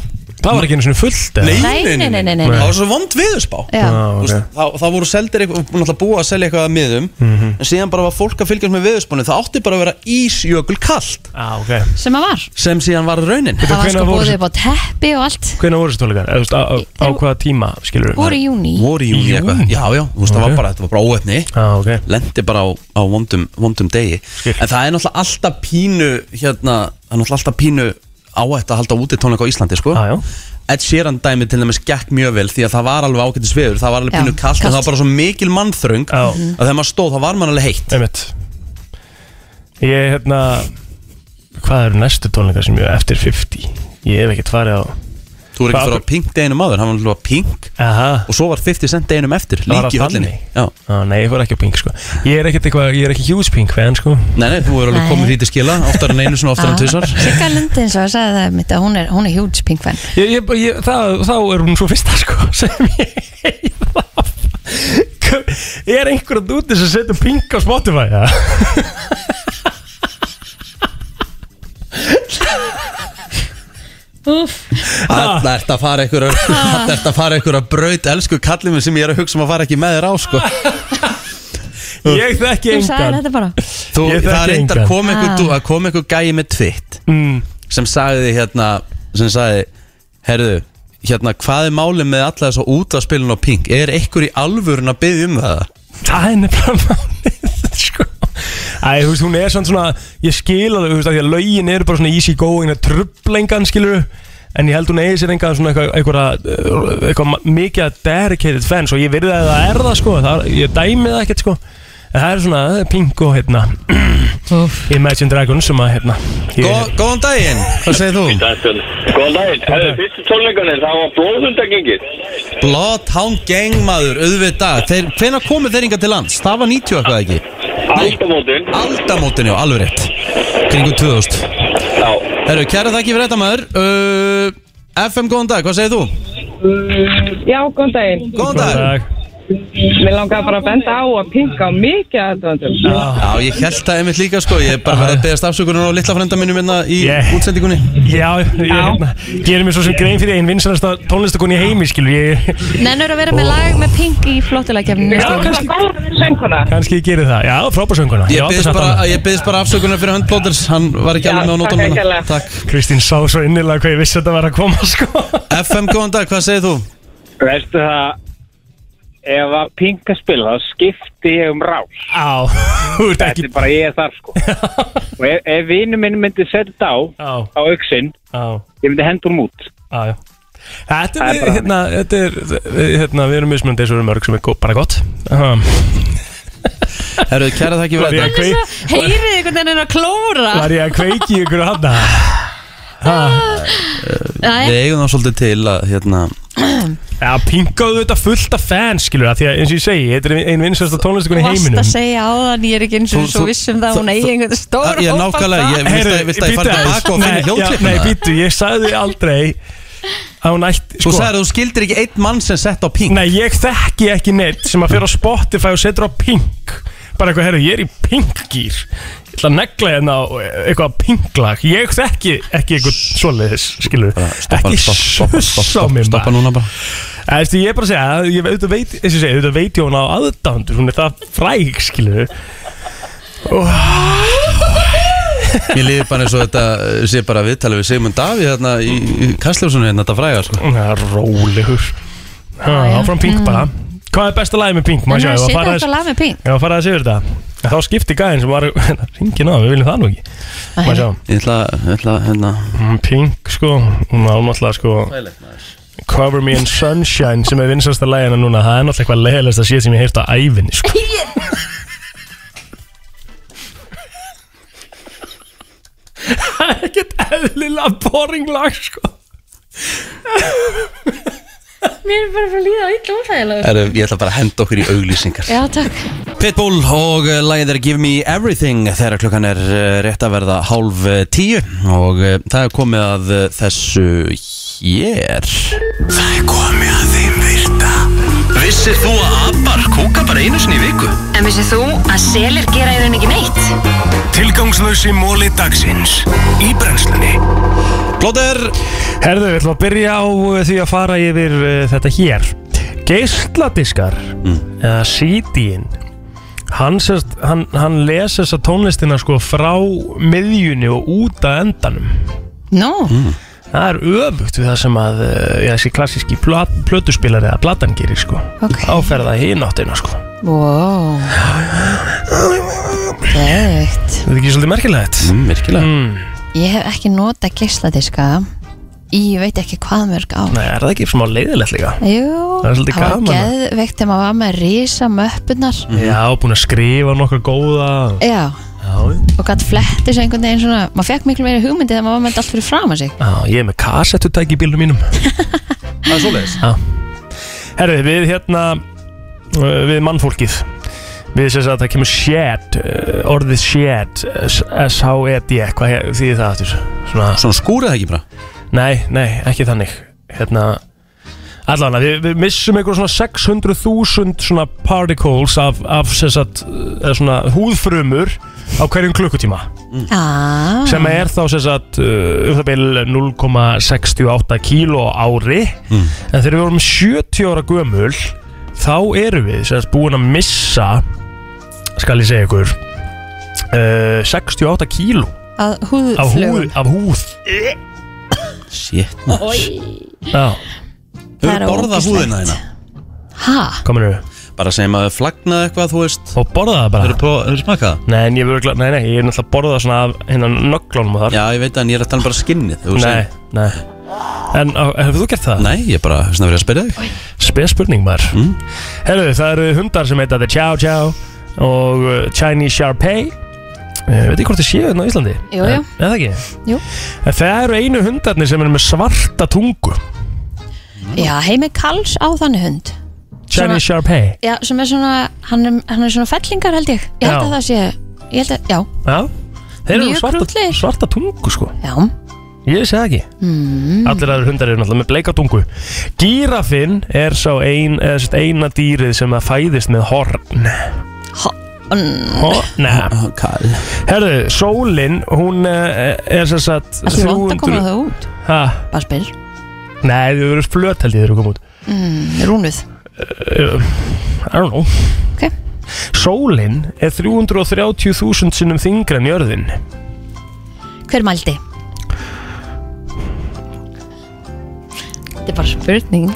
Speaker 4: Það var ekki einu svona fullt
Speaker 2: Nei,
Speaker 4: eða?
Speaker 2: nei, nei, nei, nei,
Speaker 4: nei.
Speaker 2: Það var svo vond viðurspá
Speaker 3: Já. Já,
Speaker 2: Þú veist, þá, þá voru seldir eitthvað, náttúrulega búið að selja eitthvað að miðum En síðan bara var fólk að fylgjast með viðurspánu Það átti bara að vera ísjökul kallt
Speaker 4: Já, ok
Speaker 3: sem að var
Speaker 2: Sem síðan var raunin
Speaker 3: Það var sko búið upp á teppi og allt
Speaker 4: Hvenær voru þessi tónleikar? Eða, þú veist, á, á, á hvaða tíma, skilur við?
Speaker 3: Voru í júní
Speaker 2: voru í júni eitthvað Já, já, þú veist, það var bara, þetta var bara óefni
Speaker 4: ah, okay.
Speaker 2: Lendi bara á, á vondum, vondum degi En það er náttúrulega alltaf pínu hérna, það er náttúrulega alltaf pínu áætt að halda úti tónleika á Íslandi, sko
Speaker 4: ah,
Speaker 2: Ed Sheeran dæmi til dæmis gekk mjög vel því að það var alveg ágætis veður, það var alveg
Speaker 4: Já,
Speaker 2: pínu kallt en
Speaker 4: kalt.
Speaker 2: það var bara svo mikil mannþröng að þegar maður stóð, það var mann alveg heitt
Speaker 4: Einmitt. Ég, hérna Hvað eru næstu tónleikar sem ég er eftir 50? Ég hef ekkert farið á
Speaker 2: Þú er ekki
Speaker 4: Hvað-
Speaker 2: fyrir á Pink deginum áður, hann var alveg pink
Speaker 4: Aha.
Speaker 2: og svo var 50 cent deginum eftir,
Speaker 4: Það var
Speaker 2: líki
Speaker 4: allt
Speaker 2: í höllinni
Speaker 4: þannig. Já, Nei, ég fór ekki á Pink, sko Ég er ekkert eitthvað, ég er ekki huge Pink fan, sko
Speaker 2: Nei, nei, þú er alveg komið því til skila oftar en einu svona,
Speaker 3: Ah.
Speaker 2: oftar en tvisar
Speaker 3: Sigga Lund eins og að sagði það mitt að hún er, hún er huge pink fan
Speaker 4: ég, ég, ég, það, Þá er hún svo fyrsta, sko sem ég Ég er einhverjum úti sem setur Pink á Spotify, ja Ah.
Speaker 2: Það ert að fara ykkur
Speaker 3: Ah.
Speaker 2: Það ert að fara ykkur að braut elsku kallinu sem ég er að hugsa um að fara ekki með þér á sko.
Speaker 4: Ég þekki
Speaker 3: Þú sagði þetta bara
Speaker 2: Þú,
Speaker 4: Ég þekki
Speaker 2: það reyndar
Speaker 4: engan.
Speaker 2: kom einhver,
Speaker 3: Ah.
Speaker 2: dú- að kom einhver gæi með tvitt
Speaker 4: mm.
Speaker 2: sem sagði hérna sem sagði, herðu hérna, hvað er málið með alla þess að út að spilin á Pink, er einhver í alvörun að byggja um það?
Speaker 4: Það er nefnilega málið sko. Æ, þú veist, hún er svona svona Ég skil að þú veist, af því að lögin eru bara svona easy going að trublengan, skilur En ég held hún eigi sér enga svona eitthvað eitthvað, eitthvað ma- mikið að dedicated fans og ég virði að það er það sko það, er- ég dæmi það ekkert sko en það er svona það er Pink og hérna Imagine Dragons sem að hérna ég,
Speaker 2: Góðan daginn, hvað segir þú?
Speaker 20: Góðan daginn, hefðu fyrstu tónleikarnir, það var blóðundagengið.
Speaker 2: Bloodhound Gang maður, auðvitað þeir, hvenær komu þeir inga til lands? Það var 90 eitthvað ekki?
Speaker 20: Aldamótin.
Speaker 2: Aldamótin, já, alveg rétt Kringu 2000
Speaker 20: Já
Speaker 2: Herru, kæra þakki fyrir þetta maður uh, FM, góðan dag, hvað segir þú?
Speaker 5: Mm,
Speaker 22: Já, góðan daginn
Speaker 2: Góðan dag.
Speaker 5: Mér langaði bara að benda á að pinka á mikið aðdöndum.
Speaker 2: Já, ég held það einmitt líka sko Ég er bara verið að beðast afsökunar á litla frenda mínum hérna í útsendingunni
Speaker 4: Já, ég hérna, gerir mér svo sem grein fyrir einn vinsanasta tónlistakonni í heimi, skilur ég
Speaker 3: Nennur að vera með lag með pink í flottulegkefninu
Speaker 4: Já, kannski Kannski ég gerir það, já, frábær sönguna
Speaker 2: Ég beðist bara, ég biðst bara afsökunar fyrir höndblóters Hann var ekki alveg með á nótunum hérna. Takk
Speaker 4: Kristín sá svo innilega hvað ég vissi að þetta var að koma sko.
Speaker 2: FM, góðan dag, hvað segir þú?
Speaker 22: Veistu það Ef að pinga spila þá skipti ég um rás
Speaker 4: Á Þetta
Speaker 22: er bara ég er þar sko Og ef, ef vinnu minn myndi setja þetta á
Speaker 4: Á,
Speaker 22: á auksinn
Speaker 4: á
Speaker 22: Ég myndi henda hún út
Speaker 4: Já, já Þetta
Speaker 22: Það
Speaker 4: er,
Speaker 22: er
Speaker 4: við,
Speaker 22: bara
Speaker 4: hérna, þetta er, við- hérna, við erum mismunandi eins og við erum mörg sem er gó- bara gott
Speaker 2: Herru, kæra þakki
Speaker 4: Var ég að kveik-
Speaker 3: Heyrið þið einhvern veginn að klóra
Speaker 4: Var ég að kveiki ykkur að hafna
Speaker 3: Jæja.
Speaker 2: Við eigum þá svolítið til að hérna
Speaker 4: Já, pingaðu þetta fullt af fans, skilur það Því að eins og ég segi, þetta er ein vinsast af tónlistakon í
Speaker 3: Vast
Speaker 4: heiminum
Speaker 3: að segja á þann, ég er ekki eins og
Speaker 4: Þú-
Speaker 3: svo
Speaker 4: þú-
Speaker 3: vissum það að hún eigi einhvern stór
Speaker 2: Ég er nákvæmlega, ég vilst að, vilst að ég fara tilbaka og finna hljóðklippuna
Speaker 4: Nei, býttu, ég sagði aldrei að hún ætti sko.
Speaker 2: Þú sagðir að þú skildir ekki einn mann sem sett á pink
Speaker 4: Nei, ég þekki ekki neitt sem að fyrir á Spotify og setur á pink Bara eitthvað, herru, ég er í pinkgýr Ég ætla að negla hérna á eitthvað pinklag Ég þekki ekki eitthvað svoleiðis, skilur
Speaker 2: stoppa,
Speaker 4: Ekki
Speaker 2: stoppa, stoppa,
Speaker 4: suss á
Speaker 2: stoppa,
Speaker 4: mér
Speaker 2: stoppa núna bara
Speaker 4: Eftir, ég er bara að segja, að ég auðvitað veit, eins og ég segi, auðvitað veit ég hún á aðdándur Hún er það fræg, skilur
Speaker 2: Mér líður bara eins og þetta uh, sé bara viðtalið við Sigmund Davíð hérna í, í kastljósunum hérna þetta fræga sko
Speaker 4: Það er rólegur
Speaker 2: já.
Speaker 4: Áfram pink
Speaker 2: Mm.
Speaker 4: bara Hvað er besta lagið með pink? Má
Speaker 3: En
Speaker 4: sjá,
Speaker 3: hann
Speaker 4: ef að
Speaker 3: setja
Speaker 4: fara
Speaker 3: eitthvað
Speaker 4: aðeins-
Speaker 3: lag með pink
Speaker 4: Já, faraði að segja þetta Þá skipti gæðin sem var Ringin á, við viljum það nú ekki Má sjá
Speaker 2: Ég ætla, ég ætla hérna
Speaker 4: Mm, Pink, sko Hún á náttúrulega, sko Cover Me in Sunshine sem er vinsasta lægina núna Það er náttúrulega eitthvað leiðilegast að sé sem ég heirt á ævinni, sko Það er ekkert eðlilega boring lag, sko
Speaker 3: Mér er bara að líða ítla óþægilega
Speaker 2: Herru, Ég ætla bara að henda okkur í auglýsingar
Speaker 3: Já, takk
Speaker 2: Pitbull og uh, lagið er Give Me Everything þegar klukkan er uh, rétt að verða hálf uh, tíu og uh, það er komið að uh, þessu hér
Speaker 6: Það er komið að þeim virta Vissir þú að abar kúka bara einu sinni í viku?
Speaker 8: En vissið þú að selir gera í raun ekki neitt?
Speaker 6: Tilgangslösi móli dagsins Í brennslunni
Speaker 2: Plóter
Speaker 4: Herðu, við ætlum að byrja á uh, því að fara yfir uh, þetta hér Geisladiskar eða CD-in hann, sest, hann, hann les þessa tónlistina sko frá miðjunni og út að endanum
Speaker 3: No
Speaker 4: Það er öfugt við það sem að uh, já, þessi klassíski plat, plötuspilari eða platan gerir sko okay. áferða hináttina sko
Speaker 3: Wow Geðveikt.
Speaker 4: Þetta er ekki svolítið merkilegt
Speaker 2: mm, Merkilega
Speaker 4: mm.
Speaker 3: Ég hef ekki nota geisladiska Ég veit ekki hvað mörg á
Speaker 4: Nei, er það ekki smá leiðilegt líka?
Speaker 3: Jú,
Speaker 4: Það er svolítið
Speaker 3: var
Speaker 4: gaman.
Speaker 3: geðveikt þegar maður var með risa möppunar
Speaker 4: Já, búin að skrifa nokkar góða
Speaker 3: Já,
Speaker 4: Já,
Speaker 3: og gætt flettis einhvern veginn svona Maður fekk miklu meiri hugmyndi þegar maður var með þetta allt fyrir fram að sig
Speaker 4: Já, ég er með kassettutæk í bílunum mínum
Speaker 2: Það er svoleiðis
Speaker 4: Já Herru, við hérna uh, Við mannfólkið Við sem sagt, það kemur shed uh, Orðið shed uh, S-H-E-D Hvað he- þýðir það aftur? Svona,
Speaker 2: Svona skúrið það ekki bara?
Speaker 4: Nei, nei, ekki þannig Hérna Allavega, við, við missum einhver svona 600.000 svona particles af, af sem sagt, uh, eða svona húðfrumur á hverjum klukkutíma Mm.
Speaker 3: ah.
Speaker 4: sem er þá sem sagt uh, um það bil 0,68 kíló á ári
Speaker 2: Mm.
Speaker 4: en þegar við vorum 70 ára gömul þá erum við sem sagt búin að missa skal ég segja ykkur uh, 68 kíló
Speaker 3: Að
Speaker 4: af húð,
Speaker 3: húðflugum
Speaker 4: af húð.
Speaker 2: Shit
Speaker 4: Já
Speaker 3: Það er ógeðslegt.
Speaker 2: þína?
Speaker 3: Ha?
Speaker 4: Kominu
Speaker 2: Bara segjum að þau flagnaði eitthvað, þú veist
Speaker 4: Og borða það bara
Speaker 2: Hefur smakað það?
Speaker 4: Nei, en ég, virkulega, nei, nei, ég er náttúrulega borðað svona af hérna nöglunum og þar
Speaker 2: Já, ég veit að ég er að tala um bara skinnið þú
Speaker 4: Nei,
Speaker 2: segir.
Speaker 4: nei En á- hefur þú gert það?
Speaker 2: Nei, ég bara, þess að verið að spyrja þig
Speaker 4: Spes spurning maður mm. Herðu, það eru hundar sem heita The Chow Chow og uh, Chinese Shar Pei Uh, veit ekki hvort þið séu hérna á Íslandi?
Speaker 3: Jú, jú.
Speaker 4: Eða ekki?
Speaker 3: Jú.
Speaker 4: En það eru einu hundarnir sem eru með svarta tungu
Speaker 3: Já, heimi Karls á þann hund
Speaker 4: Chinese Shar Pei
Speaker 3: Já, sem er svona, hann er, hann er svona fellingar held ég Ég held
Speaker 4: Já.
Speaker 3: að það sé, ég held að, já
Speaker 4: Já Þeir eru
Speaker 3: Mjög
Speaker 4: með svarta,
Speaker 3: krúttlegir.
Speaker 4: svarta tungu sko
Speaker 3: Já
Speaker 4: Ég segi það ekki
Speaker 3: Mm.
Speaker 4: Allir aðrir hundar eru náttúrulega með bleika tungu Gírafinn er sá ein, eða, sérst, eina dýrið sem það fæðist með horn Horn Herðu, sólin hún eh, er sem sagt
Speaker 3: Það er vant að koma það út
Speaker 4: Ha?
Speaker 3: Bara spyr
Speaker 4: Nei, þau eru flöt held ég þegar þau koma út
Speaker 3: mm, Rúnuð
Speaker 4: uh, I don't know
Speaker 3: Ok.
Speaker 4: Sólin er 330.000 sinnum þingra en jörðin
Speaker 3: Hver mældi? Þetta er bara spurning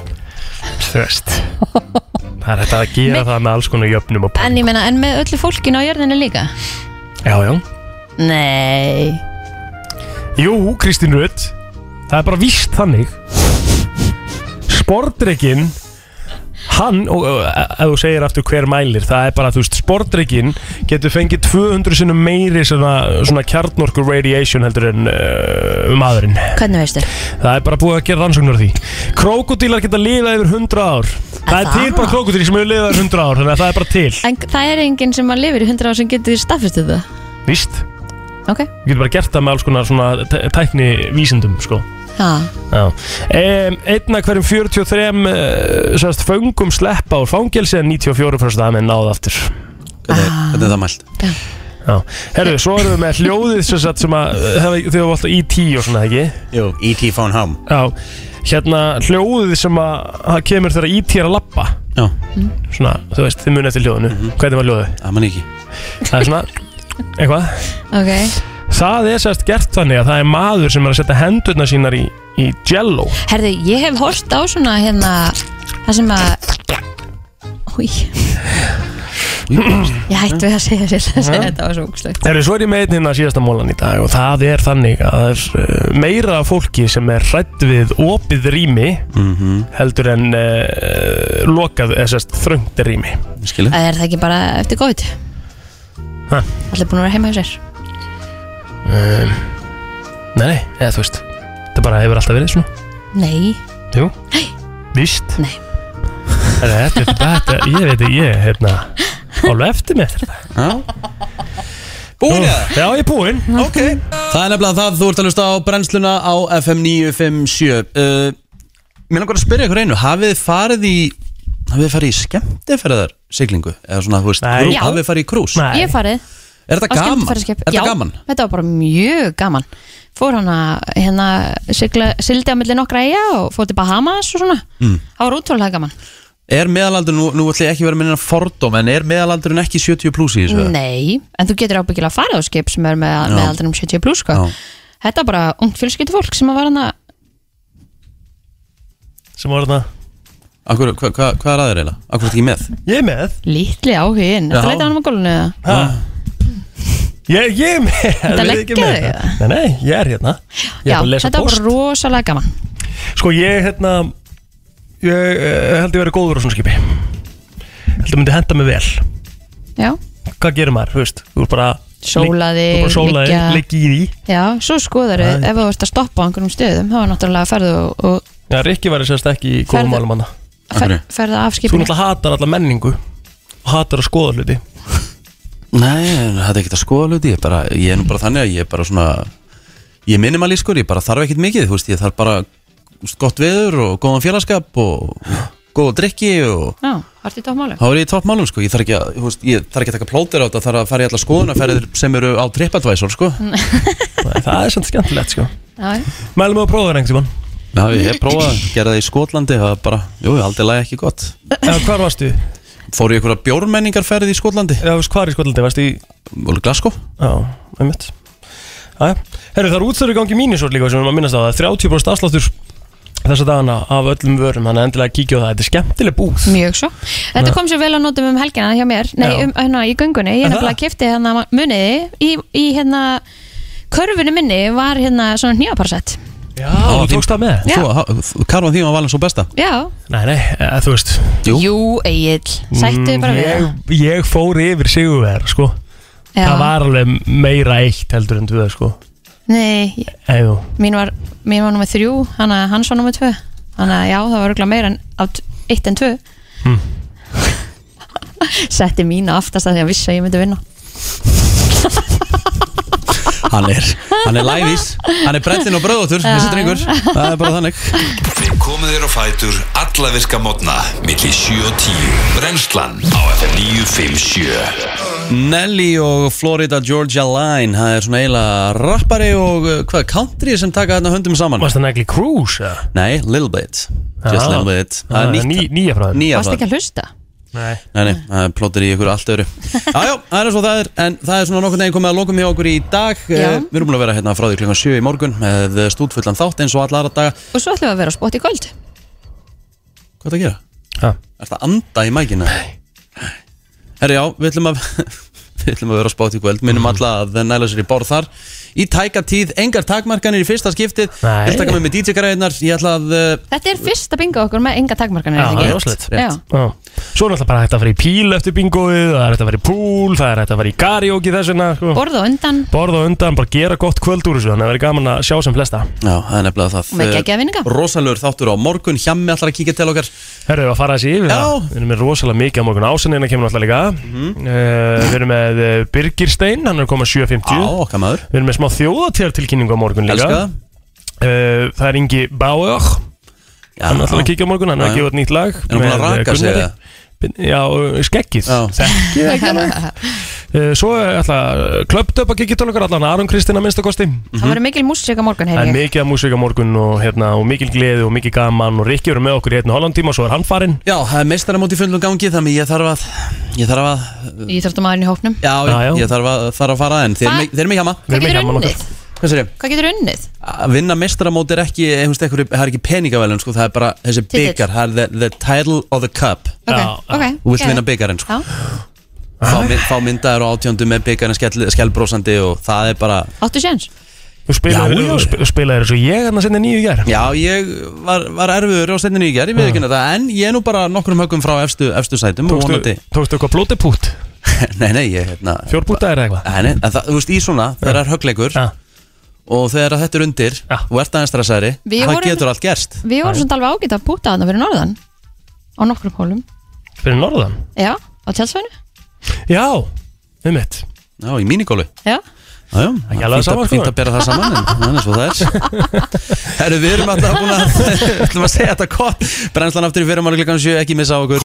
Speaker 4: Þú veist Það er þetta að gera það með alls konar jöfnum og
Speaker 3: En ég meina, en með öllu fólkinu á jörðinu líka?
Speaker 4: Já, já
Speaker 3: Nei
Speaker 4: Jú, Kristín Rutt Það er bara víst þannig Spordreikin Hann, og og, ef þú segir aftur hver mælir Það er bara, þú veist, spordreikin Getur fengið 200 sinnum meiri Svona, svona kjarnorku radiation heldur en uh, Maðurinn
Speaker 3: Hvernig veistu?
Speaker 4: Það er bara búið að gera rannsóknur á því Krokodílar geta lifað yfir 100 ár Það er
Speaker 3: það?
Speaker 4: til bara krokodílar sem hefur lifað yfir 100 ár Þannig að það er bara til
Speaker 3: En það er enginn sem að lifir í 100 ár sem getur staðfestið það
Speaker 4: Víst,
Speaker 3: Ok
Speaker 4: við getum bara gert það með alls konar svona tæ- tækni vísindum sko.
Speaker 3: Já
Speaker 4: Já. Um, einn af hverjum 43 uh, sagðist, föngum sleppa úr fangelsi en 94 fyrst að með náð aftur
Speaker 2: Þetta er það mælt
Speaker 4: Já. Herru, svo erum við með hljóðið sem, sagt, sem að, hef, þau hafa alltaf E.T. og svona ekki
Speaker 2: Jú, E.T. phone home
Speaker 4: Já, hérna hljóðið sem að, að kemur þegar E.T. er að lappa
Speaker 2: Já Mhm.
Speaker 4: Svona, þú veist, þið munið eftir hljóðinu Hvernig var hljóðið?
Speaker 2: Það man ekki
Speaker 4: Það er svona, eitthvað
Speaker 3: Ok
Speaker 4: Það er sérst gert þannig að það er maður sem er að setja hendurna sínar í, í jello
Speaker 3: Herði, ég hef hort á svona hérna Það sem að Új Ég hættu við að segja sér að segja þetta var svo ógslögt
Speaker 4: Þegar svo er ég með einn hérna síðasta mólan í dag og það er þannig að það er uh, meira af fólki sem er hrætt við opið rými heldur en uh, lokað, eða sérst þröngt rými
Speaker 2: Skilu
Speaker 3: Er það ekki bara eftir COVID?
Speaker 4: Ha?
Speaker 3: Allir búin að vera heima hjá sér
Speaker 4: um, Nei, nei, eða þú veist Það bara hefur alltaf verið svona
Speaker 3: Nei
Speaker 4: Jú, víst
Speaker 3: Nei
Speaker 4: Þetta, þetta, þetta, ég veit ekki, ég, hérna Alveg eftir mér
Speaker 2: Já Búin
Speaker 4: eða? Já, ég er búin
Speaker 2: Ok Það er nefnilega það, þú ert að hlusta á brennsluna á FM 957 uh, Mér langar að spyrja ykkur einu Hafið þið farið í Hafið þið farið í skemmtiferðar siglingu Eða svona, þú veist,
Speaker 4: Nei.
Speaker 2: grú- hafið þið farið í krús
Speaker 3: Ég hef farið
Speaker 2: Er þetta
Speaker 3: á
Speaker 2: gaman?
Speaker 3: skemmtiferðaskip.
Speaker 2: Er þetta
Speaker 3: Já,
Speaker 2: gaman?
Speaker 3: Þetta var bara mjög gaman Fór hann að hérna, sigla, sildi á milli nokkra eiga og fór til Bahamas og svona
Speaker 2: Mm.
Speaker 3: Það var útvöldlega gaman
Speaker 2: Er meðalaldur, nú, nú ætla ég ekki að vera minna fordóm En er meðalaldurinn ekki 70 pluss í þessu?
Speaker 3: Nei, en þú getur ábyggilega að fara á skip sem er með,
Speaker 2: Já.
Speaker 3: með aldrinum 70 pluss sko. Þetta var bara ungt fjölskyldu fólk sem var hann að
Speaker 4: Sem var þarna
Speaker 2: Akkur, hva, hva, hvað er aðeir eiginlega? Akkur er ekki með?
Speaker 4: Ég er með
Speaker 3: litli áhugin
Speaker 2: Já.
Speaker 3: Þetta leita hann á gólunni eða?
Speaker 4: ha.
Speaker 2: Ah,
Speaker 4: Ég, ég er með
Speaker 3: Þetta
Speaker 4: við erum ekki
Speaker 3: leggja
Speaker 4: með
Speaker 3: þig,
Speaker 4: þetta. Nei, nei, ég er hérna Ég
Speaker 3: Já,
Speaker 4: er bara að lesa
Speaker 3: þetta var
Speaker 4: post
Speaker 3: bara rosalega gaman
Speaker 4: Sko ég hérna Ég eh, held ég verið góður á svona skipi Held ég myndi henda mig vel
Speaker 3: Já.
Speaker 4: Hvað gerir maður, þú veist Þú er bara
Speaker 3: Sólaði,
Speaker 4: Þú er bara sólaði,
Speaker 3: liggja.
Speaker 4: liggi í því
Speaker 3: Já, svo skoðar
Speaker 4: Æ.
Speaker 3: ef þú ert að stoppa á einhverjum stöðum þá er náttúrulega ferðu og, og
Speaker 4: Já, Rikki væri sérst ekki í góðum
Speaker 3: Ferðu-
Speaker 4: málum hana
Speaker 3: fer, ferðu
Speaker 4: Þú
Speaker 3: af skipinu
Speaker 4: náttúrulega hatar alla menningu Og hatar að skoða hluti
Speaker 2: Nei, þetta er ekkert að skoða hluti ég, er bara, ég er nú bara þannig að ég er bara svona Ég er minimalískur, ég bara þarf ekkert mikið Þú veist, ég þarf bara þú veist, gott veður og góðan félagskap og góða drikki og
Speaker 3: Já, hartu í tókmálu
Speaker 2: þá er ég í toppmálum sko. ég þarf ekki að, þú veist, ég þarf ekki að taka plóter á þetta þarf að fara í alla skoðunarferðir sem eru á TripAdvisor sko.
Speaker 4: Það er samt skemmtilegt sko
Speaker 3: Já,
Speaker 4: Mælum við að prófa það einhvern tímann
Speaker 2: Já, ég hef prófað að gera það í Skotlandi það var bara, jú, aldrei lagi ekki gott
Speaker 4: Eða hvar varstu?
Speaker 2: Fóru í einhverja bjórmenningarferð í Skotlandi?
Speaker 4: Já, veist, hvar í Skotlandi? Varstu í...
Speaker 2: Vólu Glasgow?
Speaker 4: Já, einmitt Æja, herru það er útstöru gangi mínusor líka sem við erum að minnast á það er 30% afsláttur þessa dagana af öllum vörum þannig að endilega kíkja á það, þetta er skemmtileg búð
Speaker 3: Mjög svo Þetta kom svo vel á nótum um helgina hjá mér Nei,
Speaker 4: Já.
Speaker 3: um, hérna, í göngunni Ég
Speaker 4: Er
Speaker 3: nefnilega
Speaker 4: það?
Speaker 3: kefti hérna muniði í, í hérna Körfunni minni var hérna svona nýjaparsett
Speaker 4: Já, þú tókst það með
Speaker 3: Já.
Speaker 2: Karvan því var valin svo besta
Speaker 3: Já,
Speaker 4: Nei, nei, eða, þú veist Mm,
Speaker 2: Jú,
Speaker 3: Jú Egil, sættu bara við
Speaker 4: ég,
Speaker 3: það
Speaker 4: ég fór yfir sigurverðar, sko
Speaker 3: Já.
Speaker 4: Það var alveg meira eitt heldur en tvö, sko
Speaker 3: Nei, ég-
Speaker 4: Eða,
Speaker 3: mín var, mín var nummer þrjú Hanna, hans var nummer tvö Þannig að já, það var örgulega meira en átt eitt en tvö
Speaker 4: Hmm.
Speaker 3: Setti mína aftast að því að vissi að ég myndi vinna
Speaker 2: Hann er, hann er lævís Hann er brellin og bröðotur, þessi drengur Það er bara þannig
Speaker 6: Við komum þér á fætur alla virka mótna milli 7 og 10 Brennslan á FM 957
Speaker 2: Nelly og Florida Georgia Line Það er svona eiginlega rappari og uh, hvað, country sem taka þarna höndum saman Varst
Speaker 4: það negli Cruise? eða?
Speaker 2: Nei, Little Bit Just
Speaker 4: Já.
Speaker 2: Little Bit Það
Speaker 4: Já,
Speaker 2: er nýtt
Speaker 4: ný- nýja frá þeim.
Speaker 2: Nýja
Speaker 3: Varst
Speaker 2: frá þeim.
Speaker 3: ekki að hlusta?
Speaker 4: Nei
Speaker 2: Nei, nei, það er plótir í ykkur allt öðru Jájá, það er svo það er En það er svona nokkur neginn komið að lokum hjá okkur í dag Já. Við erum búin að vera hérna frá því klukkan 7 í morgun með stúdfullan þátt eins og alla aðra daga
Speaker 3: Og svo ætlum við að vera á spott í kvöld
Speaker 2: Hvað er það að gera?
Speaker 4: Ha.
Speaker 2: Er það anda í mækina? Nei Herri já, við ætlum að Við ætlum að vera á spátt í kvöld Minnum alla að næla sér í borð þar Í tæka tíð, engar takmarkanir í fyrsta skiptið Nei Ég ætla að taka með með DJ-græðinar Ég ætla að uh,
Speaker 3: Þetta er fyrsta bingo okkur með enga
Speaker 4: Já,
Speaker 3: takmarkanir er
Speaker 4: það
Speaker 3: ekki?
Speaker 4: er rosalegt
Speaker 3: Já.
Speaker 4: Já. Svo er náttúrulega bara hægt að fara í píl eftir bingoið Það er hægt að fara í púl, það er hægt að fara í karaoke þess vegna sko.
Speaker 3: Borða á undan
Speaker 4: Borða á undan, bara gera gott kvöld úr þessu Þannig að vera gaman að sjá sem flesta
Speaker 2: Já, það er nefnilega það
Speaker 3: Og með geggjaða vinninga.
Speaker 2: Rosalur þáttur á morgun Hjammi ætlar að kíkja til okkar
Speaker 4: Herðu, að fara þessi yfir það Við erum með rosalega mikið á morgun ásanina kemur náttúrulega líka
Speaker 2: Mhm.
Speaker 4: uh, Við erum með eh, Birgir Stein, hann er komað 7.50
Speaker 2: Á, okkar maður
Speaker 4: Við erum með smá þjóðatjartilkynningu á morgun líka
Speaker 2: Elska það.
Speaker 4: Eh, Það er Ingi Bauer Hann ætlar að kíkja á morgun, hann er
Speaker 2: Já,
Speaker 4: að
Speaker 2: já.
Speaker 4: gefa út nýtt lag
Speaker 2: Er hann búinn að
Speaker 4: með, eh,
Speaker 2: raka sig,
Speaker 4: Gunnari.
Speaker 2: eða?
Speaker 4: Já, eh, skeggið Þekkið Eh, Svo ætla klöptöp að kíkja til okkar allan Aron Kristina minnstakosti
Speaker 3: Það verður mikil músík á morgun,
Speaker 4: Það er
Speaker 3: heyri ég
Speaker 4: mikið af músík á morgun og, hérna, og mikil gleði og mikil gaman og Rikki verður með okkur í hérna hálfan tíma og svo er hann farinn
Speaker 2: Já, það er meistaramót í fullum gangi Þannig ég þarf að Ég þarf að
Speaker 3: Íþróttamæðurinn í hópnum
Speaker 2: Já, já, ég þarf að, þarf að fara en þeir,
Speaker 3: Hva-
Speaker 2: mig- þeir eru mig hjama
Speaker 3: Hvað getur unnið?
Speaker 2: Hvað sér ég?
Speaker 3: Hvað getur unnið?
Speaker 2: Að vinna mestaramót er ekki, eh, þú veist, einhverju- það er ekki peningavelun sko, það er bara þessi
Speaker 3: Titill.
Speaker 2: byggar, það er the, the title of the cup
Speaker 3: Ok, ok
Speaker 2: Þú vilt
Speaker 3: geðveikt.
Speaker 2: vinna byggarinn sko
Speaker 3: Já.
Speaker 2: Fá, mi- fá myndaður á átjöndu með byggarinn skell, skellbrósandi og það er bara
Speaker 3: Áttu séns?
Speaker 4: Þú spilaðir þú spilaðir eins og ég hérna hann að senda nýju gær
Speaker 2: Já, ég var, var erfiður á stendinu í gerð, ég veit ekki þetta En ég er nú bara nokkrum högum frá efstu, efstu sætum og
Speaker 4: Tókstu,
Speaker 2: vonandi
Speaker 4: tókstu eitthvað blótipút?
Speaker 2: Nei, nei, ég hérna
Speaker 4: Fjórbúta er eitthvað?
Speaker 2: Nei, nei, en það, þú veist, í svona, þegar það er högleikur Og þegar þetta er undir, og ert aðeins stressari
Speaker 3: Við
Speaker 2: Það
Speaker 3: vorum-
Speaker 2: getur allt gerst
Speaker 3: Við vorum svona alveg ágætt að búta þarna fyrir norðan Á nokkrum hólum
Speaker 4: Fyrir norðan?
Speaker 3: Já, á tjálsvæðinu
Speaker 4: Já, um mitt
Speaker 2: Já, í mínigólu
Speaker 3: Já
Speaker 2: Jájá,
Speaker 4: Ekki alveg
Speaker 2: fínt að-
Speaker 4: saman, sko.
Speaker 2: fínt að bera það saman en þannig svo það er Herru, við erum alltaf búin að ætlum að segja þetta gott Brennslan aftur í fyrirmáli klukkan 7, ekki missa á okkur